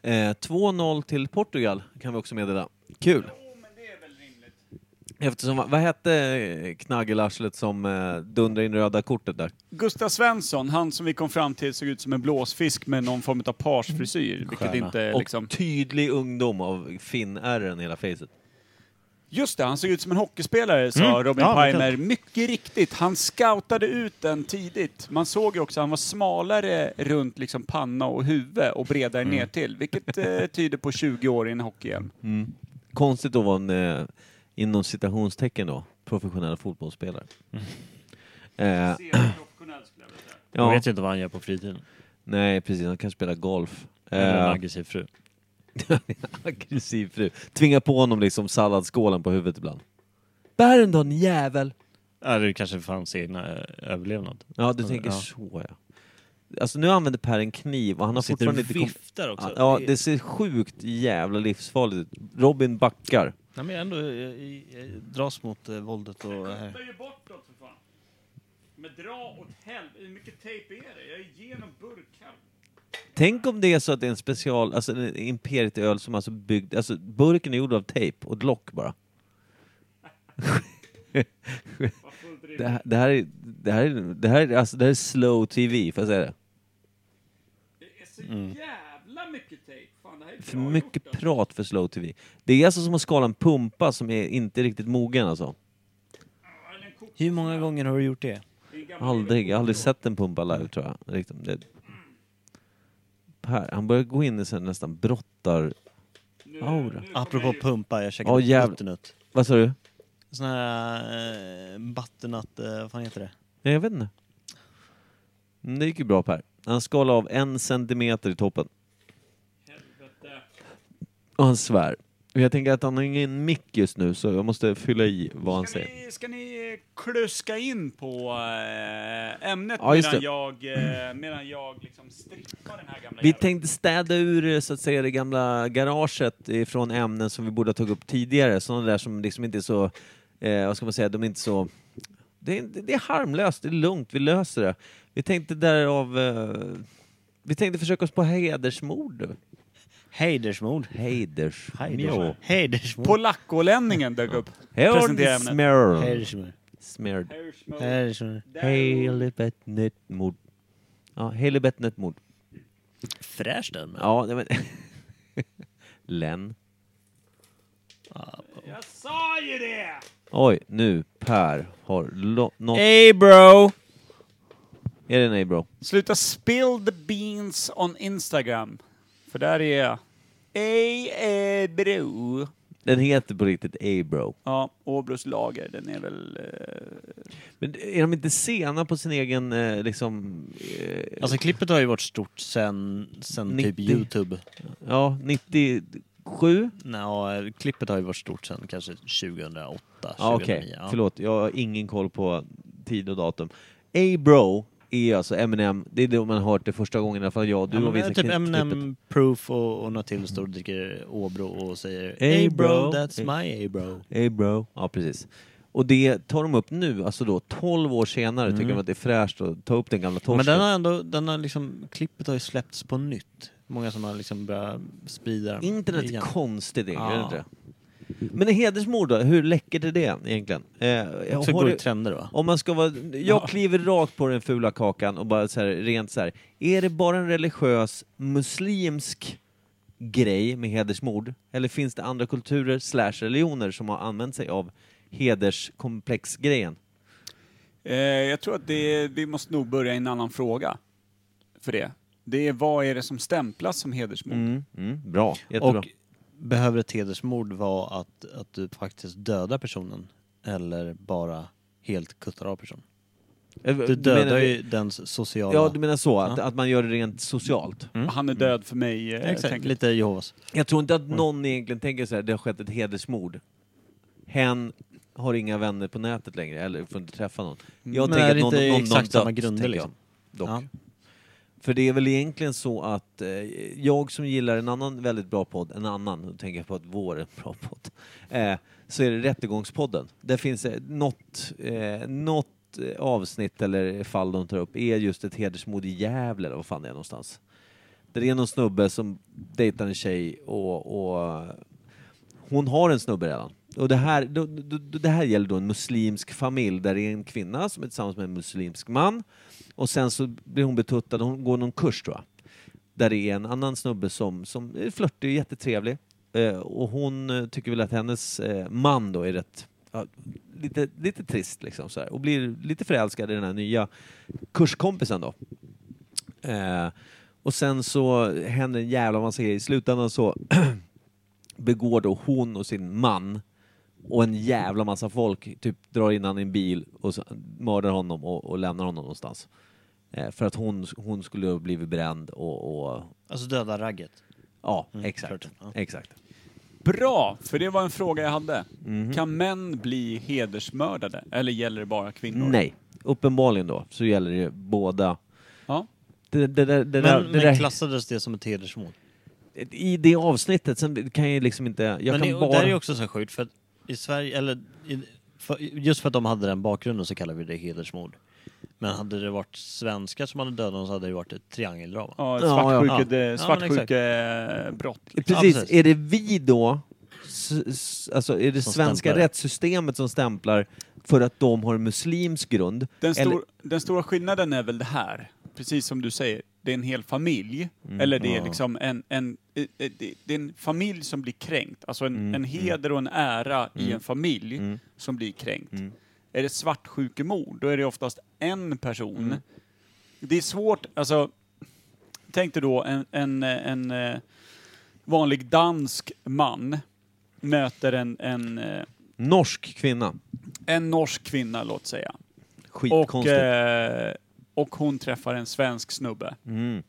[SPEAKER 2] Eh, 2-0 till Portugal kan vi också meddela. Kul. Eftersom, vad hette eh, knaggelarslet som eh, dundrade in röda kortet där?
[SPEAKER 1] Gustav Svensson, han som vi kom fram till såg ut som en blåsfisk med någon form av parsfrisyr. Vilket inte är
[SPEAKER 2] Och
[SPEAKER 1] liksom...
[SPEAKER 2] tydlig ungdom av finnärren i hela facet.
[SPEAKER 1] Just det, han såg ut som en hockeyspelare sa
[SPEAKER 2] Mm.
[SPEAKER 1] Robin
[SPEAKER 4] Ja, verkligen.
[SPEAKER 1] Pimer. Mycket riktigt, han scoutade ut den tidigt. Man såg ju också att han var smalare runt liksom panna och huvud och bredare
[SPEAKER 2] Mm.
[SPEAKER 1] ner till. vilket eh, tyder på 20 år i en hockeyhjälm.
[SPEAKER 2] Konstigt att vara en, eh, inom citationstecken då, professionell fotbollsspelare.
[SPEAKER 1] Mm.
[SPEAKER 2] Eh,
[SPEAKER 4] Jag
[SPEAKER 2] ja,
[SPEAKER 4] vet inte vad han gör på fritiden.
[SPEAKER 2] nej precis, han kan spela golf.
[SPEAKER 4] Eller en
[SPEAKER 2] Eh,
[SPEAKER 4] aggressiv fru.
[SPEAKER 2] aggressiv fru. Tvinga på honom liksom salladsskålen på huvudet ibland. Bär den då, ni jävel!
[SPEAKER 4] Ja, det kanske fanns egna eh, överlevnad.
[SPEAKER 2] Ja, du tänker
[SPEAKER 4] Ja.
[SPEAKER 2] så ja. Alltså nu använder Per en kniv och han har
[SPEAKER 4] Sitter och
[SPEAKER 2] fortfarande inte... kom-
[SPEAKER 4] viftar också.
[SPEAKER 2] Ja, det ser sjukt jävla livsfarligt ut. Robin backar.
[SPEAKER 4] Nej, men jag ändå jag, jag, jag dras mot eh, våldet och... Eh,
[SPEAKER 1] ju bortåt för fan. Men dra åt helvete, hur mycket tejp är det? Jag är igenom burkar.
[SPEAKER 2] Tänk om det är så att det är en special, alltså en imperietöl som alltså byggd, alltså burken är gjord av tejp och ett lock bara. det, här, det här är, det här är, det här är, alltså det här är slow TV, får jag säga det? Mm.
[SPEAKER 1] Det är så jävla mycket tejp. Fan, det här är alltså.
[SPEAKER 2] För mycket prat för slow TV. Det är alltså som att skala en pumpa som är inte riktigt mogen alltså.
[SPEAKER 4] hur många gånger har du gjort det?
[SPEAKER 2] Aldrig, jag har aldrig sett en pumpa live tror jag. Riktigt. Det... Per, han börjar gå in i sen nästan brottar... Aura.
[SPEAKER 4] Apropå pumpa, jag käkade
[SPEAKER 2] Åh, jävlar.
[SPEAKER 4] butternut.
[SPEAKER 2] Vad sa du?
[SPEAKER 4] Sån här eh, butternut, eh, vad fan heter det?
[SPEAKER 2] Nej, jag vet inte. Men det gick ju bra Per. Han skalade av en centimeter i toppen. Och han svär. Och Jag tänker att han har ingen mick just nu så jag måste fylla i vad han
[SPEAKER 1] Ska
[SPEAKER 2] säger.
[SPEAKER 1] ni, ska ni kluska in på eh, ämnet
[SPEAKER 2] Ja, just
[SPEAKER 1] medan,
[SPEAKER 2] det.
[SPEAKER 1] jag, eh, medan jag liksom strippar den här gamla
[SPEAKER 2] Vi
[SPEAKER 1] jäveln?
[SPEAKER 2] tänkte städa ur eh, så att säga det gamla garaget från ämnen som vi borde ha tagit upp tidigare. Sådana där som liksom inte är så, eh, vad ska man säga, de är inte så... Det är, det är harmlöst, det är lugnt, vi löser det. Vi tänkte därav... Eh, vi tänkte försöka oss på hedersmord.
[SPEAKER 4] Heidersmord.
[SPEAKER 2] Heiders...
[SPEAKER 4] Heidersmord. Heidersmord.
[SPEAKER 1] Polackolänningen dök upp. Presentera ämnet.
[SPEAKER 2] Smärd.
[SPEAKER 4] Heidersmord.
[SPEAKER 2] Smärd.
[SPEAKER 4] Heidersmord.
[SPEAKER 2] Helibetnet mord. Ja, helibetnet mord.
[SPEAKER 4] Fräsch den. men-
[SPEAKER 2] Ja, nej men... Len.
[SPEAKER 1] Jag sa ju det!
[SPEAKER 2] Oj, nu Per har lo- något...
[SPEAKER 4] Hey bro!
[SPEAKER 2] Är det nej bro?
[SPEAKER 1] Sluta spill the beans on Instagram. För där är jag. Ej, eh, bro.
[SPEAKER 2] Den heter på riktigt A-bro.
[SPEAKER 1] Ja, Åbros lager, den är väl... Eh,
[SPEAKER 2] Men är de inte sena på sin egen eh, liksom... Eh,
[SPEAKER 4] Alltså klippet har ju varit stort sen, sen typ
[SPEAKER 2] 90.
[SPEAKER 4] Youtube.
[SPEAKER 2] ja, 97?
[SPEAKER 4] Nej, klippet har ju varit stort sen kanske 2008, 2009.
[SPEAKER 2] Ja, okej.
[SPEAKER 4] ja.
[SPEAKER 2] Förlåt, jag har ingen koll på tid och datum. A-bro är alltså Eminem, det är det man har hört det första gången i alla fall jag och du
[SPEAKER 4] Ja, men
[SPEAKER 2] har
[SPEAKER 4] vi har
[SPEAKER 2] visat
[SPEAKER 4] typ
[SPEAKER 2] klipp- klippet.
[SPEAKER 4] Eminem Proof och, och något till står och dricker Åbro och säger
[SPEAKER 2] Hey,
[SPEAKER 4] Hey bro,
[SPEAKER 2] bro."
[SPEAKER 4] that's my hey bro.
[SPEAKER 2] A-bro. Ja, precis. Och det tar de upp nu, alltså då 12 år senare tycker de att det är fräscht att ta upp den gamla torsken.
[SPEAKER 4] Mm. Men den har ändå, den har liksom, klippet har ju släppts på nytt. Många som har liksom börjat sprida den.
[SPEAKER 2] Internet är
[SPEAKER 4] igen.
[SPEAKER 2] konstigt, är det
[SPEAKER 4] Ja.
[SPEAKER 2] inte det? Men en hedersmord hur läckert är det egentligen? Eh, har
[SPEAKER 4] Också går
[SPEAKER 2] du-
[SPEAKER 4] i trender va?
[SPEAKER 2] Om man ska vara, jag kliver rakt på den fula kakan och bara så här, rent så här. Är det bara en religiös muslimsk grej med hedersmord? Eller finns det andra kulturer slash religioner som har använt sig av hederskomplexgrejen?
[SPEAKER 1] Eh, jag tror att det, vi måste nog börja i en annan fråga för det. Det är vad är det som stämplas som hedersmord?
[SPEAKER 2] Mm, mm, bra, jättebra.
[SPEAKER 8] Och behöver ett hedersmord vara att, att du faktiskt dödar personen eller bara helt kuttar av personen?
[SPEAKER 2] Eh,
[SPEAKER 8] Du dödar
[SPEAKER 2] menar-
[SPEAKER 8] ju dens sociala...
[SPEAKER 2] Ja, du menar så, att, att man gör det rent socialt.
[SPEAKER 8] Mm.
[SPEAKER 1] Han är död för mig. eh,
[SPEAKER 8] Exakt,
[SPEAKER 1] tänker-
[SPEAKER 8] lite Jehovas.
[SPEAKER 2] Jag tror inte att
[SPEAKER 8] Mm.
[SPEAKER 2] någon egentligen tänker så här, det har skett ett hedersmord. Hen har inga vänner på nätet längre, eller får inte träffa någon. Jag
[SPEAKER 8] Men
[SPEAKER 2] tänker
[SPEAKER 8] är
[SPEAKER 2] att
[SPEAKER 8] Mm. det
[SPEAKER 2] någon,
[SPEAKER 8] inte
[SPEAKER 2] någon, någon
[SPEAKER 8] exakt samma
[SPEAKER 2] dött,
[SPEAKER 8] grunder,
[SPEAKER 2] tänker jag.
[SPEAKER 8] liksom?
[SPEAKER 2] Dock.
[SPEAKER 8] Ja.
[SPEAKER 2] För det är väl egentligen så att eh, jag som gillar en annan väldigt bra podd, en annan, nu tänker jag på att vår är en bra podd, eh, så är det Rättegångspodden. Där finns eh, något, eh, något eh, avsnitt eller fall de tar upp är just ett hedersmord i Gävle, eller vad fan det är någonstans. Där det är någon snubbe som dejtar en tjej och, och hon har en snubbe redan. Och det här, då, då, då, det här gäller då en muslimsk familj där det är en kvinna som är tillsammans med en muslimsk man. Och sen så blir hon betuttad, hon går någon kurs tror jag. Där det är en annan snubbe som, som är flörtig och jättetrevlig. Eh, och hon eh, tycker väl att hennes eh, man då är rätt, ja, lite, lite trist liksom så här. Och blir lite förälskad i den här nya kurskompisen då. Eh, och sen så händer en jävla massa grejer. I slutändan så begår då hon och sin man och en jävla massa folk typ drar in han i en bil och så mördar honom och, och lämnar honom någonstans. Eh, för att hon, hon skulle ha blivit bränd och... och
[SPEAKER 8] Alltså döda ragget.
[SPEAKER 2] ja, exakt.
[SPEAKER 8] Mm, klart. Ja.
[SPEAKER 2] exakt.
[SPEAKER 1] Bra, för det var en fråga jag hade. Kan män bli hedersmördade eller gäller det bara kvinnor?
[SPEAKER 2] Nej, uppenbarligen då så gäller det ju båda.
[SPEAKER 1] Ja.
[SPEAKER 2] Det, det, där- det, där-
[SPEAKER 8] Men,
[SPEAKER 2] det där,
[SPEAKER 8] men klassades det som ett hedersmord?
[SPEAKER 2] I det avsnittet, sen kan jag ju liksom inte... Jag
[SPEAKER 8] men
[SPEAKER 2] kan
[SPEAKER 8] det, och
[SPEAKER 2] bara...
[SPEAKER 8] där är ju också så sjukt för att i Sverige, eller i, för, just för att de hade den bakgrunden så kallar vi det hedersmord. Men hade det varit svenskar som hade dödat dem så hade det varit ett triangeldrama.
[SPEAKER 1] Ja, ett
[SPEAKER 2] Ja,
[SPEAKER 1] svartsjuke,
[SPEAKER 8] ja, ja.
[SPEAKER 1] ja, brott. liksom.
[SPEAKER 2] Precis.
[SPEAKER 8] Ja, precis.
[SPEAKER 2] Är det vi då, s- s- alltså är det
[SPEAKER 8] Som
[SPEAKER 2] svenska
[SPEAKER 8] stämplar.
[SPEAKER 2] rättssystemet som stämplar för att de har en muslimsk grund?
[SPEAKER 1] Den, stor,
[SPEAKER 2] Eller-
[SPEAKER 1] den stora skillnaden är väl det här, precis som du säger, det är en hel familj. Eller det är liksom en, en, eh, eh, det det är en familj som blir kränkt. Alltså en, en heder och en ära i en familj som blir kränkt. Är det svartsjukemord, då är det oftast en person. Det är svårt, alltså, tänk dig då en, en, eh, en eh, vanlig dansk man möter en, en, eh,
[SPEAKER 2] Norsk kvinna.
[SPEAKER 1] en norsk kvinna, låt säga. Och,
[SPEAKER 2] Skitkonstigt.
[SPEAKER 1] eh, och hon träffar en svensk snubbe.
[SPEAKER 2] mm.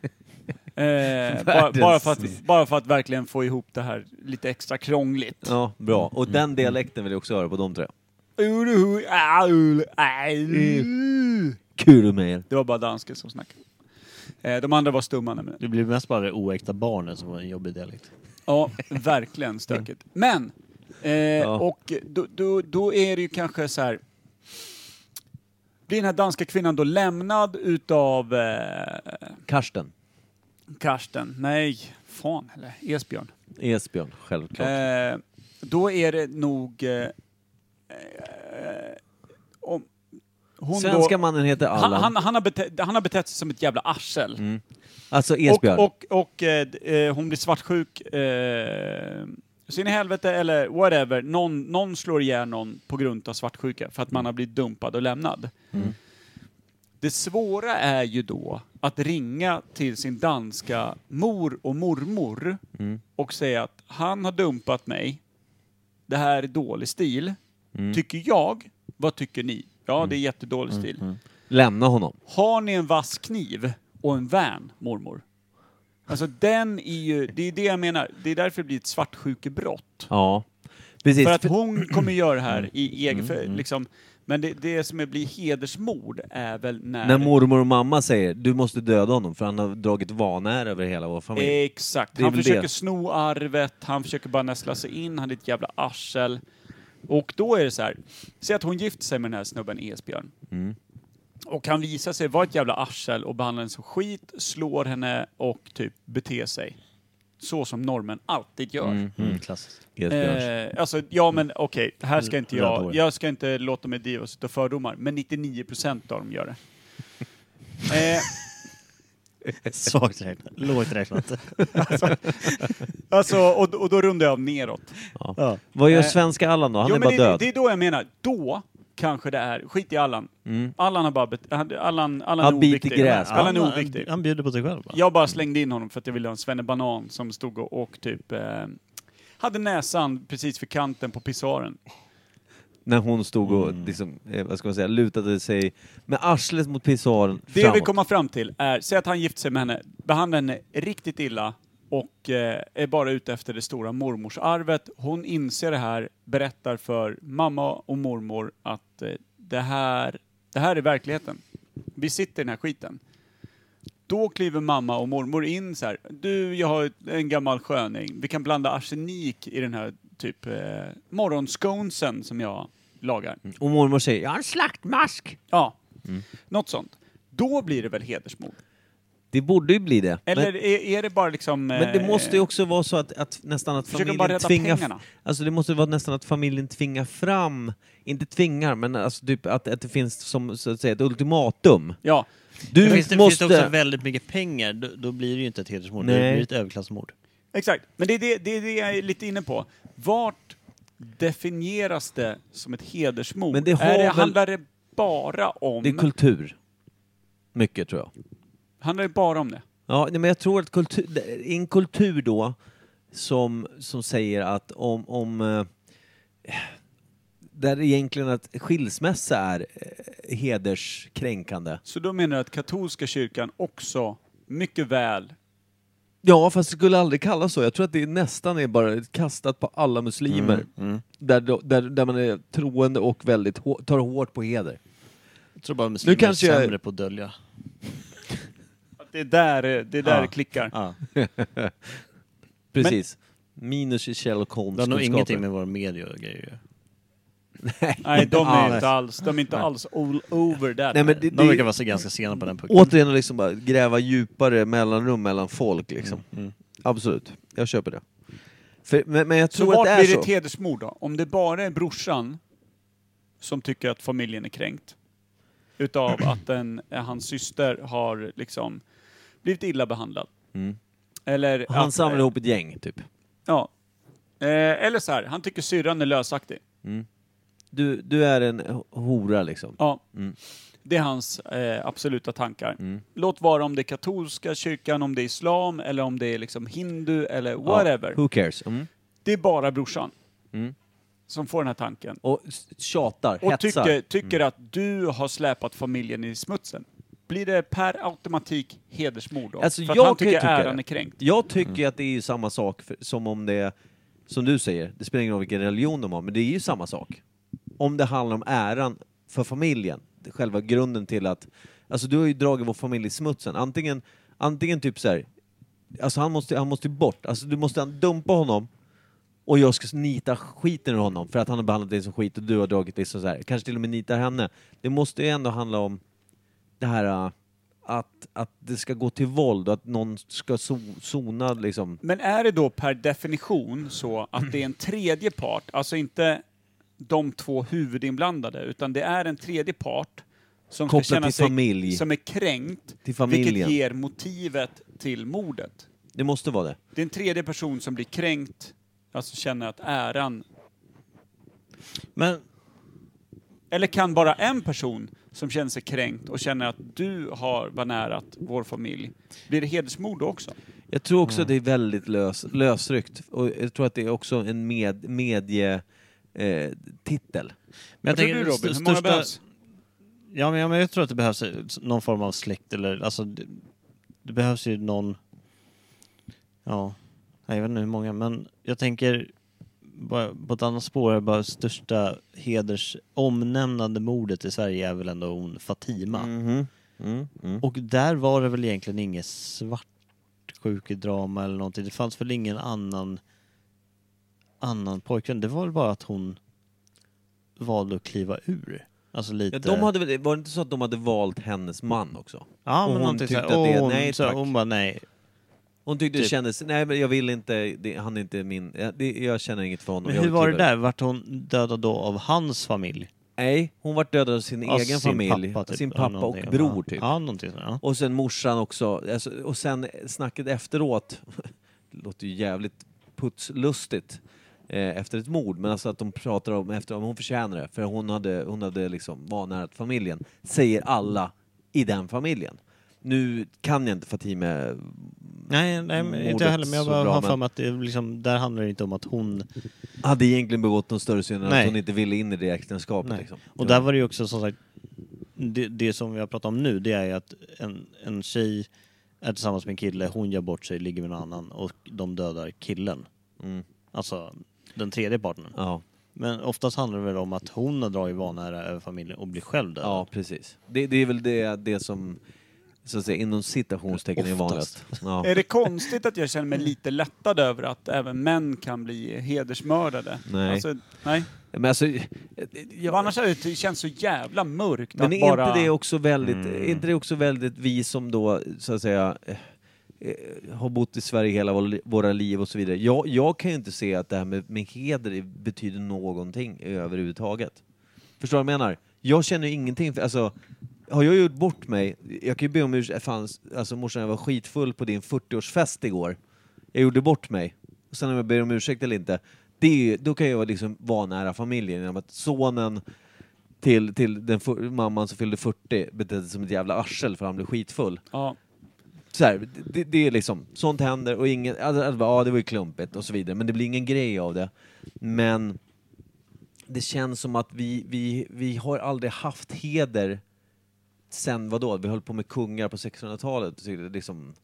[SPEAKER 1] Eh, bara, bara, för att, bara för att verkligen få ihop det här lite extra krångligt.
[SPEAKER 2] Ja, bra.
[SPEAKER 1] Mm,
[SPEAKER 2] Och den dialekten vill jag också höra på de tre.
[SPEAKER 1] Uruhu, aul, aul.
[SPEAKER 2] Kul med er.
[SPEAKER 1] Det var bara dansken som snackade. Eh, de andra var stumma nämligen.
[SPEAKER 8] Det blir mest bara det oäkta barnet som var en jobbig dialekt.
[SPEAKER 1] Ja, verkligen stökigt. Men, eh, och då, då, då är det ju kanske så här. Blir den här danska kvinnan då lämnad utav eh,
[SPEAKER 2] Karsten.
[SPEAKER 1] Karsten? Nej, fan eller Esbjörn.
[SPEAKER 2] Esbjörn, självklart.
[SPEAKER 1] Eh, då är det nog... Eh, eh, om, hon
[SPEAKER 2] Svenska
[SPEAKER 1] då,
[SPEAKER 2] mannen heter
[SPEAKER 1] han,
[SPEAKER 2] Allan.
[SPEAKER 1] han, han, har bete, han har betett sig som ett jävla arsel.
[SPEAKER 2] alltså
[SPEAKER 1] och
[SPEAKER 2] Esbjörn.
[SPEAKER 1] och, och eh, d- eh, hon blir svartsjuk. Eh, sin i helvete eller whatever. Någon, någon slår ihjäl någon på grund av svartsjuka för att man har blivit dumpad och lämnad. Det svåra är ju då att ringa till sin danska mor och mormor och säga att han har dumpat mig. Det här är dålig stil. Tycker jag. Vad tycker ni? Ja, det är jättedålig stil.
[SPEAKER 2] Lämna honom.
[SPEAKER 1] Har ni en vass kniv och en vän, mormor? Alltså den är ju, det är det jag menar, det är därför det blir ett svartsjukebrott.
[SPEAKER 2] Ja. Precis.
[SPEAKER 1] För att hon kommer göra det här i egen, för, liksom, men det, det som är, blir hedersmord är väl när...
[SPEAKER 2] När mormor och mamma säger du måste döda honom för han har dragit vanär över hela vår familj.
[SPEAKER 1] Exakt.
[SPEAKER 2] Det är
[SPEAKER 1] Han
[SPEAKER 2] väl
[SPEAKER 1] försöker
[SPEAKER 2] det.
[SPEAKER 1] sno arvet, han försöker bara nästla sig in, han är ett jävla arsel. Och då är det så här, säg att hon gifter sig med den här snubben Esbjörn.
[SPEAKER 2] Mm.
[SPEAKER 1] Och han visar sig vara ett jävla arsel och behandlar henne som skit, slår henne och typ beter sig. så som norrmän alltid gör.
[SPEAKER 4] Mm, klassiskt.
[SPEAKER 2] Gräsbjörns.
[SPEAKER 1] Eh, alltså, ja men okej, här ska inte
[SPEAKER 4] Röda
[SPEAKER 1] jag,
[SPEAKER 4] hår.
[SPEAKER 1] jag ska inte låta mig drivas av fördomar, men 99% av dem gör det. Eh,
[SPEAKER 8] Svagt räknat. Lågt räknat.
[SPEAKER 1] alltså, och, och då rundar jag neråt.
[SPEAKER 2] Ja. Vad gör
[SPEAKER 1] Eh,
[SPEAKER 2] svenska Allan då? Han
[SPEAKER 1] jo,
[SPEAKER 2] är
[SPEAKER 1] men
[SPEAKER 2] bara
[SPEAKER 1] det,
[SPEAKER 2] död.
[SPEAKER 1] det är då jag menar, då kanske det är, skit i Allan. Allan har bara, bet- han- Allan, Allan
[SPEAKER 2] Mm. Han
[SPEAKER 1] är
[SPEAKER 2] biter
[SPEAKER 1] oviktig.
[SPEAKER 2] gräs.
[SPEAKER 1] Allan är
[SPEAKER 8] Han-
[SPEAKER 1] oviktig.
[SPEAKER 8] Han bjuder på sig själv bara.
[SPEAKER 1] Jag bara slängde in honom för att jag ville ha en svennebanan som stod och, och typ eh, hade näsan precis vid kanten på pissoaren.
[SPEAKER 2] När hon stod och
[SPEAKER 1] Mm.
[SPEAKER 2] liksom, eh, vad ska man säga, lutade sig med arslet mot pissoaren
[SPEAKER 1] Det jag
[SPEAKER 2] framåt.
[SPEAKER 1] vill komma fram till är, säg att han gifter sig med henne, behandlar henne riktigt illa och eh, är bara ute efter det stora mormorsarvet. Hon inser det här, berättar för mamma och mormor att eh, det, här, det här är verkligheten. Vi sitter i den här skiten. Då kliver mamma och mormor in så här. Du, jag har en gammal sköning. Vi kan blanda arsenik i den här typ eh, morgonsconesen som jag lagar.
[SPEAKER 2] Och mormor säger ”Jag har en slaktmask”.
[SPEAKER 1] Ja, något sånt. Då blir det väl hedersmord?
[SPEAKER 2] Det borde ju bli det.
[SPEAKER 1] Eller
[SPEAKER 2] men,
[SPEAKER 1] är, är det bara liksom...
[SPEAKER 2] men det
[SPEAKER 1] eh,
[SPEAKER 2] måste ju också vara så att, att nästan att
[SPEAKER 1] Försöker de
[SPEAKER 2] familjen
[SPEAKER 1] bara rädda
[SPEAKER 2] tvingar...
[SPEAKER 1] pengarna?
[SPEAKER 2] Alltså det måste vara nästan att familjen tvingar fram, inte tvingar, men alltså typ att, att det finns som så att säga ett ultimatum.
[SPEAKER 1] Ja,
[SPEAKER 2] Du
[SPEAKER 8] finns, det,
[SPEAKER 2] måste...
[SPEAKER 8] finns det också väldigt mycket pengar, då, då blir det ju inte ett hedersmord. Nej.
[SPEAKER 2] Nej.
[SPEAKER 8] Det blir ett överklassmord.
[SPEAKER 1] exakt. Men det är det, det är det jag är lite inne på. Vart definieras det som ett hedersmord?
[SPEAKER 2] Men det har
[SPEAKER 1] är det,
[SPEAKER 2] väl-
[SPEAKER 1] Handlar det bara om...
[SPEAKER 2] det är kultur. Mycket tror jag.
[SPEAKER 1] handlar det bara om det?
[SPEAKER 2] Ja, nej, men jag tror att kultur, det- i en kultur då som, som säger att om, om eh, där egentligen att skilsmässa är eh, hederskränkande.
[SPEAKER 1] Så då menar du att katolska kyrkan också mycket väl...
[SPEAKER 2] Ja, fast det skulle aldrig kallas så. Jag tror att det nästan är bara kastat på alla muslimer. Där, då- där, där man är troende och väldigt hår, tar hårt på heder.
[SPEAKER 8] Jag tror bara muslimer
[SPEAKER 2] kanske
[SPEAKER 8] är
[SPEAKER 2] jag-
[SPEAKER 8] sämre på att dölja.
[SPEAKER 1] Att det är där eh, det är där
[SPEAKER 2] Ja.
[SPEAKER 1] det klickar?
[SPEAKER 8] Ja.
[SPEAKER 2] Precis. Minus i Sherlock
[SPEAKER 8] Det har nog ingenting
[SPEAKER 2] Holmes-kunskaper.
[SPEAKER 8] med våra medier och grejer att göra.
[SPEAKER 1] Nej, de är
[SPEAKER 2] alls.
[SPEAKER 1] inte alls, de är inte alls all over that.
[SPEAKER 2] Nej, men det,
[SPEAKER 8] De
[SPEAKER 2] det,
[SPEAKER 8] verkar vara så ganska sena på den punkten.
[SPEAKER 2] återigen att liksom bara gräva djupare mellanrum mellan folk liksom.
[SPEAKER 1] Mm,
[SPEAKER 2] Absolut, jag köper det. För, men, men jag
[SPEAKER 1] Så
[SPEAKER 2] tror
[SPEAKER 1] vart
[SPEAKER 2] att det
[SPEAKER 1] blir
[SPEAKER 2] är
[SPEAKER 1] det ett
[SPEAKER 2] så.
[SPEAKER 1] hedersmord då? Om det bara är brorsan som tycker att familjen är kränkt utav att en, hans syster har liksom blivit illa behandlad.
[SPEAKER 2] Mm.
[SPEAKER 1] Eller
[SPEAKER 2] Han
[SPEAKER 1] att,
[SPEAKER 2] samlar ihop ett gäng typ.
[SPEAKER 1] Ja. Eh, eller så här, han tycker syrran är lösaktig.
[SPEAKER 2] Du, du är en h- hora liksom.
[SPEAKER 1] Ja.
[SPEAKER 2] Mm.
[SPEAKER 1] Det är hans eh, absoluta tankar.
[SPEAKER 2] Mm.
[SPEAKER 1] Låt vara om det är katolska kyrkan, om det är islam eller om det är liksom hindu eller whatever.
[SPEAKER 2] Ja, who cares? Mm.
[SPEAKER 1] Det är bara brorsan
[SPEAKER 2] Mm.
[SPEAKER 1] som får den här tanken.
[SPEAKER 2] Och s- tjatar,
[SPEAKER 1] och
[SPEAKER 2] hetsar. Mm.
[SPEAKER 1] tycker, tycker att du har släpat familjen i smutsen. Blir det per automatik hedersmord då?
[SPEAKER 2] Alltså,
[SPEAKER 1] För att
[SPEAKER 2] jag
[SPEAKER 1] han
[SPEAKER 2] kan
[SPEAKER 1] tycker
[SPEAKER 2] ju tycka
[SPEAKER 1] äran
[SPEAKER 2] det.
[SPEAKER 1] är kränkt.
[SPEAKER 2] Jag tycker ju att det är ju samma sak för, som om det är, som du säger, det spelar ingen roll vilken religion de har, men det är ju samma sak. Om det handlar om äran för familjen, det- själva grunden till att, alltså du har ju dragit vår familj i smutsen, antingen, antingen typ så här, alltså han måste, han måste ju bort, alltså du måste dumpa honom och jag ska nita skiten ur honom för att han har behandlat dig som skit och du har dragit dig som så här. kanske till och med nitar henne. Det måste ju ändå handla om det här äh, att, att det ska gå till våld och att någon ska so- sona liksom.
[SPEAKER 1] Men är det då per definition så att det är en tredje part, alltså inte de två huvudinblandade, utan det är en tredje part som
[SPEAKER 2] Kopplat
[SPEAKER 1] ska känna
[SPEAKER 2] till
[SPEAKER 1] sig
[SPEAKER 2] familj.
[SPEAKER 1] som är kränkt,
[SPEAKER 2] Till familjen.
[SPEAKER 1] vilket ger motivet till mordet.
[SPEAKER 2] Det måste vara det.
[SPEAKER 1] Det är en tredje person som blir kränkt, alltså känner att äran
[SPEAKER 8] Men
[SPEAKER 1] Eller kan bara en person som känner sig kränkt och känner att du har vanärat vår familj, blir det hedersmord då också?
[SPEAKER 2] Jag tror
[SPEAKER 8] Mm.
[SPEAKER 2] också att det är väldigt lös, lösryckt och jag tror att det är också en med, medie eh, titel.
[SPEAKER 8] Men jag
[SPEAKER 1] Vad tror du
[SPEAKER 8] tänker,
[SPEAKER 1] Robin?
[SPEAKER 8] st-
[SPEAKER 1] Hur många
[SPEAKER 8] största-
[SPEAKER 1] behövs?
[SPEAKER 8] Ja, men, ja, men jag tror att det behövs eh, s- någon form av släkt eller alltså det, det behövs ju någon. Ja, Nej, jag vet inte hur många, men jag tänker bara, på ett annat spår är bara största heders omnämnande mordet i Sverige är väl ändå hon Fatima.
[SPEAKER 2] Mm.
[SPEAKER 8] Mm-hmm. Och där var det väl egentligen inget svartsjukedrama eller någonting. Det fanns väl ingen annan annan pojkvän. Det var väl bara att hon valde att kliva ur. Alltså lite...
[SPEAKER 2] Ja, de hade, väl- var det inte så att de hade valt hennes man också?
[SPEAKER 8] Ja,
[SPEAKER 2] Och
[SPEAKER 8] men
[SPEAKER 2] hon
[SPEAKER 8] någonting
[SPEAKER 2] tyckte
[SPEAKER 8] såhär,
[SPEAKER 2] att det-
[SPEAKER 8] och hon,
[SPEAKER 2] nej,
[SPEAKER 8] så här,
[SPEAKER 2] tack.
[SPEAKER 8] hon bara nej.
[SPEAKER 2] Hon tyckte det
[SPEAKER 8] Typ.
[SPEAKER 2] kändes, nej men jag vill inte, det, han är inte min, jag, det, jag känner inget för honom.
[SPEAKER 8] Men
[SPEAKER 2] jag
[SPEAKER 8] hur var det
[SPEAKER 2] kliver.
[SPEAKER 8] där? Vart hon dödad då av hans familj?
[SPEAKER 2] Nej, hon vart dödad av sin
[SPEAKER 8] Av
[SPEAKER 2] egen
[SPEAKER 8] sin
[SPEAKER 2] familj,
[SPEAKER 8] pappa, typ.
[SPEAKER 2] sin
[SPEAKER 8] Ja,
[SPEAKER 2] pappa och
[SPEAKER 8] någonting.
[SPEAKER 2] bror typ.
[SPEAKER 8] Ja, någonting sånt. Ja.
[SPEAKER 2] Och sen morsan också, alltså, och sen snacket efteråt, det låter ju jävligt putslustigt eh, efter ett mord, men alltså att de pratar om efter, om hon förtjänar det, för hon hade, hon hade liksom vanärat familjen, säger alla i den familjen. Nu kan jag inte Fatime
[SPEAKER 8] Nej, nej men inte
[SPEAKER 2] Mordet
[SPEAKER 8] jag heller. Men jag
[SPEAKER 2] så
[SPEAKER 8] bara
[SPEAKER 2] bra,
[SPEAKER 8] har för
[SPEAKER 2] men-
[SPEAKER 8] mig att det liksom, där handlar det inte om att hon...
[SPEAKER 2] hade egentligen begått någon större synd än att
[SPEAKER 8] Nej.
[SPEAKER 2] hon inte ville in i det äktenskapet.
[SPEAKER 8] Nej.
[SPEAKER 2] Liksom.
[SPEAKER 8] Och där var det ju också som sagt, det, det som vi har pratat om nu det är ju att en, en tjej är tillsammans med en kille, hon gör bort sig, ligger med någon annan och de dödar killen.
[SPEAKER 2] Mm.
[SPEAKER 8] Alltså den tredje partnern.
[SPEAKER 2] Ja.
[SPEAKER 8] Men oftast handlar det väl om att hon har dragit vanära över familjen och blir själv dödad.
[SPEAKER 2] Ja, precis. Det, det är väl det, det som, så att säga, inom citationstecken är vanligast.
[SPEAKER 8] Oftast.
[SPEAKER 2] Ja.
[SPEAKER 1] Är det konstigt att jag känner mig lite lättad över att även män kan bli hedersmördade?
[SPEAKER 2] Nej.
[SPEAKER 1] Alltså, nej.
[SPEAKER 2] Men alltså,
[SPEAKER 1] Ja. Annars hade det känts så jävla mörkt
[SPEAKER 2] men
[SPEAKER 1] att
[SPEAKER 2] är
[SPEAKER 1] bara... Mm.
[SPEAKER 2] inte det också väldigt, är inte det också väldigt vi som då, så att säga, eh, eh, har bott i Sverige hela vår- våra liv och så vidare. Jag, jag kan ju inte se att det här med, med heder betyder någonting överhuvudtaget. Förstår du vad jag menar? Jag känner ju ingenting för, alltså, har jag gjort bort mig, jag kan ju be om ursäkt, fan, alltså morsan jag var skitfull på din 40-årsfest igår. Jag gjorde bort mig. Och sen om jag ber om ursäkt eller inte, det är, ju- då kan jag liksom vara nära familjen genom att sonen till, till den fu- mamman som fyllde 40 betedde sig som ett jävla arsel för han blev skitfull.
[SPEAKER 1] Ja.
[SPEAKER 2] Så här, det, det är liksom, sånt händer och ingen, alltså, alltså, ja det var ju klumpigt och så vidare, men det blir ingen grej av det. Men det känns som att vi, vi, vi har aldrig haft heder sen vadå, vi höll på med kungar på 1600-talet, så det är liksom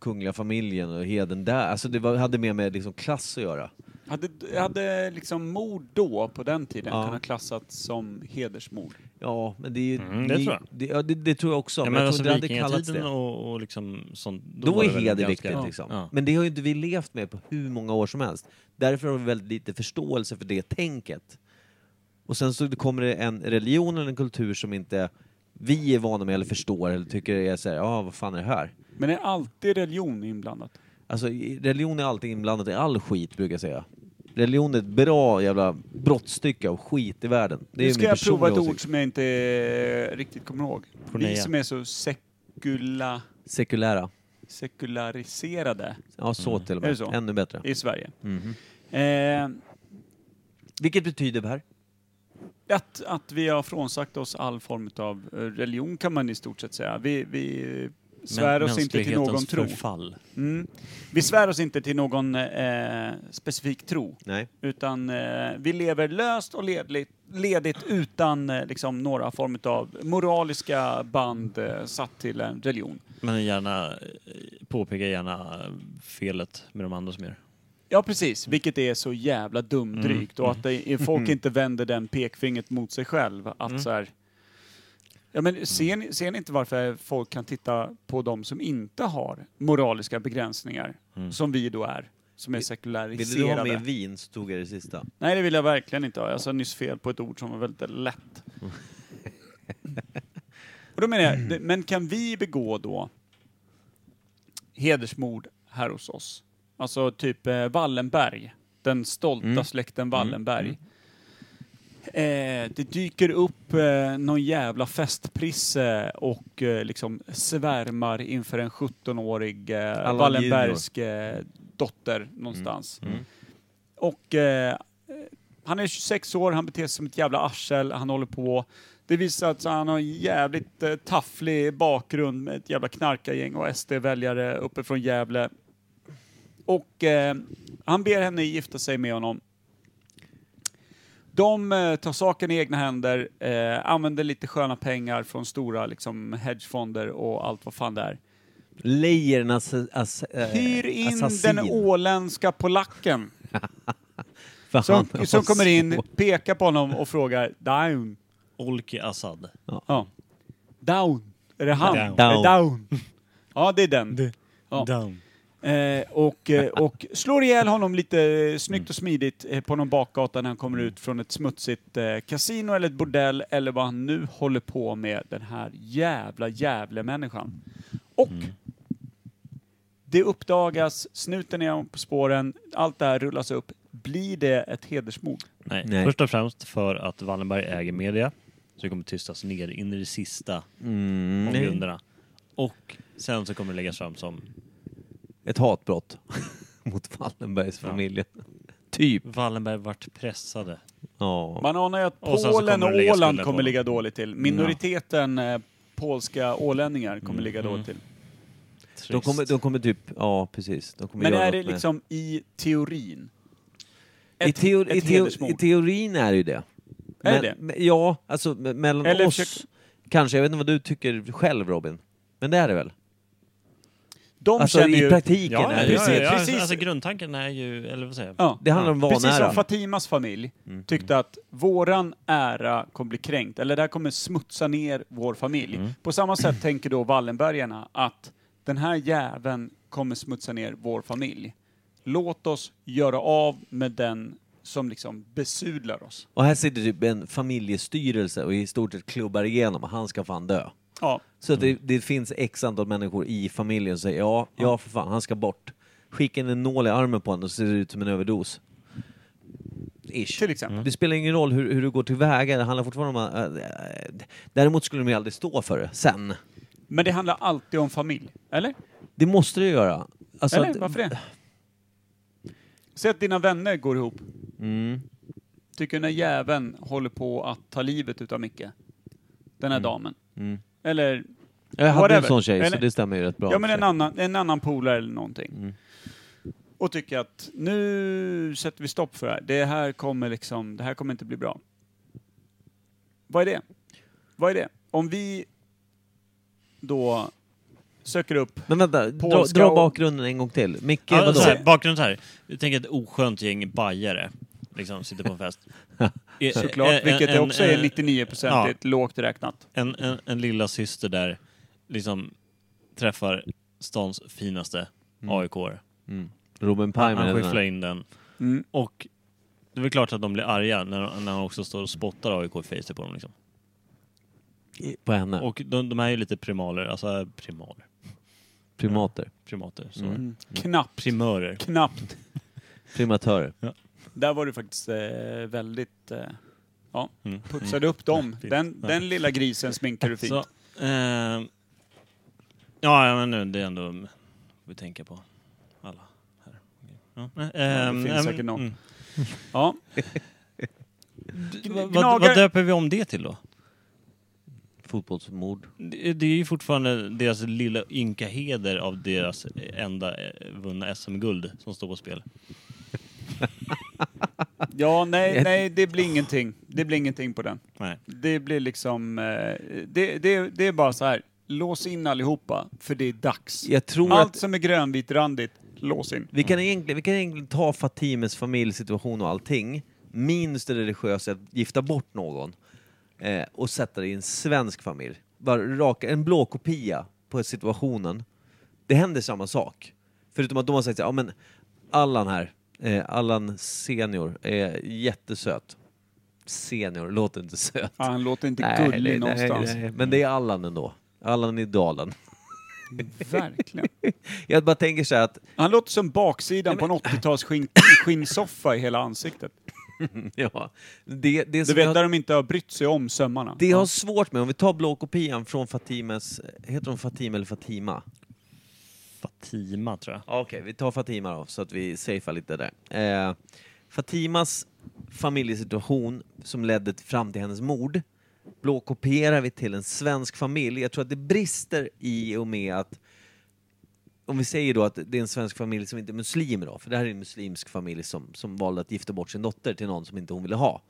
[SPEAKER 2] kungliga familjen och heden där, alltså det var, hade mer med liksom klass att göra.
[SPEAKER 1] Hade, hade liksom mord då, på den tiden,
[SPEAKER 2] Ja.
[SPEAKER 1] kunnat klassats som hedersmord?
[SPEAKER 2] Ja, men det är ju...
[SPEAKER 4] Mm, det tror jag.
[SPEAKER 2] Det, ja, det, det tror jag också,
[SPEAKER 8] Ja,
[SPEAKER 2] men,
[SPEAKER 8] men
[SPEAKER 2] jag tror
[SPEAKER 8] alltså
[SPEAKER 2] inte det hade kallats det.
[SPEAKER 8] vikingatiden och, och liksom sånt.
[SPEAKER 2] Då,
[SPEAKER 8] var
[SPEAKER 2] är
[SPEAKER 8] det väl
[SPEAKER 2] heder
[SPEAKER 8] ganska-
[SPEAKER 2] viktigt liksom.
[SPEAKER 8] Ja.
[SPEAKER 2] Men det har ju inte vi levt med på hur många år som helst. Därför har vi väldigt lite förståelse för det tänket. Och sen så kommer det en religion eller en kultur som inte vi är vana med eller förstår eller tycker är såhär, ja ah, vad fan är det här?
[SPEAKER 1] Men är alltid religion inblandat?
[SPEAKER 2] Alltså i- religion är alltid inblandat i all skit brukar jag säga. Religion är ett bra jävla brottstycke av skit i världen. Det är
[SPEAKER 1] Nu ska
[SPEAKER 2] min
[SPEAKER 1] jag prova ett
[SPEAKER 2] personliga
[SPEAKER 1] ord som jag inte eh, riktigt kommer ihåg. Vi
[SPEAKER 8] Cornelia.
[SPEAKER 1] som är så sekula,
[SPEAKER 2] Sekulära.
[SPEAKER 1] sekulariserade
[SPEAKER 2] Ja, så
[SPEAKER 8] Mm.
[SPEAKER 2] till och
[SPEAKER 1] Är det
[SPEAKER 2] med.
[SPEAKER 1] så?
[SPEAKER 2] Ännu bättre.
[SPEAKER 1] i Sverige.
[SPEAKER 2] Mhm.
[SPEAKER 1] Eh,
[SPEAKER 2] Vilket betyder Per?
[SPEAKER 1] att, att vi har frånsagt oss all form av eh, religion kan man i stort sett säga. Vi, vi eh, svär oss inte till någon
[SPEAKER 8] mänsklighetens
[SPEAKER 1] tro.
[SPEAKER 8] Förfall.
[SPEAKER 1] Mm. Vi svär oss inte till någon eh, specifik tro,
[SPEAKER 2] Nej.
[SPEAKER 1] utan eh, vi lever löst och ledligt, ledigt utan eh, liksom, några form av moraliska band eh, satt till en religion.
[SPEAKER 8] Men
[SPEAKER 4] eh,
[SPEAKER 8] gärna, påpeka gärna felet med de andra som gör.
[SPEAKER 1] Ja, precis. Vilket är så jävla dumdrygt.
[SPEAKER 2] Mm.
[SPEAKER 1] Och att det, är- folk inte vänder den pekfingret mot sig själv. Att
[SPEAKER 2] Mm.
[SPEAKER 1] så här, ja, men ser, ni, ser ni inte varför folk kan titta på de som inte har moraliska begränsningar, som vi då är, som är
[SPEAKER 2] Mm. Vill du ha
[SPEAKER 1] sekulariserade?
[SPEAKER 2] med vin så tog jag det sista.
[SPEAKER 1] Nej, det vill jag verkligen inte ha. Jag sa nyss fel på ett ord som var väldigt lätt. Och då menar jag, det- men kan vi begå då hedersmord här hos oss? Alltså typ eh, Wallenberg, den stolta släkten Wallenberg. Eh, det dyker upp eh, någon jävla festprisse och eh, liksom svärmar inför en 17-årig eh,
[SPEAKER 2] Allan
[SPEAKER 1] Wallenbergsk eh, dotter någonstans. Och eh, han är 26 år, han beter sig som ett jävla arsel, han håller på. Det visar att han har en jävligt eh, tafflig bakgrund med ett jävla knarkargäng och SD-väljare uppifrån Gävle. Och eh, han ber henne gifta sig med honom. De eh, tar saken i egna händer, eh, använder lite sköna pengar från stora liksom, hedgefonder och allt vad fan det är.
[SPEAKER 2] Lejernas ass, eh,
[SPEAKER 1] Hyr in
[SPEAKER 2] assassin.
[SPEAKER 1] den åländska polacken
[SPEAKER 2] Fan,
[SPEAKER 1] som,
[SPEAKER 2] vad
[SPEAKER 1] som kommer in,
[SPEAKER 2] svårt.
[SPEAKER 1] pekar på honom och frågar down.
[SPEAKER 8] Olki Assad.
[SPEAKER 1] Ja. Down. Är det han?
[SPEAKER 8] Down.
[SPEAKER 1] Down. down. Ja, det är den. Ja.
[SPEAKER 8] Down.
[SPEAKER 1] Eh, och, eh, och slår ihjäl honom lite eh, snyggt och smidigt eh, på någon bakgata när han kommer ut från ett smutsigt eh, kasino eller ett bordell eller vad han nu håller på Mm. med, den här jävla jävla människan. Och Det uppdagas, snuten är på spåren, allt det här rullas upp. Blir det ett hedersmord?
[SPEAKER 4] Nej.
[SPEAKER 2] Nej.
[SPEAKER 4] Först och främst för att Wallenberg äger media. Så det kommer tystas ner in i det sista om
[SPEAKER 2] Mm.
[SPEAKER 4] grunderna. Och sen så kommer det läggas fram som
[SPEAKER 2] Ett hatbrott mot Wallenbergsfamiljen. Typ.
[SPEAKER 4] Wallenberg vart pressade.
[SPEAKER 2] Ja.
[SPEAKER 1] Man anar ju att
[SPEAKER 4] Och sen så
[SPEAKER 1] Polen
[SPEAKER 4] kommer
[SPEAKER 1] och
[SPEAKER 4] det lägga
[SPEAKER 1] Åland
[SPEAKER 4] skulden på
[SPEAKER 1] kommer
[SPEAKER 4] dem.
[SPEAKER 1] ligga dåligt till.
[SPEAKER 4] Mm,
[SPEAKER 1] Minoriteten eh, polska ålänningar
[SPEAKER 4] Mm,
[SPEAKER 1] kommer ligga dåligt till.
[SPEAKER 2] De
[SPEAKER 4] Trist.
[SPEAKER 2] kommer, de kommer typ, ja precis. De kommer
[SPEAKER 1] Men
[SPEAKER 2] göra
[SPEAKER 1] är
[SPEAKER 2] något
[SPEAKER 1] det
[SPEAKER 2] med-
[SPEAKER 1] liksom i teorin?
[SPEAKER 2] I,
[SPEAKER 1] Ett,
[SPEAKER 2] teo- i,
[SPEAKER 1] ett
[SPEAKER 2] teo-
[SPEAKER 1] hedersmord?
[SPEAKER 2] I teorin är det ju det.
[SPEAKER 1] Är
[SPEAKER 2] Men-
[SPEAKER 1] det?
[SPEAKER 2] men- Ja, alltså me- mellan
[SPEAKER 1] Eller
[SPEAKER 2] oss
[SPEAKER 1] försök-
[SPEAKER 2] kanske. Jag vet inte vad du tycker själv Robin. Men det är det väl?
[SPEAKER 1] De
[SPEAKER 2] alltså
[SPEAKER 1] känner
[SPEAKER 2] i
[SPEAKER 1] ju...
[SPEAKER 2] praktiken
[SPEAKER 4] Ja,
[SPEAKER 2] är
[SPEAKER 4] ja,
[SPEAKER 2] det
[SPEAKER 1] precis,
[SPEAKER 4] ja, ja,
[SPEAKER 1] precis.
[SPEAKER 4] Alltså, grundtanken är ju, eller vad säger jag?
[SPEAKER 1] Ja.
[SPEAKER 2] Det handlar om Mm. vanära.
[SPEAKER 1] Precis som Fatimas familj tyckte att våran ära kommer bli kränkt, eller det här kommer smutsa ner vår familj.
[SPEAKER 2] Mm.
[SPEAKER 1] På samma sätt tänker då Wallenbergarna att den här jäveln kommer smutsa ner vår familj. Låt oss göra av med den som liksom besudlar oss.
[SPEAKER 2] Och här sitter typ en familjestyrelse och i stort sett klubbar igenom och han ska fan dö.
[SPEAKER 1] Ja,
[SPEAKER 2] Så att
[SPEAKER 1] Mm.
[SPEAKER 2] det, det finns x antal människor i familjen som säger ja, ja för fan, han ska bort. Skicka in en nål i armen på honom och ser det ut som en överdos. Ish.
[SPEAKER 1] till exempel.
[SPEAKER 2] Det spelar ingen roll hur, hur du går tillväga, det handlar fortfarande om att... Äh, äh, däremot skulle de ju aldrig stå för det sen.
[SPEAKER 1] Men det handlar alltid om familj, eller?
[SPEAKER 2] Det måste du göra. Alltså
[SPEAKER 1] eller?
[SPEAKER 2] att-
[SPEAKER 1] Varför det? Säg att dina vänner går ihop.
[SPEAKER 2] Mm.
[SPEAKER 1] Tycker den här jäveln håller på att ta livet utav Micke. Den här damen.
[SPEAKER 2] Mm.
[SPEAKER 1] Eller
[SPEAKER 2] Jag hade en
[SPEAKER 1] Whatever.
[SPEAKER 2] sån tjej, så
[SPEAKER 1] Eller-
[SPEAKER 2] det stämmer ju rätt bra.
[SPEAKER 1] Ja, men en
[SPEAKER 2] annan...
[SPEAKER 1] annan, en annan polare eller någonting.
[SPEAKER 2] Mm.
[SPEAKER 1] Och tycker att nu sätter vi stopp för det här. Det här kommer liksom, det här kommer inte bli bra. Vad är det? Vad är det? Om vi då söker upp...
[SPEAKER 2] men vänta, dra,
[SPEAKER 1] Polska
[SPEAKER 2] dra
[SPEAKER 1] och- alltså-
[SPEAKER 2] bakgrunden en gång till. Micke,
[SPEAKER 4] Ja,
[SPEAKER 2] vadå?
[SPEAKER 4] så här, bakgrunden så här. Jag tänker ett oskönt gäng bajare. Liksom sitter på en fest. E-
[SPEAKER 2] Eh,
[SPEAKER 1] Såklart,
[SPEAKER 4] e-
[SPEAKER 1] vilket
[SPEAKER 4] en-
[SPEAKER 1] också är
[SPEAKER 4] en-
[SPEAKER 1] 99-procentigt lågt räknat.
[SPEAKER 4] En, en, en lilla syster där liksom träffar stans finaste aik -are.
[SPEAKER 2] Mm. Robin
[SPEAKER 4] Han,
[SPEAKER 2] Pajman.
[SPEAKER 4] skifflar
[SPEAKER 2] eller-
[SPEAKER 4] in den.
[SPEAKER 1] Mm.
[SPEAKER 4] Och det är väl klart att de blir arga när, när han också står och spottar AIK i facet på dem. Liksom.
[SPEAKER 2] På henne.
[SPEAKER 4] Och de, de här är ju lite primaler, alltså primaler,
[SPEAKER 2] Primater.
[SPEAKER 4] primater, så.
[SPEAKER 2] Mm.
[SPEAKER 1] Knappt.
[SPEAKER 4] primörer.
[SPEAKER 1] Knappt.
[SPEAKER 2] Primatörer.
[SPEAKER 1] Där var du faktiskt eh, väldigt... Eh, ja,
[SPEAKER 4] Mm.
[SPEAKER 1] putsade upp dem.
[SPEAKER 2] Mm.
[SPEAKER 1] Den, den lilla grisen sminkar du fint.
[SPEAKER 4] Så, ehm, ja, ja, men nu, det är ändå, vi tänker på alla här. Ja, nej,
[SPEAKER 1] det
[SPEAKER 4] ehm,
[SPEAKER 1] finns
[SPEAKER 4] ehm,
[SPEAKER 1] säkert någon.
[SPEAKER 4] mm.
[SPEAKER 1] Ja.
[SPEAKER 4] Vad, vad,
[SPEAKER 1] Gnagare-
[SPEAKER 4] vad döper vi om det till då?
[SPEAKER 2] Fotbollsmord.
[SPEAKER 4] Det, det är ju fortfarande deras lilla ynka heder av deras enda eh, vunna SM-guld som står på spel.
[SPEAKER 1] Ja, nej, nej, det blir ingenting. Det blir ingenting på den.
[SPEAKER 4] Nej.
[SPEAKER 1] Det blir liksom... eh, Det, det, det är bara så här. Lås in allihopa, för det är dags.
[SPEAKER 2] Jag tror att...
[SPEAKER 1] Allt som är grönvitrandigt, lås in.
[SPEAKER 2] Vi kan, egentligen, vi kan egentligen ta Fatimes familjesituation och allting, minus det religiösa att gifta bort någon, eh, och sätta det i en svensk familj. Bara raka, en blå kopia på situationen. Det händer samma sak. Förutom att de har sagt så här, ja men Allan här, eh, Allan senior, är jättesöt. Senior låter inte söt.
[SPEAKER 1] Ja, han låter inte
[SPEAKER 2] Nej,
[SPEAKER 1] gullig
[SPEAKER 2] nej,
[SPEAKER 1] någonstans.
[SPEAKER 2] nej, Men det är Allan ändå. Allan i dalen.
[SPEAKER 1] Verkligen.
[SPEAKER 2] Jag bara tänker så här att
[SPEAKER 1] Han låter som baksidan på en 80-tals skinn, skinnsoffa i hela ansiktet.
[SPEAKER 2] Ja,
[SPEAKER 1] Du
[SPEAKER 2] det, det som
[SPEAKER 1] vet,
[SPEAKER 2] Alltså, jag,
[SPEAKER 1] där de inte har brytt sig om sömmarna.
[SPEAKER 2] det jag har svårt med, om vi tar blåkopian från Fatimes, heter hon Fatime eller Fatima?
[SPEAKER 4] Fatima, tror jag.
[SPEAKER 2] Ja, Okej, vi tar Fatima då, så att vi safear lite där. Eh, Fatimas familjesituation som ledde till- fram till hennes mord blåkopierar vi till en svensk familj. Jag tror att det brister i och med att om vi säger då att det är en svensk familj som inte är muslimer då, för det här är en muslimsk familj som, som valde att gifta bort sin dotter till någon som inte hon ville ha.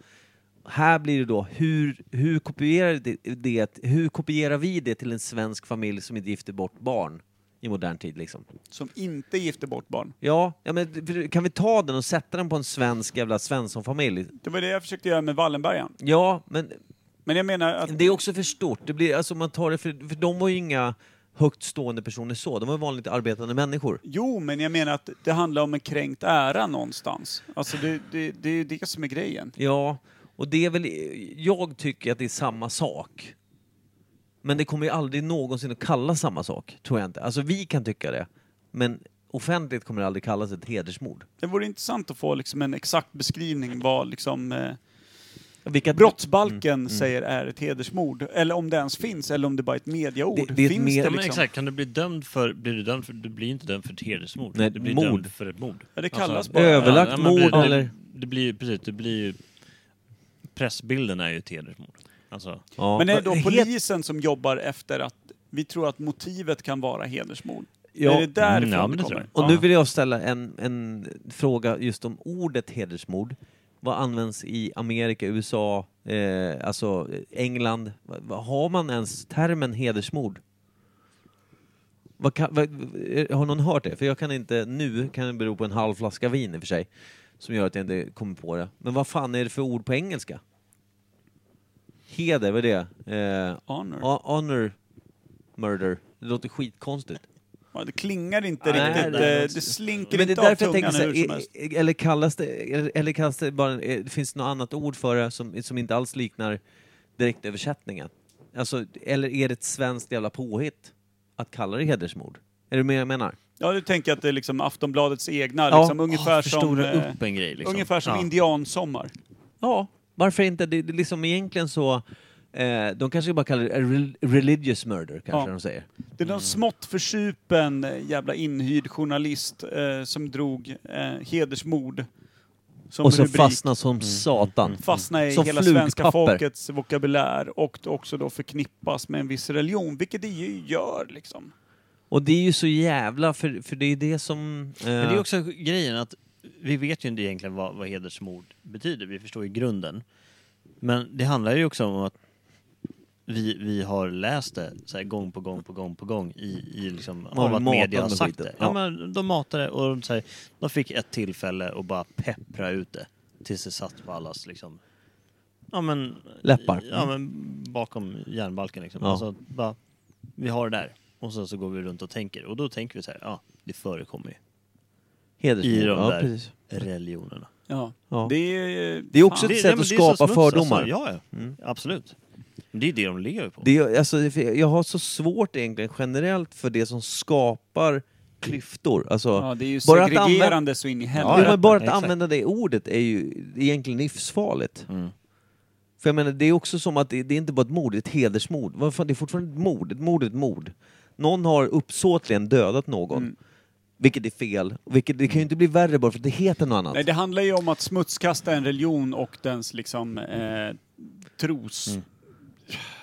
[SPEAKER 2] Här blir det då, hur, hur, kopierar det, det, hur kopierar vi det till en svensk familj som inte gifter bort barn i modern tid liksom?
[SPEAKER 1] Som inte gifter bort barn.
[SPEAKER 2] Ja, ja men för- kan vi ta den och sätta den på en svensk jävla svenssonfamilj?
[SPEAKER 1] Det var det jag försökte göra med Wallenbergaren.
[SPEAKER 2] Ja, men
[SPEAKER 1] Men jag menar att...
[SPEAKER 2] det är också för stort. Det blir, alltså om man tar det för, för de var ju inga högt stående personer så, de var ju vanligt arbetande människor.
[SPEAKER 1] Jo, men jag menar att det handlar om en kränkt ära någonstans. Alltså det, det, det är ju det som är grejen.
[SPEAKER 2] Ja, och det är väl, jag tycker att det är samma sak. Men det kommer ju aldrig någonsin att kallas samma sak, tror jag inte. Alltså vi kan tycka det. Men offentligt kommer det aldrig kallas ett hedersmord.
[SPEAKER 1] Det vore intressant att få liksom en exakt beskrivning vad liksom, eh,
[SPEAKER 2] Mm. Vilka
[SPEAKER 1] brottsbalken
[SPEAKER 2] Mm.
[SPEAKER 1] säger är ett hedersmord. Eller om det ens finns, eller om det bara är ett mediaord.
[SPEAKER 2] Det- det är ett
[SPEAKER 1] finns
[SPEAKER 2] med-
[SPEAKER 1] det
[SPEAKER 2] Ja,
[SPEAKER 1] liksom?
[SPEAKER 4] men exakt, kan du bli dömd för... Blir du dömd för... Du blir inte dömd för ett hedersmord.
[SPEAKER 2] Nej,
[SPEAKER 4] du blir
[SPEAKER 2] mord.
[SPEAKER 4] dömd för ett mord.
[SPEAKER 1] Ja, det kallas
[SPEAKER 4] Alltså,
[SPEAKER 1] bara...
[SPEAKER 2] Överlagt
[SPEAKER 4] men
[SPEAKER 2] mord
[SPEAKER 4] det,
[SPEAKER 2] eller...
[SPEAKER 4] Det, det blir ju... Precis, det blir ju... Pressbilden är ju ett hedersmord. Alltså,
[SPEAKER 2] Ja.
[SPEAKER 1] Men är det då
[SPEAKER 2] Het-
[SPEAKER 1] polisen som jobbar efter att vi tror att motivet kan vara hedersmord?
[SPEAKER 2] Ja.
[SPEAKER 1] Är det därifrån
[SPEAKER 4] ja, men
[SPEAKER 1] det
[SPEAKER 4] det tror
[SPEAKER 1] kommer?
[SPEAKER 4] jag.
[SPEAKER 2] Och nu vill jag ställa en, en fråga just om ordet hedersmord. Vad används i Amerika, USA, eh, alltså England? Va- va- Har man ens termen hedersmord? Vad kan, vad, eh, har någon hört det? För jag kan inte nu, kan det bero på en halv flaska vin i och för sig, som gör att jag inte kommer på det. Men vad fan är det för ord på engelska? Heder, vad är det? Eh,
[SPEAKER 1] Honor.
[SPEAKER 2] ho- honor murder. Det låter skitkonstigt.
[SPEAKER 1] Ja, det klingar inte
[SPEAKER 2] Nej,
[SPEAKER 1] riktigt,
[SPEAKER 2] det är
[SPEAKER 1] eh,
[SPEAKER 2] något-
[SPEAKER 1] det slinker
[SPEAKER 2] Men det är
[SPEAKER 1] inte av
[SPEAKER 2] därför jag
[SPEAKER 1] tungan
[SPEAKER 2] tänker så
[SPEAKER 1] hur som
[SPEAKER 2] här,
[SPEAKER 1] helst.
[SPEAKER 2] e- e- eller kallas det, eller kallas det bara, eh, det finns något annat ord för det som, som inte alls liknar direktöversättningen? Alltså, eller är det ett svenskt jävla påhitt att kalla det hedersmord? Är du med jag menar?
[SPEAKER 1] Ja, du tänker att det är liksom Aftonbladets egna,
[SPEAKER 2] Ja.
[SPEAKER 1] liksom, ungefär,
[SPEAKER 4] Åh,
[SPEAKER 1] som,
[SPEAKER 4] förstora
[SPEAKER 1] eh,
[SPEAKER 4] upp en grej liksom.
[SPEAKER 1] ungefär som
[SPEAKER 4] Ja.
[SPEAKER 1] indiansommar.
[SPEAKER 2] Ja, varför inte? Det det är liksom egentligen så, eh, de kanske bara kallar det rel- religious murder, kanske
[SPEAKER 1] Ja.
[SPEAKER 2] de säger.
[SPEAKER 1] Det är någon smått försupen eh, jävla inhyrd journalist eh, som drog eh, hedersmord som
[SPEAKER 2] Och så
[SPEAKER 1] rubrik.
[SPEAKER 2] fastnar som satan.
[SPEAKER 1] fastna i
[SPEAKER 2] Som
[SPEAKER 1] hela svenska
[SPEAKER 2] flugpapper.
[SPEAKER 1] folkets vokabulär och också då förknippas med en viss religion, vilket det ju gör liksom.
[SPEAKER 2] Och det är ju så jävla, för, för det är det som... eh,
[SPEAKER 8] Men det är också grejen att vi vet ju inte egentligen vad, vad hedersmord betyder. Vi förstår ju grunden. Men det handlar ju också om att vi, vi har läst det så här gång på gång på gång på gång i, i liksom,
[SPEAKER 2] har
[SPEAKER 8] av att
[SPEAKER 2] matat
[SPEAKER 8] media har
[SPEAKER 2] med
[SPEAKER 8] sagt
[SPEAKER 2] skiten.
[SPEAKER 8] det.
[SPEAKER 2] Ja.
[SPEAKER 8] Ja, men de matade och de, så här, de fick ett tillfälle att bara peppra ut det tills det satt på allas liksom, ja, men,
[SPEAKER 2] Läppar. Mm.
[SPEAKER 8] Ja, men, bakom järnbalken. Liksom.
[SPEAKER 2] Ja.
[SPEAKER 8] Alltså, bara, vi har det där och sen så går vi runt och tänker och då tänker vi så här, ja, det förekommer ju
[SPEAKER 2] hedersmord.
[SPEAKER 8] i de
[SPEAKER 2] ja,
[SPEAKER 8] där
[SPEAKER 2] precis.
[SPEAKER 8] religionerna.
[SPEAKER 1] Ja.
[SPEAKER 2] Ja.
[SPEAKER 1] Det är,
[SPEAKER 2] Det är också
[SPEAKER 1] fan,
[SPEAKER 2] ett
[SPEAKER 8] nej,
[SPEAKER 2] sätt
[SPEAKER 8] men
[SPEAKER 2] att
[SPEAKER 8] det är så
[SPEAKER 2] skapa
[SPEAKER 8] smuts,
[SPEAKER 2] fördomar.
[SPEAKER 8] Alltså, ja,
[SPEAKER 4] Mm.
[SPEAKER 8] ja. absolut. Men det är det de lever på.
[SPEAKER 2] Det är, alltså, för jag har så svårt egentligen generellt för det som skapar klyftor. Alltså,
[SPEAKER 1] Ja, det är ju
[SPEAKER 2] bara att
[SPEAKER 1] segregerande så in i
[SPEAKER 2] använda, jo,
[SPEAKER 1] helvete.
[SPEAKER 2] men bara att
[SPEAKER 8] Exakt.
[SPEAKER 2] använda det ordet är ju egentligen livsfarligt. För jag menar, det är också som att det, det är inte bara ett mord, det är ett hedersmord. Vad fan, det är fortfarande ett mord. Ett mord är ett mord. Någon har uppsåtligen dödat någon.
[SPEAKER 1] Mm.
[SPEAKER 2] Vilket är fel. Vilket, det kan ju inte bli värre bara för att det heter något annat.
[SPEAKER 1] Nej, det handlar ju om att smutskasta en religion och dens liksom eh, tros...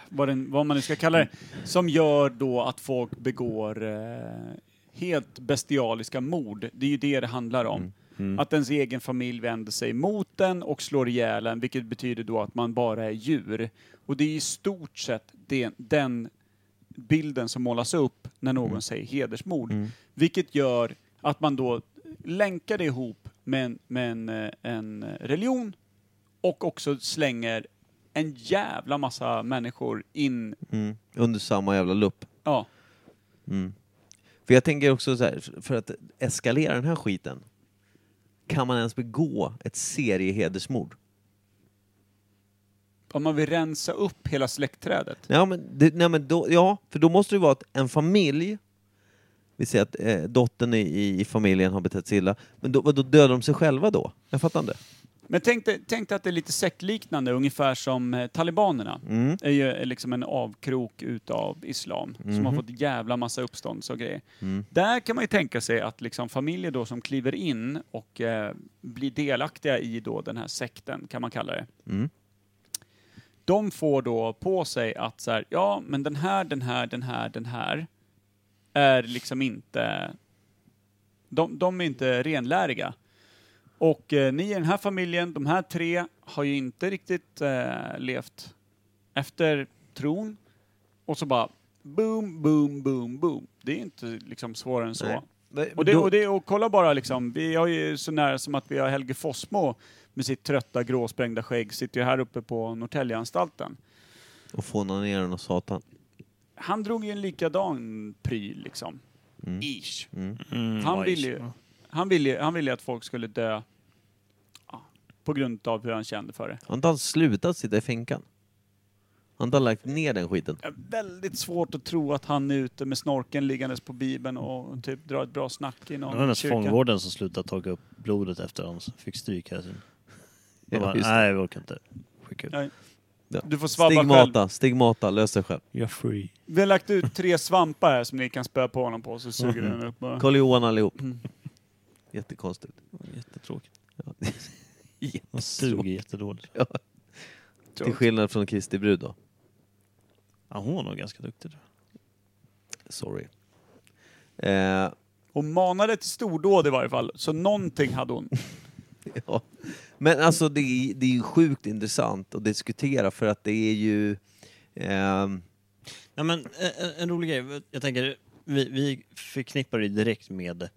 [SPEAKER 1] Vad, den, vad man nu ska kalla det. Som gör då att folk begår eh, helt bestialiska mord. Det är ju det det handlar om. Att ens egen familj vänder sig mot den och slår ihjäl en, vilket betyder då att man bara är djur. Och det är i stort sett den, den bilden som målas upp när någon säger hedersmord. Vilket gör att man då länkar det ihop med, en- med en, eh, en religion och också slänger en jävla massa människor in.
[SPEAKER 2] Mm. Under samma jävla lupp.
[SPEAKER 1] Ja,
[SPEAKER 2] För jag tänker också så här, f- för att eskalera den här skiten, kan man ens begå ett seriehedersmord?
[SPEAKER 1] om man vill rensa upp hela släktträdet.
[SPEAKER 2] Ja, men, det, nej, men då, ja, för då måste det vara att en familj, vi säger att eh, dottern i, i, i familjen har betett sig illa, men då, då dödar de sig själva då? Jag fattar inte.
[SPEAKER 1] Men tänk dig, tänk dig att det är lite sektliknande, ungefär som eh, talibanerna. är ju är liksom en avkrok utav islam som har fått jävla massa uppståndelse och grejer. Där kan man ju tänka sig att liksom familjer då som kliver in och eh, blir delaktiga i då den här sekten, kan man kalla det. De får då på sig att så här, ja men den här, den här, den här, den här är liksom inte... De, de är inte renläriga. Och eh, ni i den här familjen, de här tre, har ju inte riktigt eh, levt efter tron. Och så bara boom, boom, boom, boom. Det är inte liksom svårare än så.
[SPEAKER 2] Nej. Men
[SPEAKER 1] Och, det,
[SPEAKER 2] då-
[SPEAKER 1] och, det, och kolla bara liksom, vi har ju så nära som att vi har Helge Fossmo med sitt trötta gråsprängda skägg, sitter ju här uppe på Norrtäljeanstalten.
[SPEAKER 2] Och fåna ner den och satan.
[SPEAKER 1] Han drog ju en likadan pryl liksom. Ish. Han
[SPEAKER 4] Mm.
[SPEAKER 8] vad
[SPEAKER 1] ville
[SPEAKER 8] ish.
[SPEAKER 1] ju han ville, ju- han ville ju att folk skulle dö ja, på grund av hur han kände för det.
[SPEAKER 2] Har inte han slutat sitta i finkan? Han Man har lagt ner den skiten.
[SPEAKER 1] Jag har väldigt svårt att tro att han är ute med snorken liggandes på bibeln och typ drar ett bra snack i
[SPEAKER 4] Det var den
[SPEAKER 1] någon
[SPEAKER 4] där
[SPEAKER 1] kyrka.
[SPEAKER 4] fångvården som slutade torka upp blodet efter att de fick stryk här. sen. De
[SPEAKER 2] Ja,
[SPEAKER 4] bara,
[SPEAKER 2] just det.
[SPEAKER 4] nej vi orkar inte. Skicka ut.
[SPEAKER 1] Nej.
[SPEAKER 2] Ja.
[SPEAKER 1] Du får svabba själv.
[SPEAKER 2] Stigmata, stigmata, lös dig själv.
[SPEAKER 4] You're free.
[SPEAKER 1] Vi har lagt ut tre svampar här som ni kan spöa på honom på så suger den upp. bara.
[SPEAKER 2] Karl Johan allihop.
[SPEAKER 1] Mm.
[SPEAKER 2] Jättekonstigt.
[SPEAKER 4] Jättetråkigt.
[SPEAKER 2] Ja.
[SPEAKER 4] De suger jättedåligt.
[SPEAKER 2] Ja. Till skillnad från Kristi brud då.
[SPEAKER 4] Ja, hon var nog ganska duktig. tror
[SPEAKER 2] Sorry. Eh,
[SPEAKER 1] Hon manade till stordåd i varje fall, så någonting hade hon.
[SPEAKER 2] Ja. Men alltså det är, det är ju sjukt intressant att diskutera för att det är ju... ehm,
[SPEAKER 4] jag. Nej, men, eh, en, en- en rolig grej. Jag tänker, vi, vi förknippar det direkt med,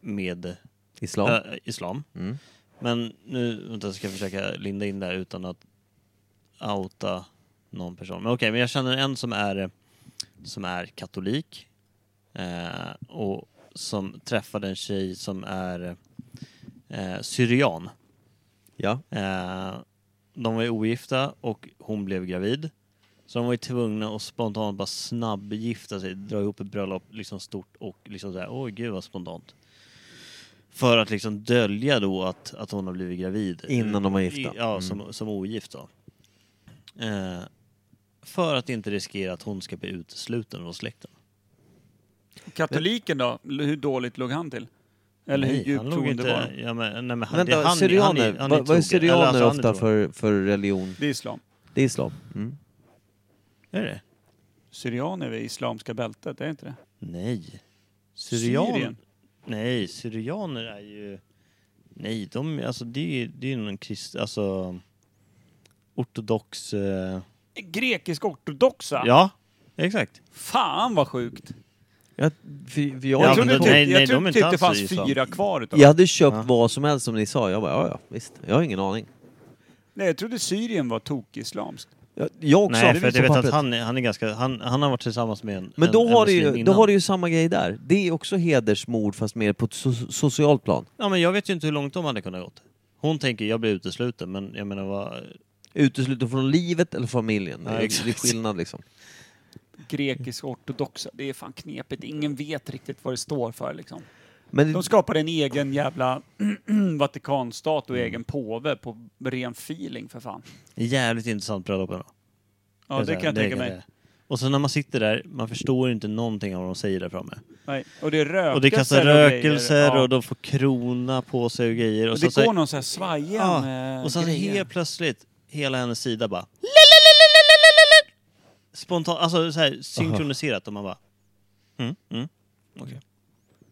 [SPEAKER 4] med
[SPEAKER 2] islam.
[SPEAKER 4] äh, islam.
[SPEAKER 2] Mm.
[SPEAKER 4] Men nu vänta, jag ska jag försöka linda in det här utan att outa någon person. Men okej, men jag känner en som är, som är katolik eh, och som träffade en tjej som är eh, syrian.
[SPEAKER 2] Ja.
[SPEAKER 4] Eh, de var ju ogifta och hon blev gravid. Så de var ju tvungna att spontant bara snabbgifta sig, dra ihop ett bröllop liksom stort och liksom såhär, oj gud vad spontant. För att liksom dölja då att, att hon har blivit gravid.
[SPEAKER 2] Innan de var gifta. Mm.
[SPEAKER 4] I, ja, som, som ogift då. Eh, för att inte riskera att hon ska bli utesluten från släkten.
[SPEAKER 1] Katoliken då, hur dåligt låg han till? Eller hur
[SPEAKER 4] Nej, han
[SPEAKER 1] djupt
[SPEAKER 4] låg
[SPEAKER 1] troende var han?
[SPEAKER 4] Ja, men, nej, men han, det-
[SPEAKER 2] Vänta,
[SPEAKER 4] han,
[SPEAKER 2] syrianer.
[SPEAKER 4] han, han,
[SPEAKER 2] vad, vad är
[SPEAKER 4] trogen. Eller,
[SPEAKER 2] syrianer
[SPEAKER 4] alltså, han är
[SPEAKER 2] ofta
[SPEAKER 4] trogen.
[SPEAKER 2] för, för religion?
[SPEAKER 1] Det är islam.
[SPEAKER 2] Det är islam. Mm.
[SPEAKER 4] Är det?
[SPEAKER 1] Syrianer vid islamska bältet, är det inte det?
[SPEAKER 4] Nej. Syrian...
[SPEAKER 1] Syrien.
[SPEAKER 4] Nej, syrianer är ju... Nej, de, alltså det är det är ju någon krist... Alltså... Ortodox... Eh...
[SPEAKER 1] Grekisk ortodoxa?
[SPEAKER 4] Ja, exakt.
[SPEAKER 1] Fan vad sjukt!
[SPEAKER 2] Jag, för, för jag,
[SPEAKER 4] Ja,
[SPEAKER 1] Jag
[SPEAKER 4] men
[SPEAKER 1] trodde
[SPEAKER 4] de-
[SPEAKER 1] typ,
[SPEAKER 4] nej, nej,
[SPEAKER 1] jag
[SPEAKER 4] de är
[SPEAKER 1] trodde
[SPEAKER 4] inte
[SPEAKER 1] typ det
[SPEAKER 4] alls
[SPEAKER 1] fanns
[SPEAKER 4] i islam.
[SPEAKER 1] fyra kvar utav
[SPEAKER 2] jag hade köpt
[SPEAKER 4] Ja.
[SPEAKER 2] vad som helst som ni sa. Jag bara, ja, ja visst. Jag har ingen aning.
[SPEAKER 1] Nej, jag trodde Syrien var tokislamskt.
[SPEAKER 2] Jag, jag också har
[SPEAKER 4] Nej, för
[SPEAKER 2] det
[SPEAKER 4] att jag vet
[SPEAKER 2] på
[SPEAKER 4] att
[SPEAKER 2] pappret.
[SPEAKER 4] han, är- han är ganska... Han, han har varit tillsammans med en
[SPEAKER 2] Men
[SPEAKER 4] en,
[SPEAKER 2] då,
[SPEAKER 4] en
[SPEAKER 2] har du
[SPEAKER 4] muslim
[SPEAKER 2] ju, då
[SPEAKER 4] innan.
[SPEAKER 2] har du ju samma grej där. Det är också hedersmord fast mer på ett so socialt plan.
[SPEAKER 4] Ja, men jag vet ju inte hur långt de hade kunnat gått. Hon tänker jag blir utesluten, men jag menar vad...
[SPEAKER 2] Utesluten från livet eller familjen.
[SPEAKER 4] Ja,
[SPEAKER 2] det, är, det är
[SPEAKER 4] exakt.
[SPEAKER 2] skillnad liksom.
[SPEAKER 1] Grekisk ortodoxa, det är fan knepigt. Ingen vet riktigt vad det står för liksom.
[SPEAKER 2] Men
[SPEAKER 1] De skapade en egen jävla Vatikanstat och egen påve på ren feeling för fan.
[SPEAKER 4] Jävligt intressant bröllop ändå.
[SPEAKER 1] Ja, det
[SPEAKER 4] så här,
[SPEAKER 1] kan jag tänka mig.
[SPEAKER 4] jag- Och sen när man sitter där, man förstår inte någonting av vad de säger där framme.
[SPEAKER 1] Nej. Och det är rökelser
[SPEAKER 4] Och det kastar
[SPEAKER 1] grejer.
[SPEAKER 4] rökelser
[SPEAKER 1] Ja.
[SPEAKER 4] och de får krona på sig och grejer. Och,
[SPEAKER 1] Och
[SPEAKER 4] så,
[SPEAKER 1] det
[SPEAKER 4] så,
[SPEAKER 1] går någon så här eh, svajiga
[SPEAKER 4] ja,
[SPEAKER 1] med
[SPEAKER 4] och sen
[SPEAKER 1] grejer.
[SPEAKER 4] helt plötsligt, hela hennes sida bara... Spontant, alltså så här, synkroniserat och man bara... Mm, mm.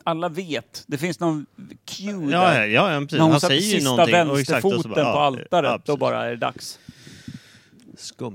[SPEAKER 1] Alla vet. Det finns någon cue
[SPEAKER 4] Ja,
[SPEAKER 1] där.
[SPEAKER 4] ja, ja, ja, precis.
[SPEAKER 1] När hon
[SPEAKER 4] Han
[SPEAKER 1] satte
[SPEAKER 4] säger ju
[SPEAKER 1] sista
[SPEAKER 4] någonting. och exakt, och
[SPEAKER 1] vänsterfoten
[SPEAKER 4] så
[SPEAKER 1] på
[SPEAKER 4] bara, ja,
[SPEAKER 1] altaret,
[SPEAKER 4] ja,
[SPEAKER 1] då
[SPEAKER 4] precis.
[SPEAKER 1] bara är det dags.
[SPEAKER 2] Skumt.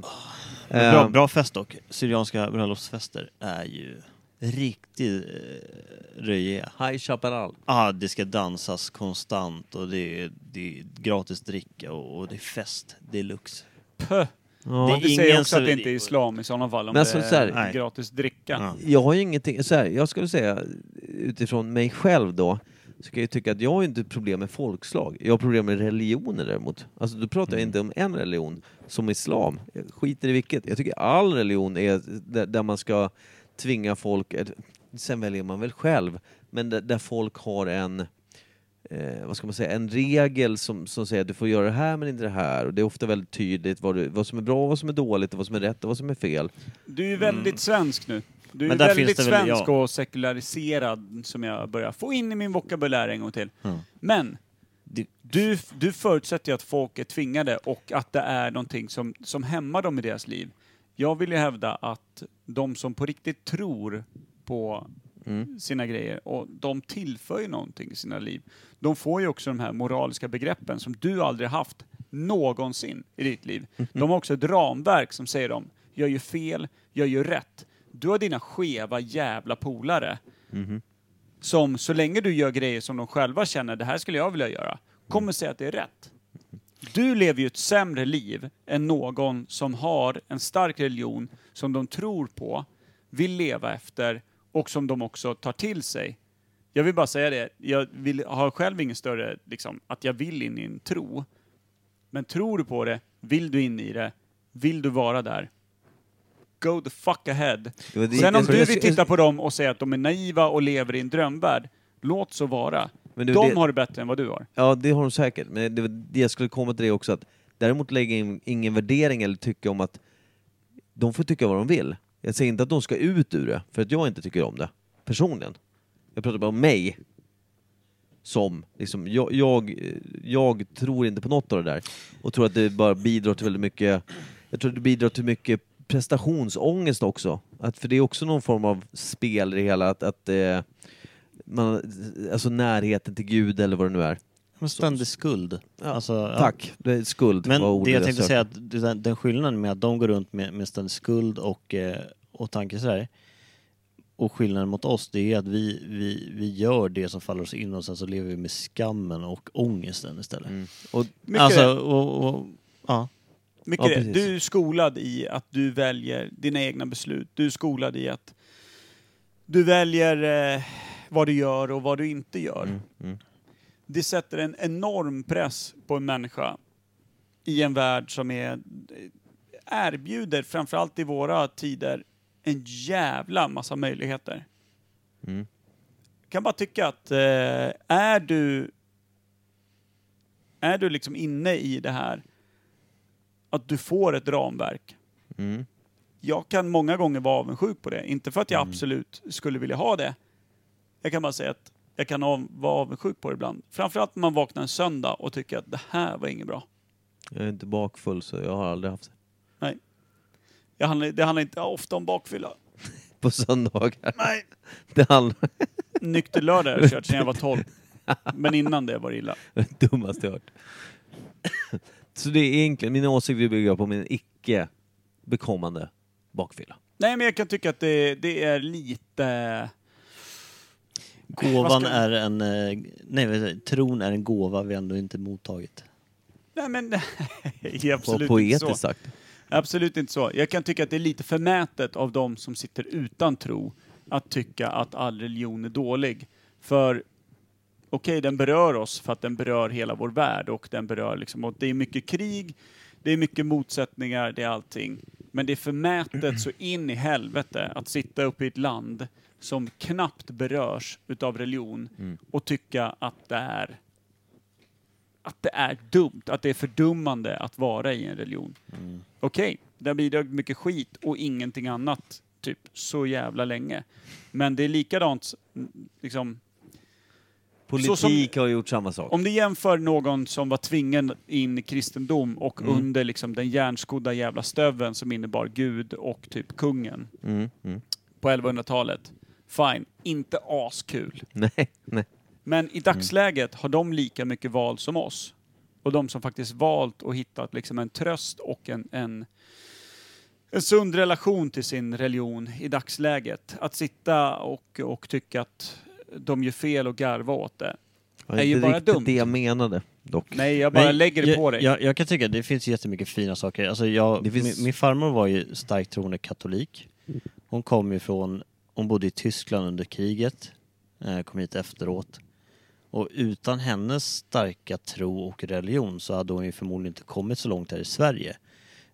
[SPEAKER 4] Men Eh, Bra,
[SPEAKER 2] Ehm,
[SPEAKER 4] bra fest dock. Syrianska bröllopsfester är ju riktigt eh, röjiga.
[SPEAKER 2] High Chaparral.
[SPEAKER 4] Ah, det ska dansas konstant och det är, det är gratis dricka och, och det är fest deluxe.
[SPEAKER 1] Pö.
[SPEAKER 2] Ja.
[SPEAKER 1] Det
[SPEAKER 4] Det är
[SPEAKER 1] säger
[SPEAKER 4] ingen
[SPEAKER 1] också att
[SPEAKER 4] som-
[SPEAKER 1] det inte är islam i sådana fall, om
[SPEAKER 2] Men alltså,
[SPEAKER 1] det
[SPEAKER 2] så här-
[SPEAKER 1] är
[SPEAKER 4] Nej.
[SPEAKER 1] gratis dricka.
[SPEAKER 4] Ja.
[SPEAKER 2] Jag har ju ingenting, så här, jag skulle säga utifrån mig själv då, så kan jag ju tycka att jag har ju inte problem med folkslag. Jag har problem med religioner däremot. Alltså då pratar jag inte om en religion, som islam. Jag skiter i vilket. Jag tycker all religion är där, där man ska tvinga folk, eh, sen väljer man väl själv, men där, där folk har en eh, vad ska man säga, en regel som, som säger att du får göra det här men inte det här. Och det är ofta väldigt tydligt vad, du, vad som är bra, vad som är dåligt, och vad som är rätt och vad som är fel.
[SPEAKER 1] Du är ju väldigt svensk nu. Du är
[SPEAKER 4] Mm. Men
[SPEAKER 1] ju
[SPEAKER 4] där
[SPEAKER 1] väldigt
[SPEAKER 4] finns det väl-
[SPEAKER 1] svensk
[SPEAKER 4] ja.
[SPEAKER 1] och sekulariserad, som jag börjar få in i min vokabulär en gång till. Men, du, du förutsätter ju att folk är tvingade och att det är någonting som, som hämmar dem i deras liv. Jag vill ju hävda att de som på riktigt tror på
[SPEAKER 4] Mm.
[SPEAKER 1] sina grejer och de tillför ju någonting i sina liv. De får ju också de här moraliska begreppen som du aldrig haft någonsin i ditt liv. De har också ett ramverk som säger dem, jag gör fel, jag gör rätt. Du har dina skeva jävla polare som så länge du gör grejer som de själva känner, det här skulle jag vilja göra, kommer säga att det är rätt. Du lever ju ett sämre liv än någon som har en stark religion som de tror på, vill leva efter och som de också tar till sig. Jag vill bara säga det, jag vill, har själv ingen större, liksom, att jag vill in i en tro. Men tror du på det, vill du in i det, Vill du vara där? Go the fuck ahead.
[SPEAKER 2] Det var det-
[SPEAKER 1] Sen om
[SPEAKER 2] jag tror-
[SPEAKER 1] du
[SPEAKER 2] jag-
[SPEAKER 1] vill
[SPEAKER 2] jag-
[SPEAKER 1] titta på dem och säga att de är naiva och lever i en drömvärld, låt så vara.
[SPEAKER 2] Men du,
[SPEAKER 1] de
[SPEAKER 2] det-
[SPEAKER 1] har det bättre än vad du har.
[SPEAKER 2] Ja, det har de säkert. Men det, var det jag skulle komma till det också, att däremot lägga in ingen värdering eller tycka om att de får tycka vad de vill. Jag säger inte att de ska ut ur det, för att jag inte tycker om det, personligen. Jag pratar bara om mig. Som, liksom, jag, jag, jag tror inte på något av det där. Och tror att det bara bidrar till väldigt mycket, jag tror att det bidrar till mycket prestationsångest också. Att, för det är också någon form av spel i det hela, att, att eh, man, alltså närheten till Gud eller vad det nu är.
[SPEAKER 4] Men ständig skuld. Alltså, ja.
[SPEAKER 2] Tack, det är skuld
[SPEAKER 4] Men
[SPEAKER 2] var ordet
[SPEAKER 4] det jag tänkte
[SPEAKER 2] sökte.
[SPEAKER 4] säga, att den, den skillnaden med att de går runt med, med ständig skuld och, eh, och tanke sådär, och skillnaden mot oss, det är att vi, vi, vi gör det som faller oss in och sen så lever vi med skammen och ångesten istället.
[SPEAKER 2] Och,
[SPEAKER 1] Mycket
[SPEAKER 4] Alltså,
[SPEAKER 1] rätt.
[SPEAKER 4] och, och, ja.
[SPEAKER 1] Mycket det.
[SPEAKER 2] Ja, precis.
[SPEAKER 1] Du är skolad i att du väljer dina egna beslut. Du är skolad i att du väljer eh, vad du gör och vad du inte gör.
[SPEAKER 2] Mm,
[SPEAKER 1] Det sätter en enorm press på en människa i en värld som är, erbjuder, framförallt i våra tider, en jävla massa möjligheter.
[SPEAKER 2] Mm.
[SPEAKER 1] kan bara tycka att eh, är du är du liksom inne i det här att du får ett ramverk.
[SPEAKER 2] Mm.
[SPEAKER 1] Jag kan många gånger vara avundsjuk på det. Inte för att jag absolut skulle vilja ha det. Jag kan bara säga att jag kan av, vara avundsjuk på det ibland. Framförallt när man vaknar en söndag och tycker att det här var inget bra.
[SPEAKER 2] jag är inte bakfull så jag har aldrig haft det.
[SPEAKER 1] Nej. Jag handlar, det handlar inte ofta om bakfylla.
[SPEAKER 2] På söndagar.
[SPEAKER 1] Nej.
[SPEAKER 2] Det handlar
[SPEAKER 1] Nykter lördag har jag kört sedan jag var 12. Men innan det var det illa.
[SPEAKER 2] om det dummaste jag hört. Så det är egentligen, mina åsikter bygger på min icke bekommande bakfylla.
[SPEAKER 1] Nej, men jag kan tycka att det, det är lite... Vad
[SPEAKER 4] Gåvan
[SPEAKER 1] ska-
[SPEAKER 4] är en, eh, nej vad säger jag, tron är en gåva vi ändå inte mottagit.
[SPEAKER 1] Nej, men nej,
[SPEAKER 2] På,
[SPEAKER 1] absolut inte
[SPEAKER 2] poetiskt
[SPEAKER 1] så.
[SPEAKER 2] sagt.
[SPEAKER 1] Absolut inte så. Jag kan tycka att det är lite förmätet av de som sitter utan tro att tycka att all religion är dålig. För okej, den berör oss för att den berör hela vår värld och den berör liksom, och det är mycket krig, det är mycket motsättningar, det är allting. Men det är förmätet så in i helvete att sitta uppe i ett land som knappt berörs utav religion och tycka att det är att det är dumt, att det är fördummande att vara i en religion. Okej, den bidrar till mycket skit och ingenting annat, typ, så jävla länge. Men det är likadant, mm, liksom,
[SPEAKER 2] Politik
[SPEAKER 1] som-
[SPEAKER 2] har gjort samma sak.
[SPEAKER 1] om du jämför någon som var tvingad in i kristendom och
[SPEAKER 2] Mm.
[SPEAKER 1] under liksom den järnskodda jävla stöveln som innebar Gud och typ kungen
[SPEAKER 2] Mm, mm.
[SPEAKER 1] på 1100-talet. Fine, inte askul.
[SPEAKER 2] Nej, nej.
[SPEAKER 1] Men
[SPEAKER 4] Mm.
[SPEAKER 1] i dagsläget har de lika mycket val som oss. Och de som faktiskt valt och hittat liksom en tröst och en, en, en sund relation till sin religion i dagsläget. Att sitta och, och tycka att de gör fel och garva åt det.
[SPEAKER 2] Det
[SPEAKER 1] är ju bara
[SPEAKER 2] riktigt
[SPEAKER 1] dumt.
[SPEAKER 2] det jag menade dock.
[SPEAKER 1] Nej, jag bara
[SPEAKER 4] Men
[SPEAKER 1] lägger det
[SPEAKER 4] jag,
[SPEAKER 1] på dig.
[SPEAKER 4] Jag, jag kan tycka att det finns jättemycket fina saker. Alltså jag,
[SPEAKER 2] Det finns-
[SPEAKER 4] min, min farmor var ju starkt troende katolik. Hon kom ju från, hon bodde i Tyskland under kriget, eh, kom hit efteråt. Och utan hennes starka tro och religion så hade hon ju förmodligen inte kommit så långt här i Sverige.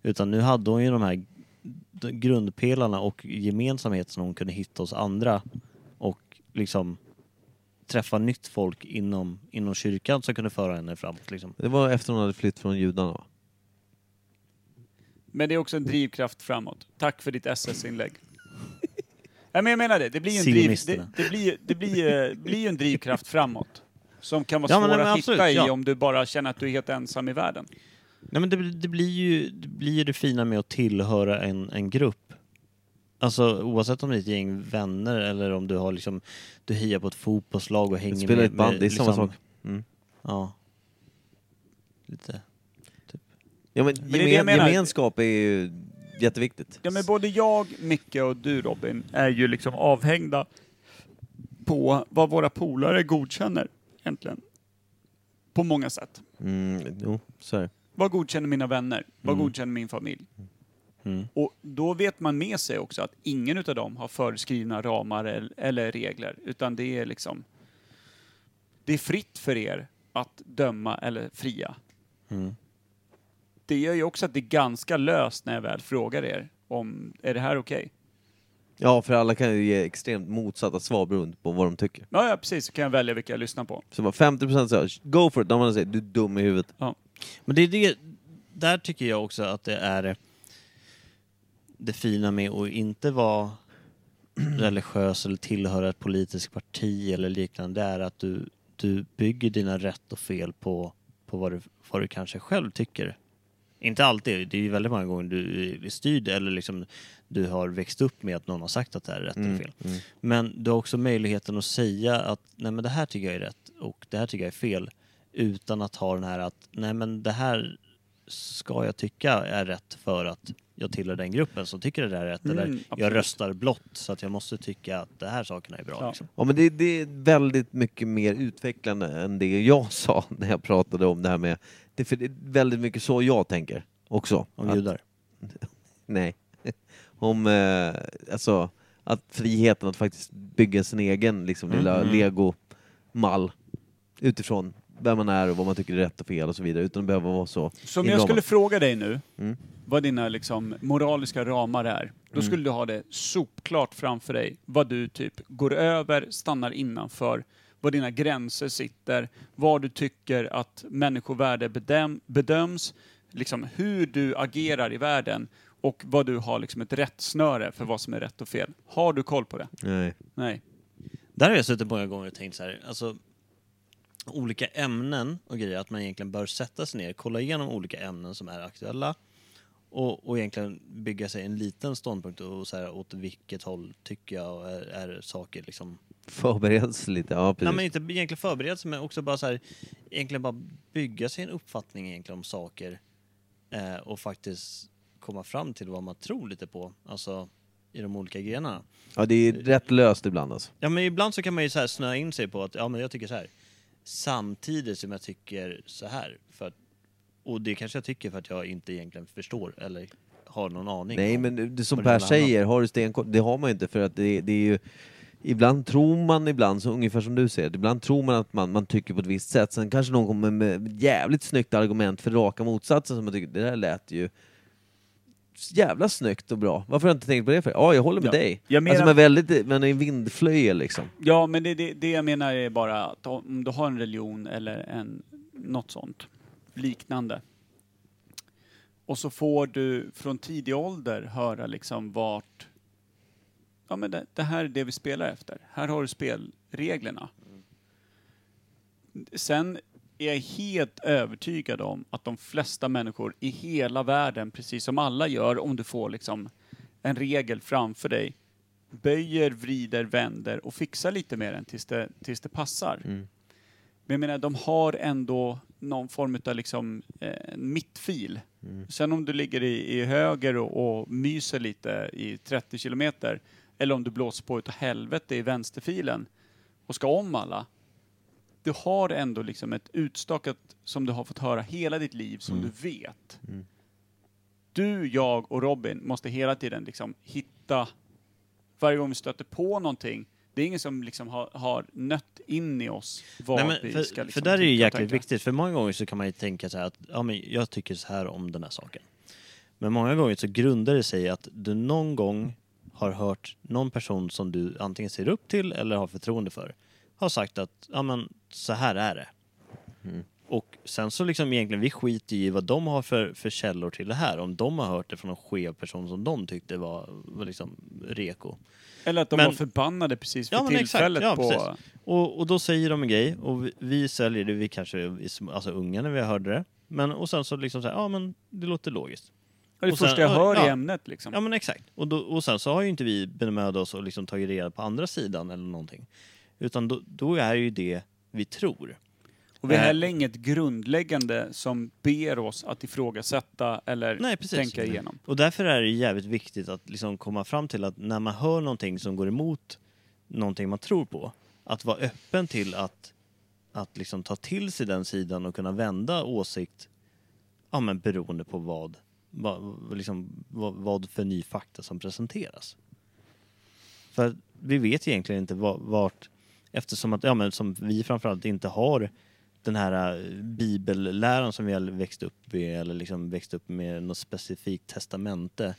[SPEAKER 4] Utan nu hade hon ju de här de grundpelarna och gemensamhet som hon kunde hitta hos andra och liksom träffa nytt folk inom, inom kyrkan som kunde föra henne framåt. Liksom.
[SPEAKER 2] Det var efter hon hade flytt från judarna va?
[SPEAKER 1] Men det är också en drivkraft framåt. Tack för ditt SS-inlägg. Nej, men jag menar det. Det blir ju en, driv, det,
[SPEAKER 4] Sionisterna.
[SPEAKER 1] det blir, ju- det blir, ju- blir ju en drivkraft framåt. Som kan vara
[SPEAKER 4] Ja,
[SPEAKER 1] svår
[SPEAKER 4] men- men
[SPEAKER 1] att
[SPEAKER 4] absolut,
[SPEAKER 1] hitta i
[SPEAKER 4] ja.
[SPEAKER 1] om du bara känner att du är helt ensam i världen.
[SPEAKER 4] Nej, men det, blir- det, blir ju, det blir ju det fina med att tillhöra en, en grupp. Alltså oavsett om det är ett gäng vänner eller om du har liksom, du hejar på ett fotbollslag och hänger
[SPEAKER 2] Spela i
[SPEAKER 4] med...
[SPEAKER 2] ett band,
[SPEAKER 4] med, liksom-
[SPEAKER 2] det är samma sak. Mm.
[SPEAKER 4] Ja. Lite.
[SPEAKER 2] Ja, men
[SPEAKER 1] det är det jag
[SPEAKER 2] gemen,
[SPEAKER 1] menar.
[SPEAKER 2] gemenskap är ju jätteviktigt.
[SPEAKER 1] Ja, men både jag, Micke och du Robin är ju liksom avhängda på vad våra polare godkänner egentligen. På många sätt.
[SPEAKER 2] Mm, jo, så är det.
[SPEAKER 1] Vad godkänner mina vänner? Vad godkänner min familj?
[SPEAKER 4] Mm.
[SPEAKER 1] Och då vet man med sig också att ingen utav dem har föreskrivna ramar el- eller regler, utan det är liksom... Det är fritt för er att döma eller fria. det gör ju också att det är ganska löst när jag väl frågar er om, är det här okej?
[SPEAKER 2] Ja, för alla kan ju ge extremt motsatta svar beroende på vad de tycker.
[SPEAKER 1] Ja, ja, precis, så kan jag välja vilka jag lyssnar på.
[SPEAKER 2] Så bara 50% säger go for it, de andra säger du är dum i huvudet.
[SPEAKER 4] Men det är det, där tycker jag också att det är det fina med att inte vara religiös eller tillhöra ett politiskt parti eller liknande, det är att du, du bygger dina rätt och fel på, på vad, du, vad du kanske själv tycker. Inte alltid, det är ju väldigt många gånger du är styrd eller liksom du har växt upp med att någon har sagt att det här är rätt
[SPEAKER 1] Mm,
[SPEAKER 4] eller fel. Men du har också möjligheten att säga att nej men det här tycker jag är rätt och det här tycker jag är fel utan att ha den här att nej men det här ska jag tycka är rätt för att jag tillhör den gruppen som tycker det där är rätt
[SPEAKER 1] Mm,
[SPEAKER 4] eller
[SPEAKER 1] absolut.
[SPEAKER 4] jag röstar blått så att jag måste tycka att det här sakerna är bra.
[SPEAKER 1] Ja.
[SPEAKER 4] Liksom.
[SPEAKER 2] Ja, men det, det är väldigt mycket mer utvecklande än det jag sa när jag pratade om det här med... Det, för det är väldigt mycket så jag tänker också.
[SPEAKER 4] Om
[SPEAKER 2] Att-
[SPEAKER 4] judar.
[SPEAKER 2] Nej. Om eh, alltså, att friheten att faktiskt bygga sin egen liksom, lilla
[SPEAKER 1] Mm,
[SPEAKER 2] legomall utifrån vem man är och vad man tycker är rätt och fel och så vidare utan att behöva vara så
[SPEAKER 1] Så om jag
[SPEAKER 2] inramad.
[SPEAKER 1] skulle fråga dig nu
[SPEAKER 2] Mm.
[SPEAKER 1] vad dina liksom, moraliska ramar är, då skulle du ha det sopklart framför dig vad du typ går över, stannar innanför, var dina gränser sitter, var du tycker att människovärde bedöm, bedöms, liksom hur du agerar i världen och vad du har liksom ett rättsnöre för vad som är rätt och fel. Har du koll på det?
[SPEAKER 2] Nej.
[SPEAKER 1] Nej.
[SPEAKER 4] Där har jag suttit många gånger och tänkt så här, alltså olika ämnen och grejer, att man egentligen bör sätta sig ner, kolla igenom olika ämnen som är aktuella och, och egentligen bygga sig en liten ståndpunkt och så här, åt vilket håll tycker jag är, är saker liksom
[SPEAKER 2] Förbereda sig lite, ja precis.
[SPEAKER 4] Nej, men inte egentligen förbereda sig, men också bara så här, egentligen bara bygga sig en uppfattning egentligen om saker eh, och faktiskt komma fram till vad man tror lite på, alltså i de olika grenarna.
[SPEAKER 2] Ja det
[SPEAKER 1] Eh,
[SPEAKER 2] är rätt löst ibland alltså.
[SPEAKER 4] Ja, men ibland så kan man ju så här snöa in sig på att ja, men jag tycker så här samtidigt som jag tycker så här. För att, och det kanske jag tycker för att jag inte egentligen förstår eller har någon aning.
[SPEAKER 2] Nej
[SPEAKER 4] om.
[SPEAKER 2] men det som
[SPEAKER 4] Och
[SPEAKER 2] Per
[SPEAKER 4] det handlar om-
[SPEAKER 2] säger, har du stenkoll? Det har man ju inte för att det, det är ju Ibland tror man, ibland så ungefär som du säger, ibland tror man att man, man tycker på ett visst sätt, sen kanske någon kommer med ett jävligt snyggt argument för raka motsatsen som man tycker, det där lät ju så jävla snyggt och bra. Varför har jag inte tänkt på det för? Ja, jag håller med
[SPEAKER 1] Ja.
[SPEAKER 2] dig.
[SPEAKER 1] Jag menar-
[SPEAKER 2] Alltså man är väldigt, man är en vindflöjel liksom.
[SPEAKER 1] Ja, men det, det, det jag menar är bara att om du har en religion eller en, något sånt liknande. Och så får du från tidig ålder höra liksom vart... Ja, men det, det här är det vi spelar efter. Här har du spelreglerna. Sen är jag helt övertygad om att de flesta människor i hela världen, precis som alla gör, om du får liksom en regel framför dig, böjer, vrider, vänder och fixar lite med den tills det, tills det passar. Men jag menar, de har ändå någon form av liksom, eh, mittfil. Sen om du ligger i, i höger och, och myser lite i 30 kilometer, eller om du blåser på utav helvete i vänsterfilen och ska om alla. Du har ändå liksom ett utstakat som du har fått höra hela ditt liv, som
[SPEAKER 4] Mm.
[SPEAKER 1] du vet. Du, jag och Robin måste hela tiden liksom hitta varje gång vi stöter på någonting, det är ingen som liksom har, har nött in i oss vad
[SPEAKER 4] Nej, men
[SPEAKER 1] vi
[SPEAKER 4] för,
[SPEAKER 1] ska liksom
[SPEAKER 4] för där är det ju
[SPEAKER 1] tycka och
[SPEAKER 4] jäkligt
[SPEAKER 1] tänka.
[SPEAKER 4] viktigt, för många gånger så kan man ju tänka så här att ja, men jag tycker så här om den här saken. Men många gånger så grundar det sig i att du någon gång har hört någon person som du antingen ser upp till eller har förtroende för har sagt att ja, men så här är det. Och sen så liksom egentligen, vi skiter ju i vad de har för, för källor till det här. Om de har hört det från en skev person som de tyckte var, var liksom reko.
[SPEAKER 1] Eller att de
[SPEAKER 4] Men-
[SPEAKER 1] var förbannade precis för
[SPEAKER 4] Ja, men exakt.
[SPEAKER 1] tillfället
[SPEAKER 4] Ja,
[SPEAKER 1] på...
[SPEAKER 4] precis. Och, och då säger de en grej och vi, vi säljer det, vi kanske är sm- alltså unga när vi hörde det. Men, och sen så liksom så här, ja men det låter logiskt.
[SPEAKER 1] Det är det
[SPEAKER 4] Och sen-
[SPEAKER 1] första jag hör i
[SPEAKER 4] ja.
[SPEAKER 1] ämnet liksom.
[SPEAKER 4] Ja men exakt. Och, då, och sen så har ju inte vi bemödat oss och liksom tagit reda på andra sidan eller någonting. Utan då, då är ju det vi tror.
[SPEAKER 1] och vi har
[SPEAKER 4] eh.
[SPEAKER 1] heller inget grundläggande som ber oss att ifrågasätta eller
[SPEAKER 4] Nej, precis.
[SPEAKER 1] tänka igenom.
[SPEAKER 4] Och därför är det jävligt viktigt att liksom komma fram till att när man hör någonting som går emot någonting man tror på, att vara öppen till att, att liksom ta till sig den sidan och kunna vända åsikt ja, men beroende på vad, vad, liksom, vad, vad för ny fakta som presenteras. För vi vet egentligen inte va- vart, eftersom att, ja, men som vi framförallt inte har den här eh, bibelläran som vi har växt upp i eller liksom växt upp med något specifikt testamente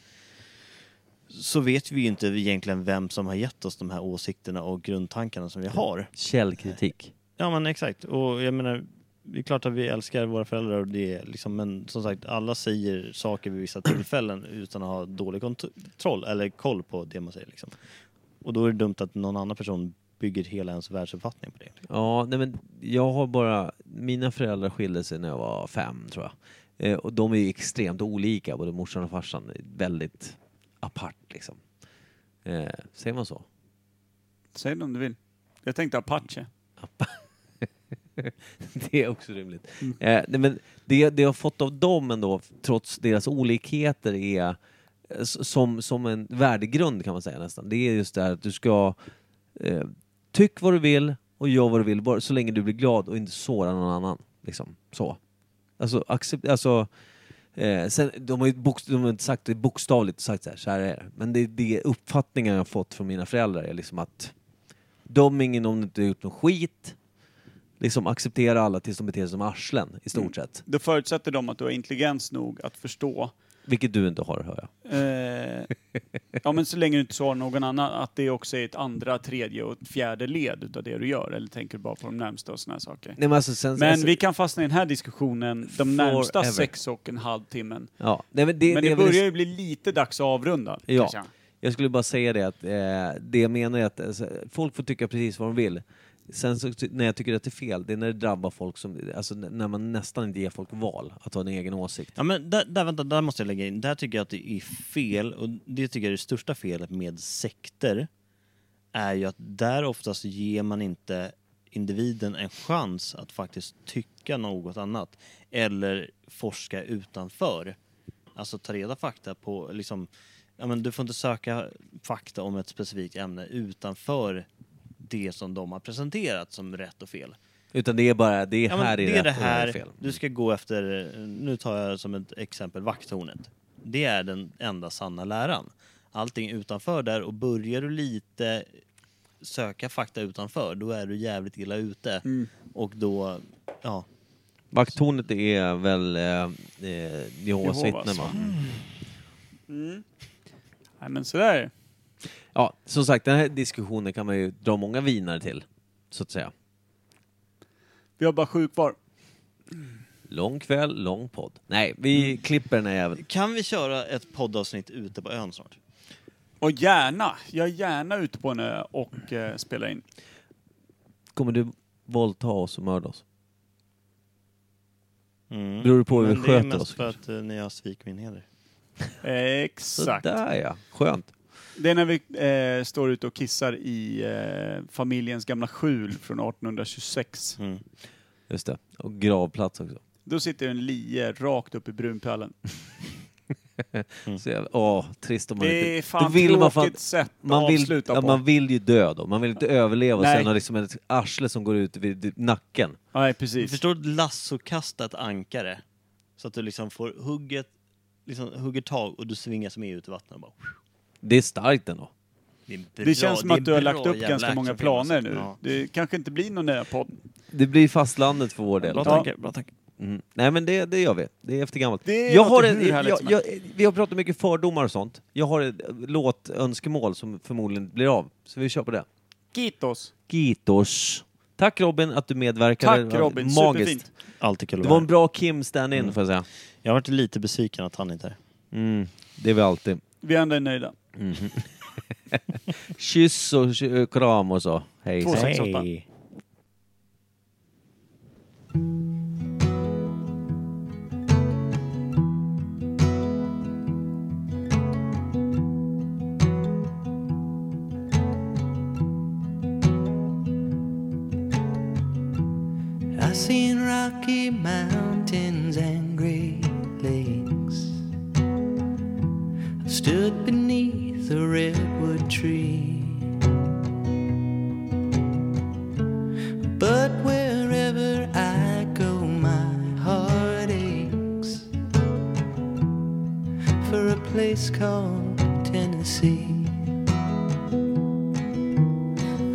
[SPEAKER 4] så vet vi ju inte egentligen vem som har gett oss de här åsikterna och grundtankarna som vi har.
[SPEAKER 2] Källkritik.
[SPEAKER 4] Ja men exakt. Och jag menar, det är klart att vi älskar våra föräldrar och det är liksom, men som sagt alla säger saker vid vissa tillfällen utan att ha dålig kontroll eller koll på det man säger liksom. Och då är det dumt att någon annan person bygger hela ens världsuppfattning på det.
[SPEAKER 2] Ja, nej men jag har bara... Mina föräldrar skilde sig när jag var fem, tror jag. Eh, och de är ju extremt olika, både morsan och farsan. Väldigt apart, liksom. Eh, säger man så?
[SPEAKER 1] Säg det om du vill. Jag tänkte Apache.
[SPEAKER 2] det är också rimligt. Eh, nej, men det, det jag har fått av dem ändå, trots deras olikheter, är eh, s- som, som en värdegrund kan man säga nästan. Det är just det här att du ska eh, tyck vad du vill och gör vad du vill, bara, så länge du blir glad och inte sårar någon annan. Liksom. Så. Alltså, accept, alltså eh, sen, de har ju bok, de har inte sagt det bokstavligt sagt så här, så här är det. Men det, det är uppfattningen jag har fått från mina föräldrar är liksom att döm ingen om du inte har gjort någon skit, liksom acceptera alla tills de beter sig som arslen i stort sett.
[SPEAKER 1] Då förutsätter de att du har intelligens nog att förstå.
[SPEAKER 2] Vilket du inte har hör jag.
[SPEAKER 1] Eh, ja, men så länge du inte svarar någon annan, att det också är ett andra, tredje och ett fjärde led utav det du gör. Eller tänker du bara på de närmsta och såna här saker.
[SPEAKER 2] Nej, men alltså, sen,
[SPEAKER 1] Men
[SPEAKER 2] alltså,
[SPEAKER 1] vi kan fastna i den här diskussionen de närmsta
[SPEAKER 2] Forever.
[SPEAKER 1] sex och en halv timmen.
[SPEAKER 2] ja. Nej, men det,
[SPEAKER 1] Men
[SPEAKER 2] det
[SPEAKER 1] det
[SPEAKER 2] är väl-
[SPEAKER 1] börjar ju bli lite dags att avrunda.
[SPEAKER 2] Ja.
[SPEAKER 1] kanske.
[SPEAKER 2] Jag skulle bara säga det att eh, det jag menar är att alltså, folk får tycka precis vad de vill. Sen så, ty- när jag tycker att det är fel, det är när det drabbar folk som, alltså n- när man nästan inte ger folk val att ha en egen åsikt.
[SPEAKER 4] Ja men där, där, vänta, där måste jag lägga in, där tycker jag att det är fel och det tycker jag är det största felet med sekter är ju att där oftast ger man inte individen en chans att faktiskt tycka något annat eller forska utanför. Alltså ta reda fakta på, liksom, ja, men du får inte söka fakta om ett specifikt ämne utanför det som de har presenterat som rätt och fel.
[SPEAKER 2] Utan det är bara, det är
[SPEAKER 4] Ja, men
[SPEAKER 2] här
[SPEAKER 4] det
[SPEAKER 2] är
[SPEAKER 4] är det
[SPEAKER 2] rätt och här är
[SPEAKER 4] här,
[SPEAKER 2] fel.
[SPEAKER 4] du ska gå efter, nu tar jag som ett exempel vakttornet. Det är den enda sanna läran. Allting utanför där och börjar du lite söka fakta utanför, då är du jävligt illa ute. Och då, ja.
[SPEAKER 2] Vakttornet är väl eh, eh, Jehovas
[SPEAKER 1] Jehovas.
[SPEAKER 2] vittnen va?
[SPEAKER 1] Nej, men sådär är det.
[SPEAKER 2] Ja, som sagt den här diskussionen kan man ju dra många vinare till, så att säga.
[SPEAKER 1] Vi har bara sju kvar.
[SPEAKER 2] Lång kväll, lång podd. Nej,
[SPEAKER 1] Mm.
[SPEAKER 2] vi klipper den här jäveln.
[SPEAKER 4] Kan vi köra ett poddavsnitt ute på ön snart?
[SPEAKER 1] Och gärna, jag är gärna ute på en ö och eh, spelar in.
[SPEAKER 2] Kommer du våldta oss och mörda oss?
[SPEAKER 4] Mm.
[SPEAKER 2] Beror det på hur vi
[SPEAKER 4] Men det är
[SPEAKER 2] sköter
[SPEAKER 4] mest
[SPEAKER 2] oss?
[SPEAKER 4] för att eh, ni har svikit min heder.
[SPEAKER 1] Exakt.
[SPEAKER 2] Sådär ja, skönt.
[SPEAKER 1] Det är när vi eh, står ute och kissar i eh, familjens gamla skjul från 1826.
[SPEAKER 4] Mm.
[SPEAKER 2] Just det. Och gravplats också.
[SPEAKER 1] Då sitter en lie rakt upp i brunpölen.
[SPEAKER 2] Så jävla, åh, trist om man
[SPEAKER 1] Mm. Det är
[SPEAKER 2] inte...
[SPEAKER 1] fan
[SPEAKER 2] Då vill
[SPEAKER 1] tråkigt
[SPEAKER 2] man fan-
[SPEAKER 1] sätt
[SPEAKER 2] man
[SPEAKER 1] att
[SPEAKER 2] vill,
[SPEAKER 1] avsluta
[SPEAKER 2] ja,
[SPEAKER 1] på.
[SPEAKER 2] man vill ju dö då. Man vill inte överleva
[SPEAKER 1] Nej.
[SPEAKER 2] och sen ha liksom ett arsle som går ut vid nacken.
[SPEAKER 1] Nej,
[SPEAKER 4] Du
[SPEAKER 1] precis.
[SPEAKER 4] förstår att lassokasta ett ankare så att du liksom får hugget, liksom hugger tag och du svingas med ut i vattnet och bara
[SPEAKER 2] Det är starkt ändå.
[SPEAKER 4] Det, är en bra-
[SPEAKER 1] Det känns som
[SPEAKER 4] är
[SPEAKER 1] att du har
[SPEAKER 4] en
[SPEAKER 1] lagt
[SPEAKER 4] bra
[SPEAKER 1] upp
[SPEAKER 4] jävla
[SPEAKER 1] ganska många
[SPEAKER 4] actionfilm, alltså.
[SPEAKER 1] planer nu.
[SPEAKER 4] Ja.
[SPEAKER 1] Det kanske inte blir någon nya podd.
[SPEAKER 2] Det blir fastlandet för vår del.
[SPEAKER 4] Bra
[SPEAKER 1] Ja.
[SPEAKER 4] tanke, bra tanke.
[SPEAKER 2] Mm. Nej men det, det gör vi. Det är efter gammalt.
[SPEAKER 1] Det
[SPEAKER 2] jag har
[SPEAKER 1] låter
[SPEAKER 2] en,
[SPEAKER 1] hur
[SPEAKER 2] jag,
[SPEAKER 1] härligt som
[SPEAKER 2] jag, vi har pratat mycket fördomar och sånt. Jag har ett eh, låtönskemål som förmodligen inte blir av. Så vi kör på det.
[SPEAKER 1] Gitos.
[SPEAKER 2] Gitos. Tack Robin att du medverkade.
[SPEAKER 1] Tack
[SPEAKER 2] Det var
[SPEAKER 1] Robin,
[SPEAKER 2] Magiskt.
[SPEAKER 1] superfint. Mm.
[SPEAKER 4] Alltid kul att
[SPEAKER 2] Det
[SPEAKER 4] vara
[SPEAKER 2] var
[SPEAKER 4] här.
[SPEAKER 2] en bra Kim stand-in får jag säga.
[SPEAKER 4] Jag har varit lite besviken att han inte är här.
[SPEAKER 2] Mm, det är vi alltid.
[SPEAKER 1] Vi andra är nöjda.
[SPEAKER 2] Kyss och k- kram och så. Hej.
[SPEAKER 1] Två, sex, åtta.
[SPEAKER 9] I've seen rocky mountains and great lakes. I've stood beneath a redwood tree. But wherever I go, my heart aches for a place called Tennessee.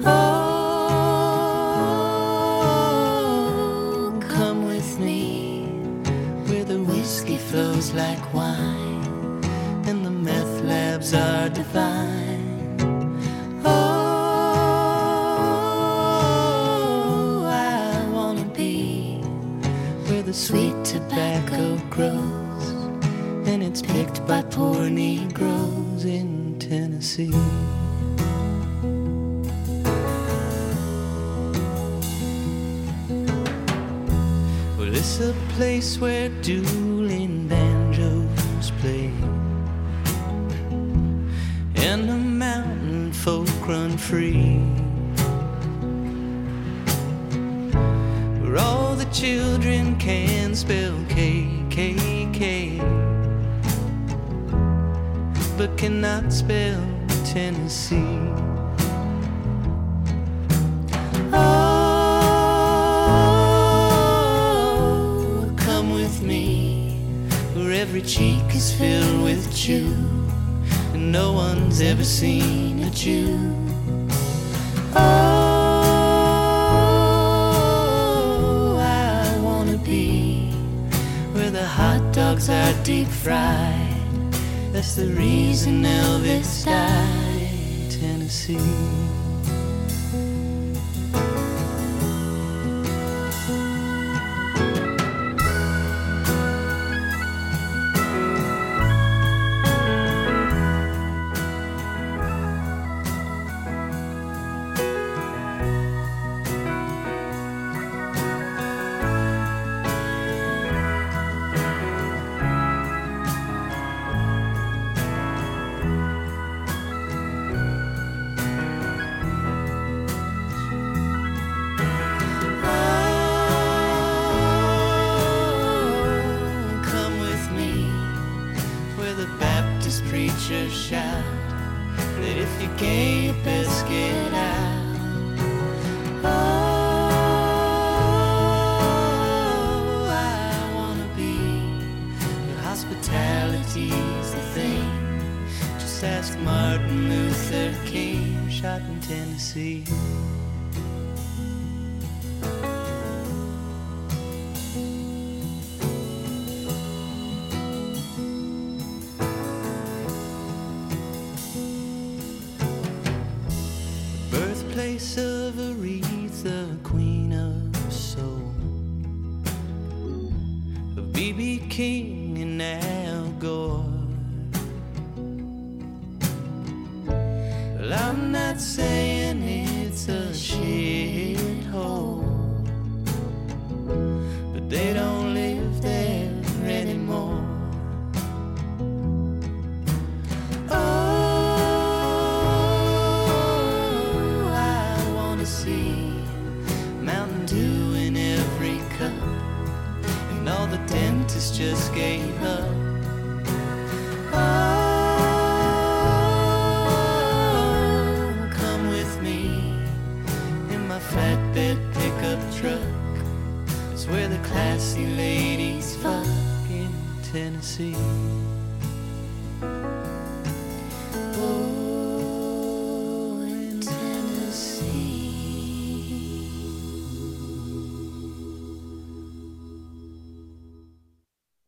[SPEAKER 10] Oh,
[SPEAKER 9] tastes like wine, and the meth labs are divine. Oh, I wanna be where the sweet tobacco grows, and it's picked by poor Negroes in Tennessee. Well, it's a place where dueling banjos play. And the mountain folk run free. Where all the children can spell KKK. But cannot spell Tennessee. Oh, come with me, where every cheek is filled with chew, and no one's ever seen a Jew. Oh, I wanna be where the hot dogs are deep fried. That's the reason Elvis died in Tennessee. Oh, come with me, where the Baptist preachers shout that if you're gay, you best get out. Oh, I wanna be where hospitality's the thing. Just ask Martin Luther King, shot in Tennessee. birthplace of Aretha, queen of soul, of BB King and Al Gore. Well, I'm not saying it's a shithole, but they don't live there anymore. Oh, I wanna see Mountain Dew in every cup, and all the dentists just gave up. Oh, come with me in my flatbed pickup truck. It's where the classy ladies fuck in Tennessee.